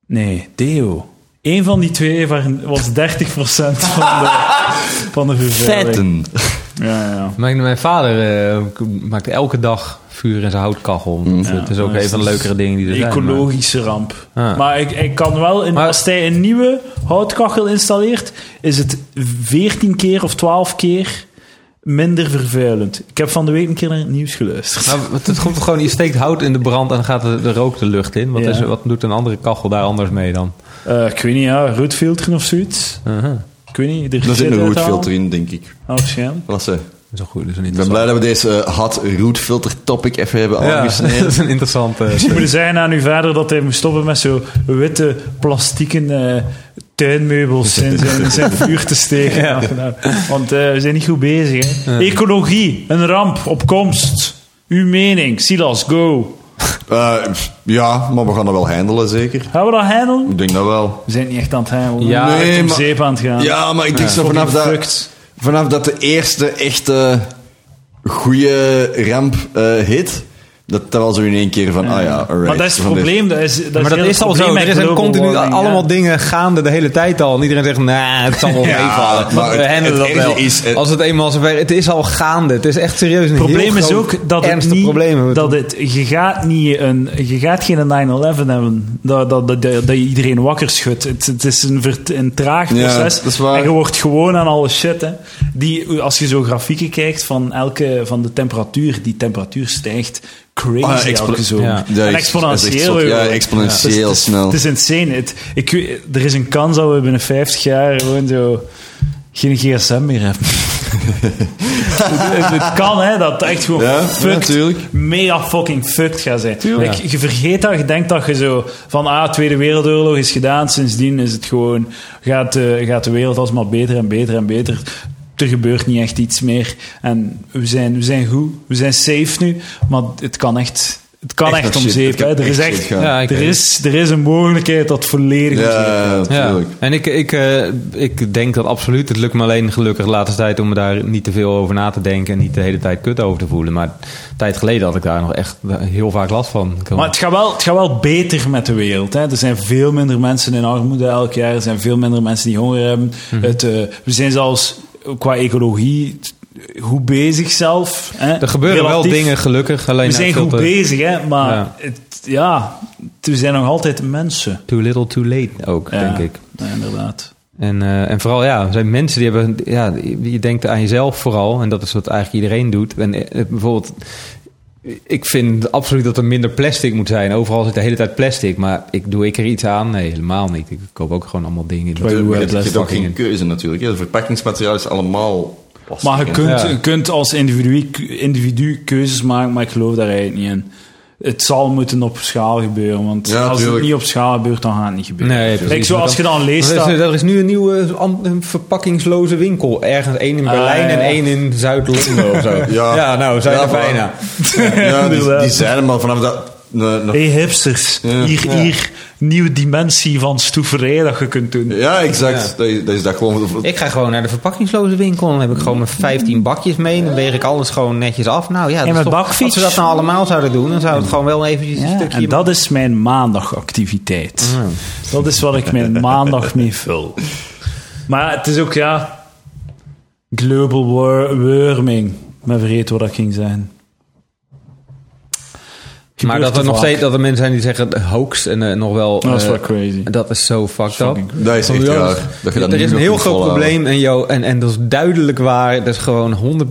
[SPEAKER 1] Nee, deo. Eén van die twee waren- was 30% van de,
[SPEAKER 2] <laughs>
[SPEAKER 1] van de vervuiling.
[SPEAKER 2] Feiten.
[SPEAKER 1] Ja, ja.
[SPEAKER 3] Mijn, mijn vader eh, k- maakt elke dag vuur in zijn houtkachel. Dat, eh, het is ook
[SPEAKER 1] maar
[SPEAKER 3] een van de
[SPEAKER 1] het is
[SPEAKER 3] leukere dingen die er zijn. maar-
[SPEAKER 1] Ecologische ramp.
[SPEAKER 3] Ah.
[SPEAKER 1] Maar ik, ik kan wel... In,
[SPEAKER 3] Maar-
[SPEAKER 1] Als hij een nieuwe houtkachel installeert, is het 14 keer of 12 keer minder vervuilend. Ik heb van de week een keer naar het nieuws geluisterd.
[SPEAKER 3] Maar wat- het komt gewoon, je steekt hout in de brand en dan gaat de, de rook de lucht in. Wat,
[SPEAKER 1] Ja.
[SPEAKER 3] is, wat doet een andere kachel daar anders mee dan?
[SPEAKER 1] Eh, ik weet niet, ja, roetfilteren of zoiets. Ik weet niet. Er
[SPEAKER 2] Er zit een
[SPEAKER 1] uithalen.
[SPEAKER 2] roetfilter in, denk ik.
[SPEAKER 1] Oh, waarschijnlijk.
[SPEAKER 2] Klasse.
[SPEAKER 3] Dat is een goed, dat is een
[SPEAKER 2] Ik ben
[SPEAKER 3] interessant.
[SPEAKER 2] blij dat we deze eh, hot roetfilter topic even hebben
[SPEAKER 3] ja, <laughs> dat
[SPEAKER 2] aangesneden.
[SPEAKER 3] is een interessante... <laughs>
[SPEAKER 1] Misschien moet je zeggen aan uw vader dat hij moet stoppen met zo witte plastieken eh,
[SPEAKER 3] <laughs>
[SPEAKER 1] tuinmeubels in zijn, in zijn vuur te steken. Nou, Want eh, we zijn niet goed bezig. Hè? Ecologie, een ramp op komst. Uw mening, Silas, go.
[SPEAKER 2] Eh, pff, ja, maar we gaan dat wel handelen, zeker.
[SPEAKER 1] Gaan we dat handelen?
[SPEAKER 2] Ik denk dat wel.
[SPEAKER 1] We zijn niet echt aan het handelen.
[SPEAKER 3] Ja,
[SPEAKER 1] we zijn
[SPEAKER 2] nee,
[SPEAKER 1] om
[SPEAKER 2] maar-
[SPEAKER 1] zeep aan het gaan.
[SPEAKER 2] Ja, maar ik denk zo vanaf dat,
[SPEAKER 1] Fucked.
[SPEAKER 2] vanaf dat de eerste echte goede ramp eh, hit, dat dat wel zo in één keer van, ah ja, alright.
[SPEAKER 1] Maar dat is het
[SPEAKER 2] Van dit-
[SPEAKER 1] probleem. Dat is, dat
[SPEAKER 3] Maar dat
[SPEAKER 1] heel
[SPEAKER 3] is
[SPEAKER 1] het
[SPEAKER 3] al zo.
[SPEAKER 1] probleem
[SPEAKER 3] Er
[SPEAKER 1] met
[SPEAKER 3] zijn
[SPEAKER 1] global
[SPEAKER 3] continu
[SPEAKER 1] warming,
[SPEAKER 3] allemaal
[SPEAKER 1] ja.
[SPEAKER 3] dingen gaande de hele tijd al. En iedereen zegt, nou, het
[SPEAKER 2] <laughs>
[SPEAKER 3] zal wel
[SPEAKER 1] Ja,
[SPEAKER 3] meevallen.
[SPEAKER 2] maar
[SPEAKER 3] we
[SPEAKER 2] het-
[SPEAKER 3] handelen
[SPEAKER 2] het
[SPEAKER 3] dat wel.
[SPEAKER 2] ergste is, eh,
[SPEAKER 3] Als het eenmaal zover... Het is al gaande. Het is echt serieus een
[SPEAKER 1] Het probleem
[SPEAKER 3] heel
[SPEAKER 1] is
[SPEAKER 3] groot,
[SPEAKER 1] ook dat het
[SPEAKER 3] ernstig
[SPEAKER 1] niet,
[SPEAKER 3] probleem.
[SPEAKER 1] dat het, je gaat niet een, je gaat geen 9-11 hebben, dat, dat, dat, dat je iedereen wakker schudt. Het, het is een, vert- een traag
[SPEAKER 2] Ja,
[SPEAKER 1] proces.
[SPEAKER 2] dat is waar.
[SPEAKER 1] En je wordt gewoon aan alle shit, hè. Die, als je zo grafieken kijkt van elke, van de temperatuur, die temperatuur stijgt crazy
[SPEAKER 2] Ah, expo-
[SPEAKER 1] elke zomer.
[SPEAKER 3] Ja.
[SPEAKER 1] En
[SPEAKER 2] Ja, is- is echt
[SPEAKER 1] exponentieel.
[SPEAKER 2] zot.
[SPEAKER 1] joh.
[SPEAKER 2] Ja, exponentieel
[SPEAKER 1] Het is-
[SPEAKER 2] snel.
[SPEAKER 1] Het is insane. Het, ik, weet- er is een kans dat we binnen 50 jaar gewoon zo geen gsm meer hebben. het, het- het kan, hè, dat het echt gewoon
[SPEAKER 2] Ja, ja,
[SPEAKER 1] fucked,
[SPEAKER 2] tuurlijk.
[SPEAKER 1] mega fucking fucked gaat zijn.
[SPEAKER 3] Tuurlijk.
[SPEAKER 1] Ik, je vergeet dat, je denkt dat je zo van, ah, Tweede Wereldoorlog is gedaan, sindsdien is het gewoon, gaat, eh, gaat de wereld alsmaar beter en beter en beter. Er gebeurt niet echt iets meer. En we zijn, we zijn goed, we zijn safe nu, maar het kan echt... Het kan
[SPEAKER 2] Echt
[SPEAKER 1] echt,
[SPEAKER 2] nog
[SPEAKER 1] om
[SPEAKER 2] shit.
[SPEAKER 1] zeep.
[SPEAKER 2] Het kan
[SPEAKER 1] hè. Er,
[SPEAKER 2] echt
[SPEAKER 1] is
[SPEAKER 2] shit
[SPEAKER 1] echt,
[SPEAKER 2] gaan.
[SPEAKER 3] Ja, ik
[SPEAKER 1] er,
[SPEAKER 3] weet
[SPEAKER 1] is, er is een mogelijkheid dat volledig om zeep
[SPEAKER 2] Ja, natuurlijk.
[SPEAKER 3] En ik, ik, eh, ik denk dat absoluut. Het lukt me alleen gelukkig de laatste tijd om me daar niet te veel over na te denken. En niet de hele tijd kut over te voelen. Maar een tijd geleden had ik daar nog echt eh, heel vaak last van. Ik had-
[SPEAKER 1] Maar het gaat, wel, het gaat wel beter met de wereld. Hè? Er zijn veel minder mensen in armoede elk jaar. Er zijn veel minder mensen die honger hebben.
[SPEAKER 3] Mhm.
[SPEAKER 1] het, eh, we zijn zelfs qua ecologie t- goed bezig zelf. Hè?
[SPEAKER 3] er gebeuren
[SPEAKER 1] Relatief.
[SPEAKER 3] wel dingen gelukkig. Alleen
[SPEAKER 1] We
[SPEAKER 3] eh,
[SPEAKER 1] zijn
[SPEAKER 3] veel
[SPEAKER 1] goed
[SPEAKER 3] te-
[SPEAKER 1] bezig, hè? maar
[SPEAKER 3] Ja.
[SPEAKER 1] Het, ja, het- we zijn nog altijd mensen.
[SPEAKER 3] Too little too late ook,
[SPEAKER 1] Ja,
[SPEAKER 3] denk ik.
[SPEAKER 1] ja, inderdaad.
[SPEAKER 3] En, eh, en vooral, ja, er zijn mensen die hebben... Ja, je denkt aan jezelf vooral. En dat is wat eigenlijk iedereen doet. En eh, bijvoorbeeld... Ik vind absoluut dat er minder plastic moet zijn. Overal zit de hele tijd plastic. Maar ik, doe ik er iets aan? Nee, helemaal niet. Ik koop ook gewoon allemaal dingen.
[SPEAKER 1] Terwijl je
[SPEAKER 2] Je hebt- je
[SPEAKER 3] plastic
[SPEAKER 2] hebt ook geen
[SPEAKER 3] in.
[SPEAKER 2] keuze natuurlijk. hè. Het verpakkingsmateriaal is allemaal plastic,
[SPEAKER 1] Maar je
[SPEAKER 2] hè.
[SPEAKER 1] kunt,
[SPEAKER 3] Ja.
[SPEAKER 1] je kunt als individu, individu keuzes maken, maar ik geloof daar eigenlijk niet in. Het zal moeten op schaal gebeuren, want
[SPEAKER 2] Ja,
[SPEAKER 1] als het
[SPEAKER 2] tuurlijk.
[SPEAKER 1] niet op schaal gebeurt, dan gaat het niet gebeuren.
[SPEAKER 3] Nee, precies.
[SPEAKER 1] Kijk, zoals je dan leest...
[SPEAKER 3] Er is,
[SPEAKER 1] dat-
[SPEAKER 3] er is nu een nieuwe am- een verpakkingsloze winkel. Ergens één in Berlijn
[SPEAKER 1] Ah, ja.
[SPEAKER 3] en één in Zuid-Londen of zo.
[SPEAKER 2] Ja.
[SPEAKER 3] nou, zijn
[SPEAKER 2] Ja,
[SPEAKER 3] er
[SPEAKER 2] voilà.
[SPEAKER 3] bijna.
[SPEAKER 2] Ja, die,
[SPEAKER 1] Inderdaad.
[SPEAKER 2] die zijn er maar vanaf dat... ne- ne-
[SPEAKER 1] Hey hipsters,
[SPEAKER 2] Ja.
[SPEAKER 1] hier,
[SPEAKER 2] Ja.
[SPEAKER 1] hier, nieuwe dimensie van stoeverij dat je kunt doen.
[SPEAKER 2] Ja, exact. Dat, is, dat is dat gewoon...
[SPEAKER 3] Ik ga gewoon naar de verpakkingsloze winkel. Dan heb ik gewoon mijn 15 bakjes mee. Dan weeg ik alles gewoon netjes af. Nou ja, dat
[SPEAKER 1] En
[SPEAKER 3] is
[SPEAKER 1] met
[SPEAKER 3] toch-
[SPEAKER 1] bakfiets?
[SPEAKER 3] Als we dat nou allemaal zouden doen, dan zou het gewoon wel eventjes een
[SPEAKER 1] Ja,
[SPEAKER 3] stukje...
[SPEAKER 1] en dat is mijn maandagactiviteit. Dat is wat ik mijn maandag mee vul. Maar ja, het is ook, ja... Global war- warming. Maar vergeet wat dat ging zijn.
[SPEAKER 3] maar
[SPEAKER 1] Gebeurt
[SPEAKER 3] dat
[SPEAKER 1] te
[SPEAKER 3] er nog
[SPEAKER 1] vaak.
[SPEAKER 3] steeds dat er mensen zijn die zeggen hoax en eh, nog wel...
[SPEAKER 1] Dat is
[SPEAKER 3] eh,
[SPEAKER 1] wel crazy.
[SPEAKER 3] Dat is zo fucked up.
[SPEAKER 2] Dat is
[SPEAKER 3] Van,
[SPEAKER 2] echt
[SPEAKER 3] joh,
[SPEAKER 2] raar,
[SPEAKER 3] dus-
[SPEAKER 2] dat je dat
[SPEAKER 3] er
[SPEAKER 2] nu
[SPEAKER 3] is een
[SPEAKER 2] nog
[SPEAKER 3] heel
[SPEAKER 2] moet
[SPEAKER 3] groot
[SPEAKER 2] volhouden.
[SPEAKER 3] probleem en, joh, en, en dat is duidelijk waar. Dat is gewoon 100%
[SPEAKER 1] Man,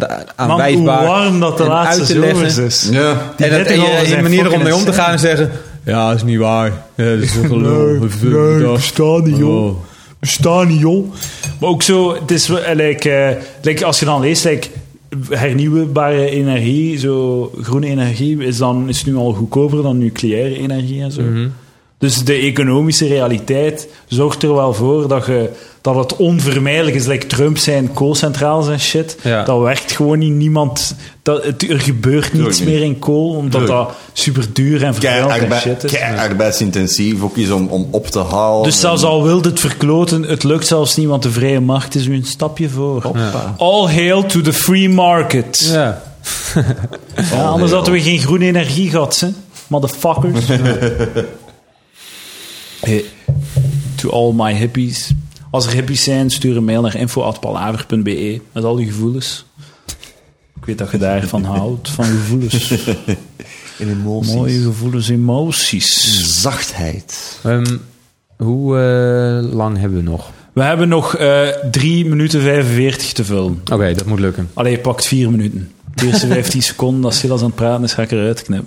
[SPEAKER 1] hoe
[SPEAKER 3] aanwijsbaar.
[SPEAKER 1] warm dat de
[SPEAKER 3] en
[SPEAKER 1] laatste
[SPEAKER 3] uit te
[SPEAKER 1] zomers
[SPEAKER 3] leggen.
[SPEAKER 1] is.
[SPEAKER 2] Ja.
[SPEAKER 1] Die
[SPEAKER 3] En, dat, en
[SPEAKER 1] dertiger
[SPEAKER 3] je, je
[SPEAKER 1] zijn
[SPEAKER 3] manier om
[SPEAKER 1] fucking
[SPEAKER 3] mee om te
[SPEAKER 1] insane.
[SPEAKER 3] gaan en zeggen... Ja, dat is niet waar. Ja, dat is toch
[SPEAKER 1] <laughs>
[SPEAKER 3] gelul. Dat is-
[SPEAKER 1] Nee,
[SPEAKER 3] dat-
[SPEAKER 1] bestaan niet, joh.
[SPEAKER 3] Oh.
[SPEAKER 1] Bestaan niet, joh. Maar ook zo, het is, wel, eh, like, eh, like, als je dan leest, like, hernieuwbare energie, zo groene energie, is, dan, is nu al goedkoper dan nucleaire energie en zo.
[SPEAKER 2] Mhm.
[SPEAKER 1] Dus de economische realiteit zorgt er wel voor dat, je, dat het onvermijdelijk is, like Trump zijn koolcentrales en shit.
[SPEAKER 3] Ja.
[SPEAKER 1] Dat werkt gewoon niet. Niemand, dat, het, er gebeurt
[SPEAKER 2] Tuurlijk
[SPEAKER 1] niets
[SPEAKER 2] niet.
[SPEAKER 1] meer in kool, omdat
[SPEAKER 2] Tuurlijk.
[SPEAKER 1] dat super duur en
[SPEAKER 2] Kei
[SPEAKER 1] vervuilend en shit is.
[SPEAKER 2] arbeidsintensief ook is om, om op te halen.
[SPEAKER 1] Dus zelfs al wilde het verkloten, het lukt zelfs niet, want de vrije markt is u een stapje voor.
[SPEAKER 3] Ja.
[SPEAKER 1] All hail to the free market. Ja,
[SPEAKER 3] Ja.
[SPEAKER 1] anders hadden we geen groene energie gehad, hè? Motherfuckers. <laughs> Hey, to all my hippies. Als er hippies zijn, stuur een mail naar info.palaver.be met al die gevoelens. Ik weet dat je daarvan houdt, van gevoelens.
[SPEAKER 2] in emoties.
[SPEAKER 1] Mooie gevoelens, emoties.
[SPEAKER 2] Zachtheid.
[SPEAKER 3] Ehm, hoe eh, lang hebben we nog?
[SPEAKER 1] We hebben nog eh 3 minuten 45 te vullen.
[SPEAKER 3] Oké, dat moet
[SPEAKER 1] <laughs>
[SPEAKER 3] lukken.
[SPEAKER 1] Allee, je pakt vier minuten. De eerste 15 <laughs> seconden, als Silas aan het praten is, ga ik eruit knippen.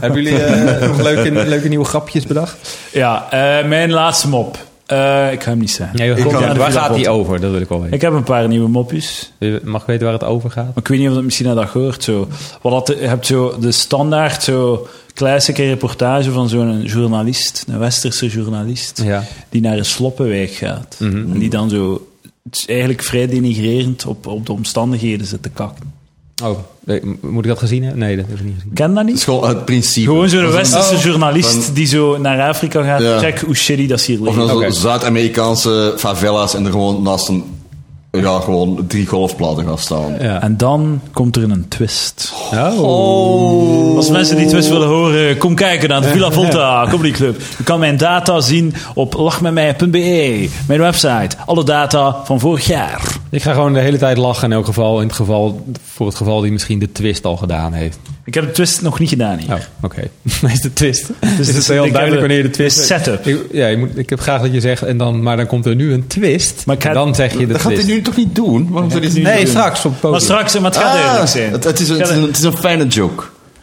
[SPEAKER 3] hebben jullie eh, nog leuke, leuke nieuwe grapjes bedacht?
[SPEAKER 1] Ja, eh, mijn laatste mop. Eh, ik ga hem niet zeggen.
[SPEAKER 3] Nee,
[SPEAKER 2] Ik
[SPEAKER 3] komt-
[SPEAKER 2] kan-
[SPEAKER 3] waar gaat
[SPEAKER 1] die
[SPEAKER 3] die over? Dat wil ik wel weten.
[SPEAKER 1] Ik heb een paar nieuwe mopjes.
[SPEAKER 3] Je Mag ik weten waar het over gaat?
[SPEAKER 1] Maar ik weet niet of dat misschien naar dat gehoord. Zo. Wat dat, je hebt zo de standaard zo classic reportage van zo'n journalist, een westerse journalist,
[SPEAKER 3] Ja. Mhm.
[SPEAKER 1] die naar een sloppenwijk gaat. En die dan zo het is eigenlijk vrij denigrerend op, op de omstandigheden zit te kakken.
[SPEAKER 3] Oh, nee, m- moet ik dat gezien hebben? Nee, dat heb ik niet gezien.
[SPEAKER 1] Ken dat
[SPEAKER 2] Het
[SPEAKER 1] niet?
[SPEAKER 2] is gewoon het principe.
[SPEAKER 1] Gewoon zo'n westerse
[SPEAKER 3] Oh.
[SPEAKER 1] journalist die zo naar Afrika gaat.
[SPEAKER 2] Ja.
[SPEAKER 1] Check hoe shitty dat is hier
[SPEAKER 2] Of
[SPEAKER 1] ligt.
[SPEAKER 2] dan zo
[SPEAKER 3] Oké.
[SPEAKER 2] Zuid-Amerikaanse favelas en er gewoon naast een... Ja, gewoon drie golfplaten gaan staan.
[SPEAKER 3] Ja.
[SPEAKER 1] En dan komt er een twist.
[SPEAKER 3] Oh.
[SPEAKER 1] Als mensen die twist willen horen, kom kijken naar de Villa Volta Comedy Club. Je kan mijn data zien op lachmetmij.be, mijn website. Alle data van vorig jaar.
[SPEAKER 3] Ik ga gewoon de hele tijd lachen in elk geval. In het geval voor het geval die misschien de twist al gedaan heeft.
[SPEAKER 1] Ik heb de twist nog niet gedaan hier.
[SPEAKER 3] Oh, oké. <laughs> Dan is de twist.
[SPEAKER 1] Dus
[SPEAKER 3] Dus
[SPEAKER 1] het is-
[SPEAKER 3] het is heel
[SPEAKER 1] ik heb
[SPEAKER 3] duidelijk
[SPEAKER 1] de-
[SPEAKER 3] wanneer de twist...
[SPEAKER 1] de setup.
[SPEAKER 3] Ik, ja, je moet, ik heb graag dat je zegt, en dan, maar dan komt er nu een twist.
[SPEAKER 1] Maar ik ga-
[SPEAKER 3] dan zeg je de
[SPEAKER 2] Dat gaat hij
[SPEAKER 3] twist.
[SPEAKER 2] nu toch niet doen? Waarom zou hij het niet
[SPEAKER 3] nee,
[SPEAKER 2] doen?
[SPEAKER 3] straks op het podium.
[SPEAKER 1] Maar straks, maar het gaat
[SPEAKER 2] Ah,
[SPEAKER 1] duidelijk zijn.
[SPEAKER 2] het, het is een, het, is een, het is een fijne joke.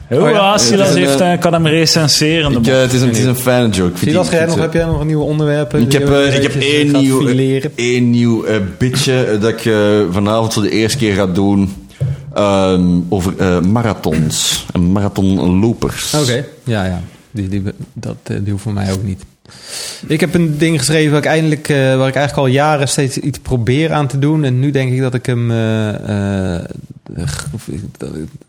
[SPEAKER 1] Hoe
[SPEAKER 3] Oh ja.
[SPEAKER 1] Silas
[SPEAKER 2] Het is een,
[SPEAKER 1] heeft, eh, kan hem recenseren. de
[SPEAKER 2] Ik,
[SPEAKER 1] man.
[SPEAKER 2] eh, het, is een, het is een fijne joke. Ik eh. vind
[SPEAKER 3] Zie
[SPEAKER 2] die-
[SPEAKER 3] dat jij
[SPEAKER 2] ik
[SPEAKER 3] nog,
[SPEAKER 2] vind
[SPEAKER 3] heb jij nog nieuwe onderwerpen?
[SPEAKER 2] Ik heb,
[SPEAKER 3] die je
[SPEAKER 2] eh, ik heb
[SPEAKER 3] eventjes
[SPEAKER 2] één
[SPEAKER 3] gaat
[SPEAKER 2] nieuw,
[SPEAKER 3] fileren?
[SPEAKER 2] één nieuw eh, bitje eh, dat ik eh, vanavond voor de eerste keer ga doen. ehm, over eh, marathons. En marathonlopers.
[SPEAKER 3] Oké, ja, ja. Die, die, dat, eh, die hoeft voor mij ook niet. Ik heb een ding geschreven waar ik, eindelijk, eh, waar ik eigenlijk al jaren steeds iets probeer aan te doen. En nu denk ik dat ik hem... eh, eh, g-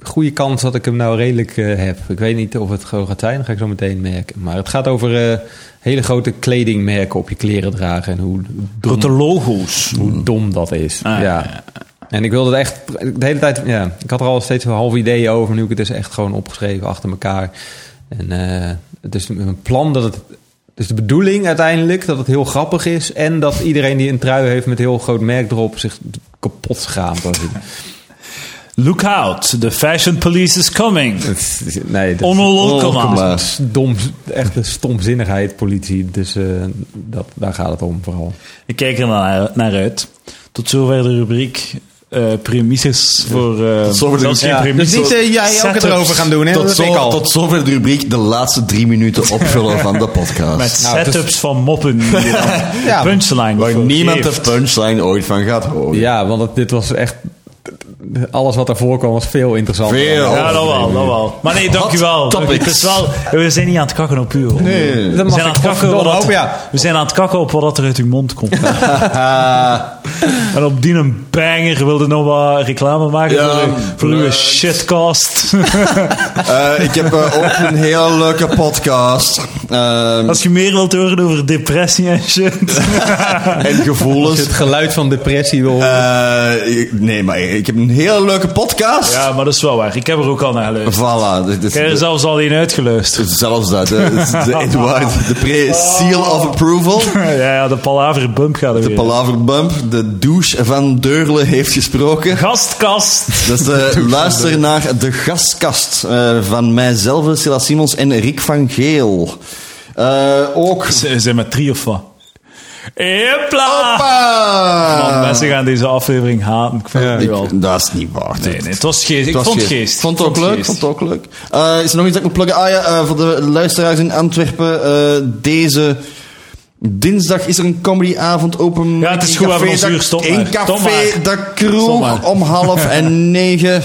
[SPEAKER 3] goede kans dat ik hem nou redelijk eh, heb. Ik weet niet of het gewoon gaat zijn, dat ga ik zo meteen merken. Maar het gaat over eh, hele grote kledingmerken op je kleren dragen. En hoe dom,
[SPEAKER 1] Grote logo's.
[SPEAKER 3] hoe dom dat is.
[SPEAKER 1] Ah, ja,
[SPEAKER 3] Mm. ja. En ik wilde het echt de hele tijd. Ja, ik had er al steeds een half idee over. maar Nu heb ik het dus echt gewoon opgeschreven achter elkaar. En eh, het is een plan dat het. Het is de bedoeling uiteindelijk dat het heel grappig is. En dat iedereen die een trui heeft met heel groot merk erop zich kapot schaamt.
[SPEAKER 1] Look out, the fashion police is coming.
[SPEAKER 2] Oh,
[SPEAKER 3] Het is- nee, dat is-
[SPEAKER 1] Onolokoma.
[SPEAKER 2] Onolokoma.
[SPEAKER 3] dat is dom, echt een stomzinnigheid, politie. Dus eh, dat, daar gaat het om vooral.
[SPEAKER 1] Ik kijk er naar, naar uit. Tot zover de rubriek eh premisses voor... eh
[SPEAKER 2] Tot zover de
[SPEAKER 1] zelfs geen
[SPEAKER 2] rubriek. Ja, Dus eh,
[SPEAKER 1] premisses, setups.
[SPEAKER 3] doen, hè?
[SPEAKER 2] Tot, zo, tot zover de rubriek de laatste drie
[SPEAKER 3] <laughs>
[SPEAKER 2] minuten opvullen van de
[SPEAKER 1] Met
[SPEAKER 2] podcast.
[SPEAKER 3] Nou, het is-
[SPEAKER 1] setups van moppen. die je
[SPEAKER 2] <laughs>
[SPEAKER 1] dan
[SPEAKER 3] Ja.
[SPEAKER 1] punchline.
[SPEAKER 2] Waar
[SPEAKER 1] voor
[SPEAKER 2] niemand eh,
[SPEAKER 1] geeft.
[SPEAKER 2] de punchline ooit van gaat horen.
[SPEAKER 3] Ja, want het- dit was echt. Alles wat daarvoor kwam was veel interessanter.
[SPEAKER 2] Veel.
[SPEAKER 1] Ja, dat wel, dat wel. Maar nee, dankjewel.
[SPEAKER 2] Hot topics.
[SPEAKER 1] Het is wel, we zijn niet aan het kakken op u. hoor.
[SPEAKER 2] Nee.
[SPEAKER 1] We
[SPEAKER 3] Dat mag
[SPEAKER 1] zijn, aan
[SPEAKER 3] ik
[SPEAKER 1] het kakken
[SPEAKER 3] godverdomme
[SPEAKER 1] wat dat-
[SPEAKER 3] hopen, ja.
[SPEAKER 2] <laughs>
[SPEAKER 1] we zijn aan het kakken op wat dat er uit uw mond komt.
[SPEAKER 2] Ah,
[SPEAKER 1] En op die een banger wilde nog wat reclame maken
[SPEAKER 2] Ja,
[SPEAKER 1] voor, uw- voor uw
[SPEAKER 2] leuk.
[SPEAKER 1] shitcast.
[SPEAKER 2] Eh, ik heb eh, ook een heel leuke podcast. Ehm,
[SPEAKER 3] <laughs>
[SPEAKER 1] Als je meer wilt horen over depressie en shit.
[SPEAKER 2] en
[SPEAKER 3] Als je
[SPEAKER 2] gevoelens.
[SPEAKER 3] het geluid van depressie wil horen.
[SPEAKER 2] Eh, ik- nee, maar ik heb een heel leuke podcast.
[SPEAKER 1] Ja, maar dat is wel waar. Ik heb er ook al naar geluisterd.
[SPEAKER 2] Voilà. Dit, dit-
[SPEAKER 1] Ik heb er zelfs al in uitgeluisterd.
[SPEAKER 2] zelfs dat. De, de Edward, de pre-seal of approval.
[SPEAKER 1] <laughs> Ja, ja, de palaver bump gaat er
[SPEAKER 2] De
[SPEAKER 1] weer.
[SPEAKER 2] palaverbump. De douche van Deurle heeft gesproken.
[SPEAKER 1] Gastkast. <laughs>
[SPEAKER 2] Dus eh, luister naar de gastkast eh, van mijzelf, Sila Simons en Rick van Geel. Eh, ook...
[SPEAKER 1] Ze zijn met drie of wat? Hopla! Man,
[SPEAKER 2] Hoppa!
[SPEAKER 1] Ah. mensen gaan deze aflevering haten. Ik vind
[SPEAKER 3] Ja.
[SPEAKER 1] het nu al.
[SPEAKER 2] Ik- dat is niet waar.
[SPEAKER 1] Nee, nee, het was geest. Ik
[SPEAKER 2] Het was
[SPEAKER 1] vond
[SPEAKER 2] geest.
[SPEAKER 1] geest.
[SPEAKER 2] Vond het ook leuk.
[SPEAKER 1] geest.
[SPEAKER 2] Vond het ook leuk. Eh, is er nog iets dat ik moet pluggen? Ah ja, eh, voor de luisteraars in Antwerpen. eh, deze dinsdag is er een comedyavond open.
[SPEAKER 1] Ja, het is
[SPEAKER 2] in
[SPEAKER 1] goed, we
[SPEAKER 2] café
[SPEAKER 1] hebben ons
[SPEAKER 2] Da-
[SPEAKER 1] uur, eh, stop maar.
[SPEAKER 2] In
[SPEAKER 1] Stop
[SPEAKER 2] Café
[SPEAKER 1] maar.
[SPEAKER 2] de
[SPEAKER 1] Stop maar.
[SPEAKER 2] Kroeg om
[SPEAKER 1] <laughs>
[SPEAKER 2] half en negen.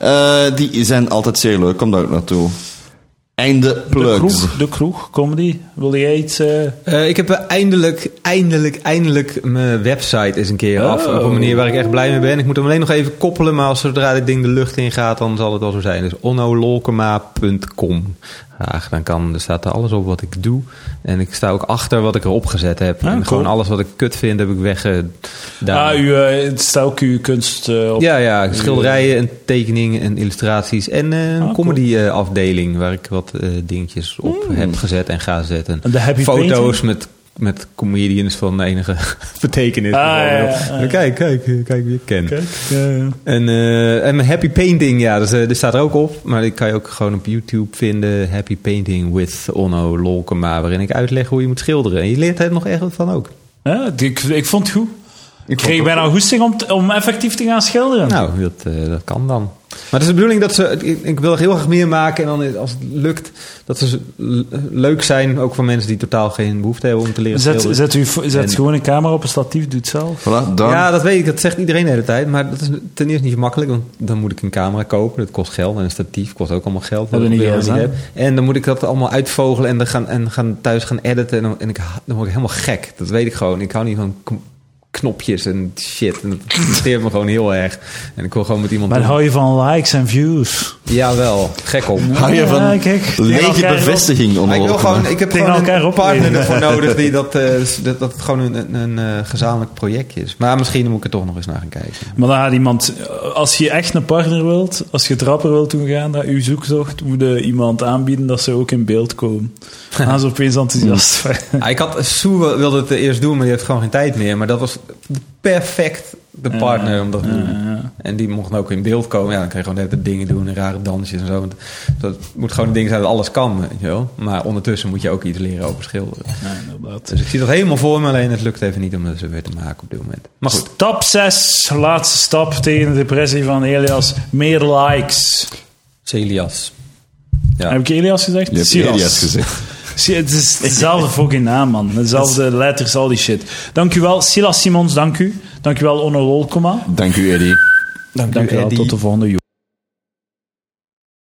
[SPEAKER 2] Eh, die zijn altijd zeer leuk. Kom daar ook naartoe. Einde
[SPEAKER 1] De
[SPEAKER 2] plugs.
[SPEAKER 1] kroeg, de kroeg, comedy. Wil jij iets... eh,
[SPEAKER 3] Eh, ik heb eindelijk, eindelijk, eindelijk mijn website eens een keer af.
[SPEAKER 1] Oh.
[SPEAKER 3] Op een manier waar ik echt blij mee ben. Ik moet hem alleen nog even koppelen, maar als zodra dit ding de lucht in gaat, dan zal het wel zo zijn. Dus onnolokema.com. Ach, dan kan, er staat er alles op wat ik doe. En ik sta ook achter wat ik erop gezet heb.
[SPEAKER 1] Ah,
[SPEAKER 3] en
[SPEAKER 1] cool.
[SPEAKER 3] gewoon alles wat ik kut vind, heb ik weggedaan.
[SPEAKER 1] ah, u, eh, het staat ook uw kunst eh, op. eh,
[SPEAKER 3] ja, ja, schilderijen en tekeningen en illustraties. En eh, een
[SPEAKER 1] Ah, cool.
[SPEAKER 3] comedy eh, afdeling waar ik wat eh, dingetjes op heb gezet en ga zetten.
[SPEAKER 1] En Hmm. de happy
[SPEAKER 3] Foto's
[SPEAKER 1] painting?
[SPEAKER 3] met met comedians van enige <laughs> betekenis.
[SPEAKER 1] Ah,
[SPEAKER 3] bijvoorbeeld.
[SPEAKER 1] ja, ja, ja.
[SPEAKER 3] Kijk, kijk, eh, kijk wie ik ken.
[SPEAKER 1] Kijk, eh,
[SPEAKER 3] En, eh, en mijn happy painting, ja, dat, eh, die staat er ook op. Maar die kan je ook gewoon op YouTube vinden. Happy painting with Onno Lolkema. Waarin ik uitleg hoe je moet schilderen. En je leert er nog echt wat van ook.
[SPEAKER 1] ja, ik, ik vond het goed. Ik
[SPEAKER 2] het
[SPEAKER 1] kreeg
[SPEAKER 2] ook
[SPEAKER 1] bijna goesting om, t- om effectief te gaan schilderen.
[SPEAKER 3] Nou, dat, eh, dat kan dan. Maar het is de bedoeling dat ze... Ik, ik wil er heel graag meer maken. En dan eh, als het lukt, dat ze l- leuk zijn. Ook voor mensen die totaal geen behoefte hebben om te leren
[SPEAKER 1] zet
[SPEAKER 3] schilderen.
[SPEAKER 1] zet, uw fo- zet
[SPEAKER 3] En-
[SPEAKER 1] gewoon een camera op een statief, doe het zelf.
[SPEAKER 2] Voilà, dan.
[SPEAKER 3] Ja, dat weet ik. Dat zegt iedereen de hele tijd. Maar dat is ten eerste niet makkelijk. Want dan moet ik een camera kopen. Dat kost geld. En een statief kost ook allemaal geld.
[SPEAKER 1] Hebben we
[SPEAKER 3] ik
[SPEAKER 1] niet
[SPEAKER 3] weer
[SPEAKER 1] gedaan.
[SPEAKER 3] En dan moet ik dat allemaal uitvogelen. En, dan gaan, en gaan thuis gaan editen. En, dan, en ik, ha- dan word ik helemaal gek. Dat weet ik gewoon. Ik hou niet van kn- knopjes en shit. En dat interesseert me gewoon heel erg. En ik wil gewoon met iemand...
[SPEAKER 1] Maar
[SPEAKER 3] doen.
[SPEAKER 1] hou je van likes en views?
[SPEAKER 3] Jawel. Gek op.
[SPEAKER 2] Hou je van
[SPEAKER 1] Ja, kijk.
[SPEAKER 2] lege
[SPEAKER 1] Tegen elkaar
[SPEAKER 2] bevestiging
[SPEAKER 3] Maar ik, wil
[SPEAKER 2] onderlopen?
[SPEAKER 3] gewoon, ik heb
[SPEAKER 1] Tegen
[SPEAKER 3] gewoon
[SPEAKER 1] elkaar
[SPEAKER 3] een
[SPEAKER 1] opleveren. <laughs>
[SPEAKER 3] partner ervoor nodig die dat, eh, dat, dat het gewoon een, een, een eh, gezamenlijk project is. Maar misschien moet ik er toch nog eens naar gaan kijken.
[SPEAKER 1] Maar dan gaat iemand, als je echt een partner wilt, als je trapper wilt doen gaan, dat je zoektocht, moet je iemand aanbieden dat ze ook in beeld
[SPEAKER 2] <laughs>
[SPEAKER 1] komen. Dan gaan ze opeens enthousiast zijn.
[SPEAKER 3] <laughs> Ah, ik had, Sue wil- wilde het eerst doen, maar die heeft gewoon geen tijd meer. Maar dat was perfect de partner om dat te doen. En die mocht ook in beeld komen. Ja, dan kreeg je gewoon net de dingen doen en rare dansjes en zo. Want dat moet gewoon een ding zijn dat alles kan, weet je wel. Maar ondertussen moet je ook iets leren over schilderen.
[SPEAKER 1] Ja, inderdaad.
[SPEAKER 3] Dus ik zie dat helemaal voor me, alleen het lukt even niet om dat zo weer te maken op dit moment. Maar goed.
[SPEAKER 1] Stap 6, laatste stap tegen de depressie van Elias. Meer likes.
[SPEAKER 3] Celias. Ja.
[SPEAKER 1] Heb ik Elias gezegd?
[SPEAKER 2] Je hebt
[SPEAKER 1] Silas.
[SPEAKER 2] Elias gezegd.
[SPEAKER 1] <laughs> Si- Het is dezelfde fucking naam, man. Dezelfde letters, al die shit. Dank u wel, Silas Simons, dank u. Dank u wel, Onno Wolkoma.
[SPEAKER 2] Dank u, Eddie.
[SPEAKER 1] Dank u wel,
[SPEAKER 3] Eddie.
[SPEAKER 1] tot de volgende.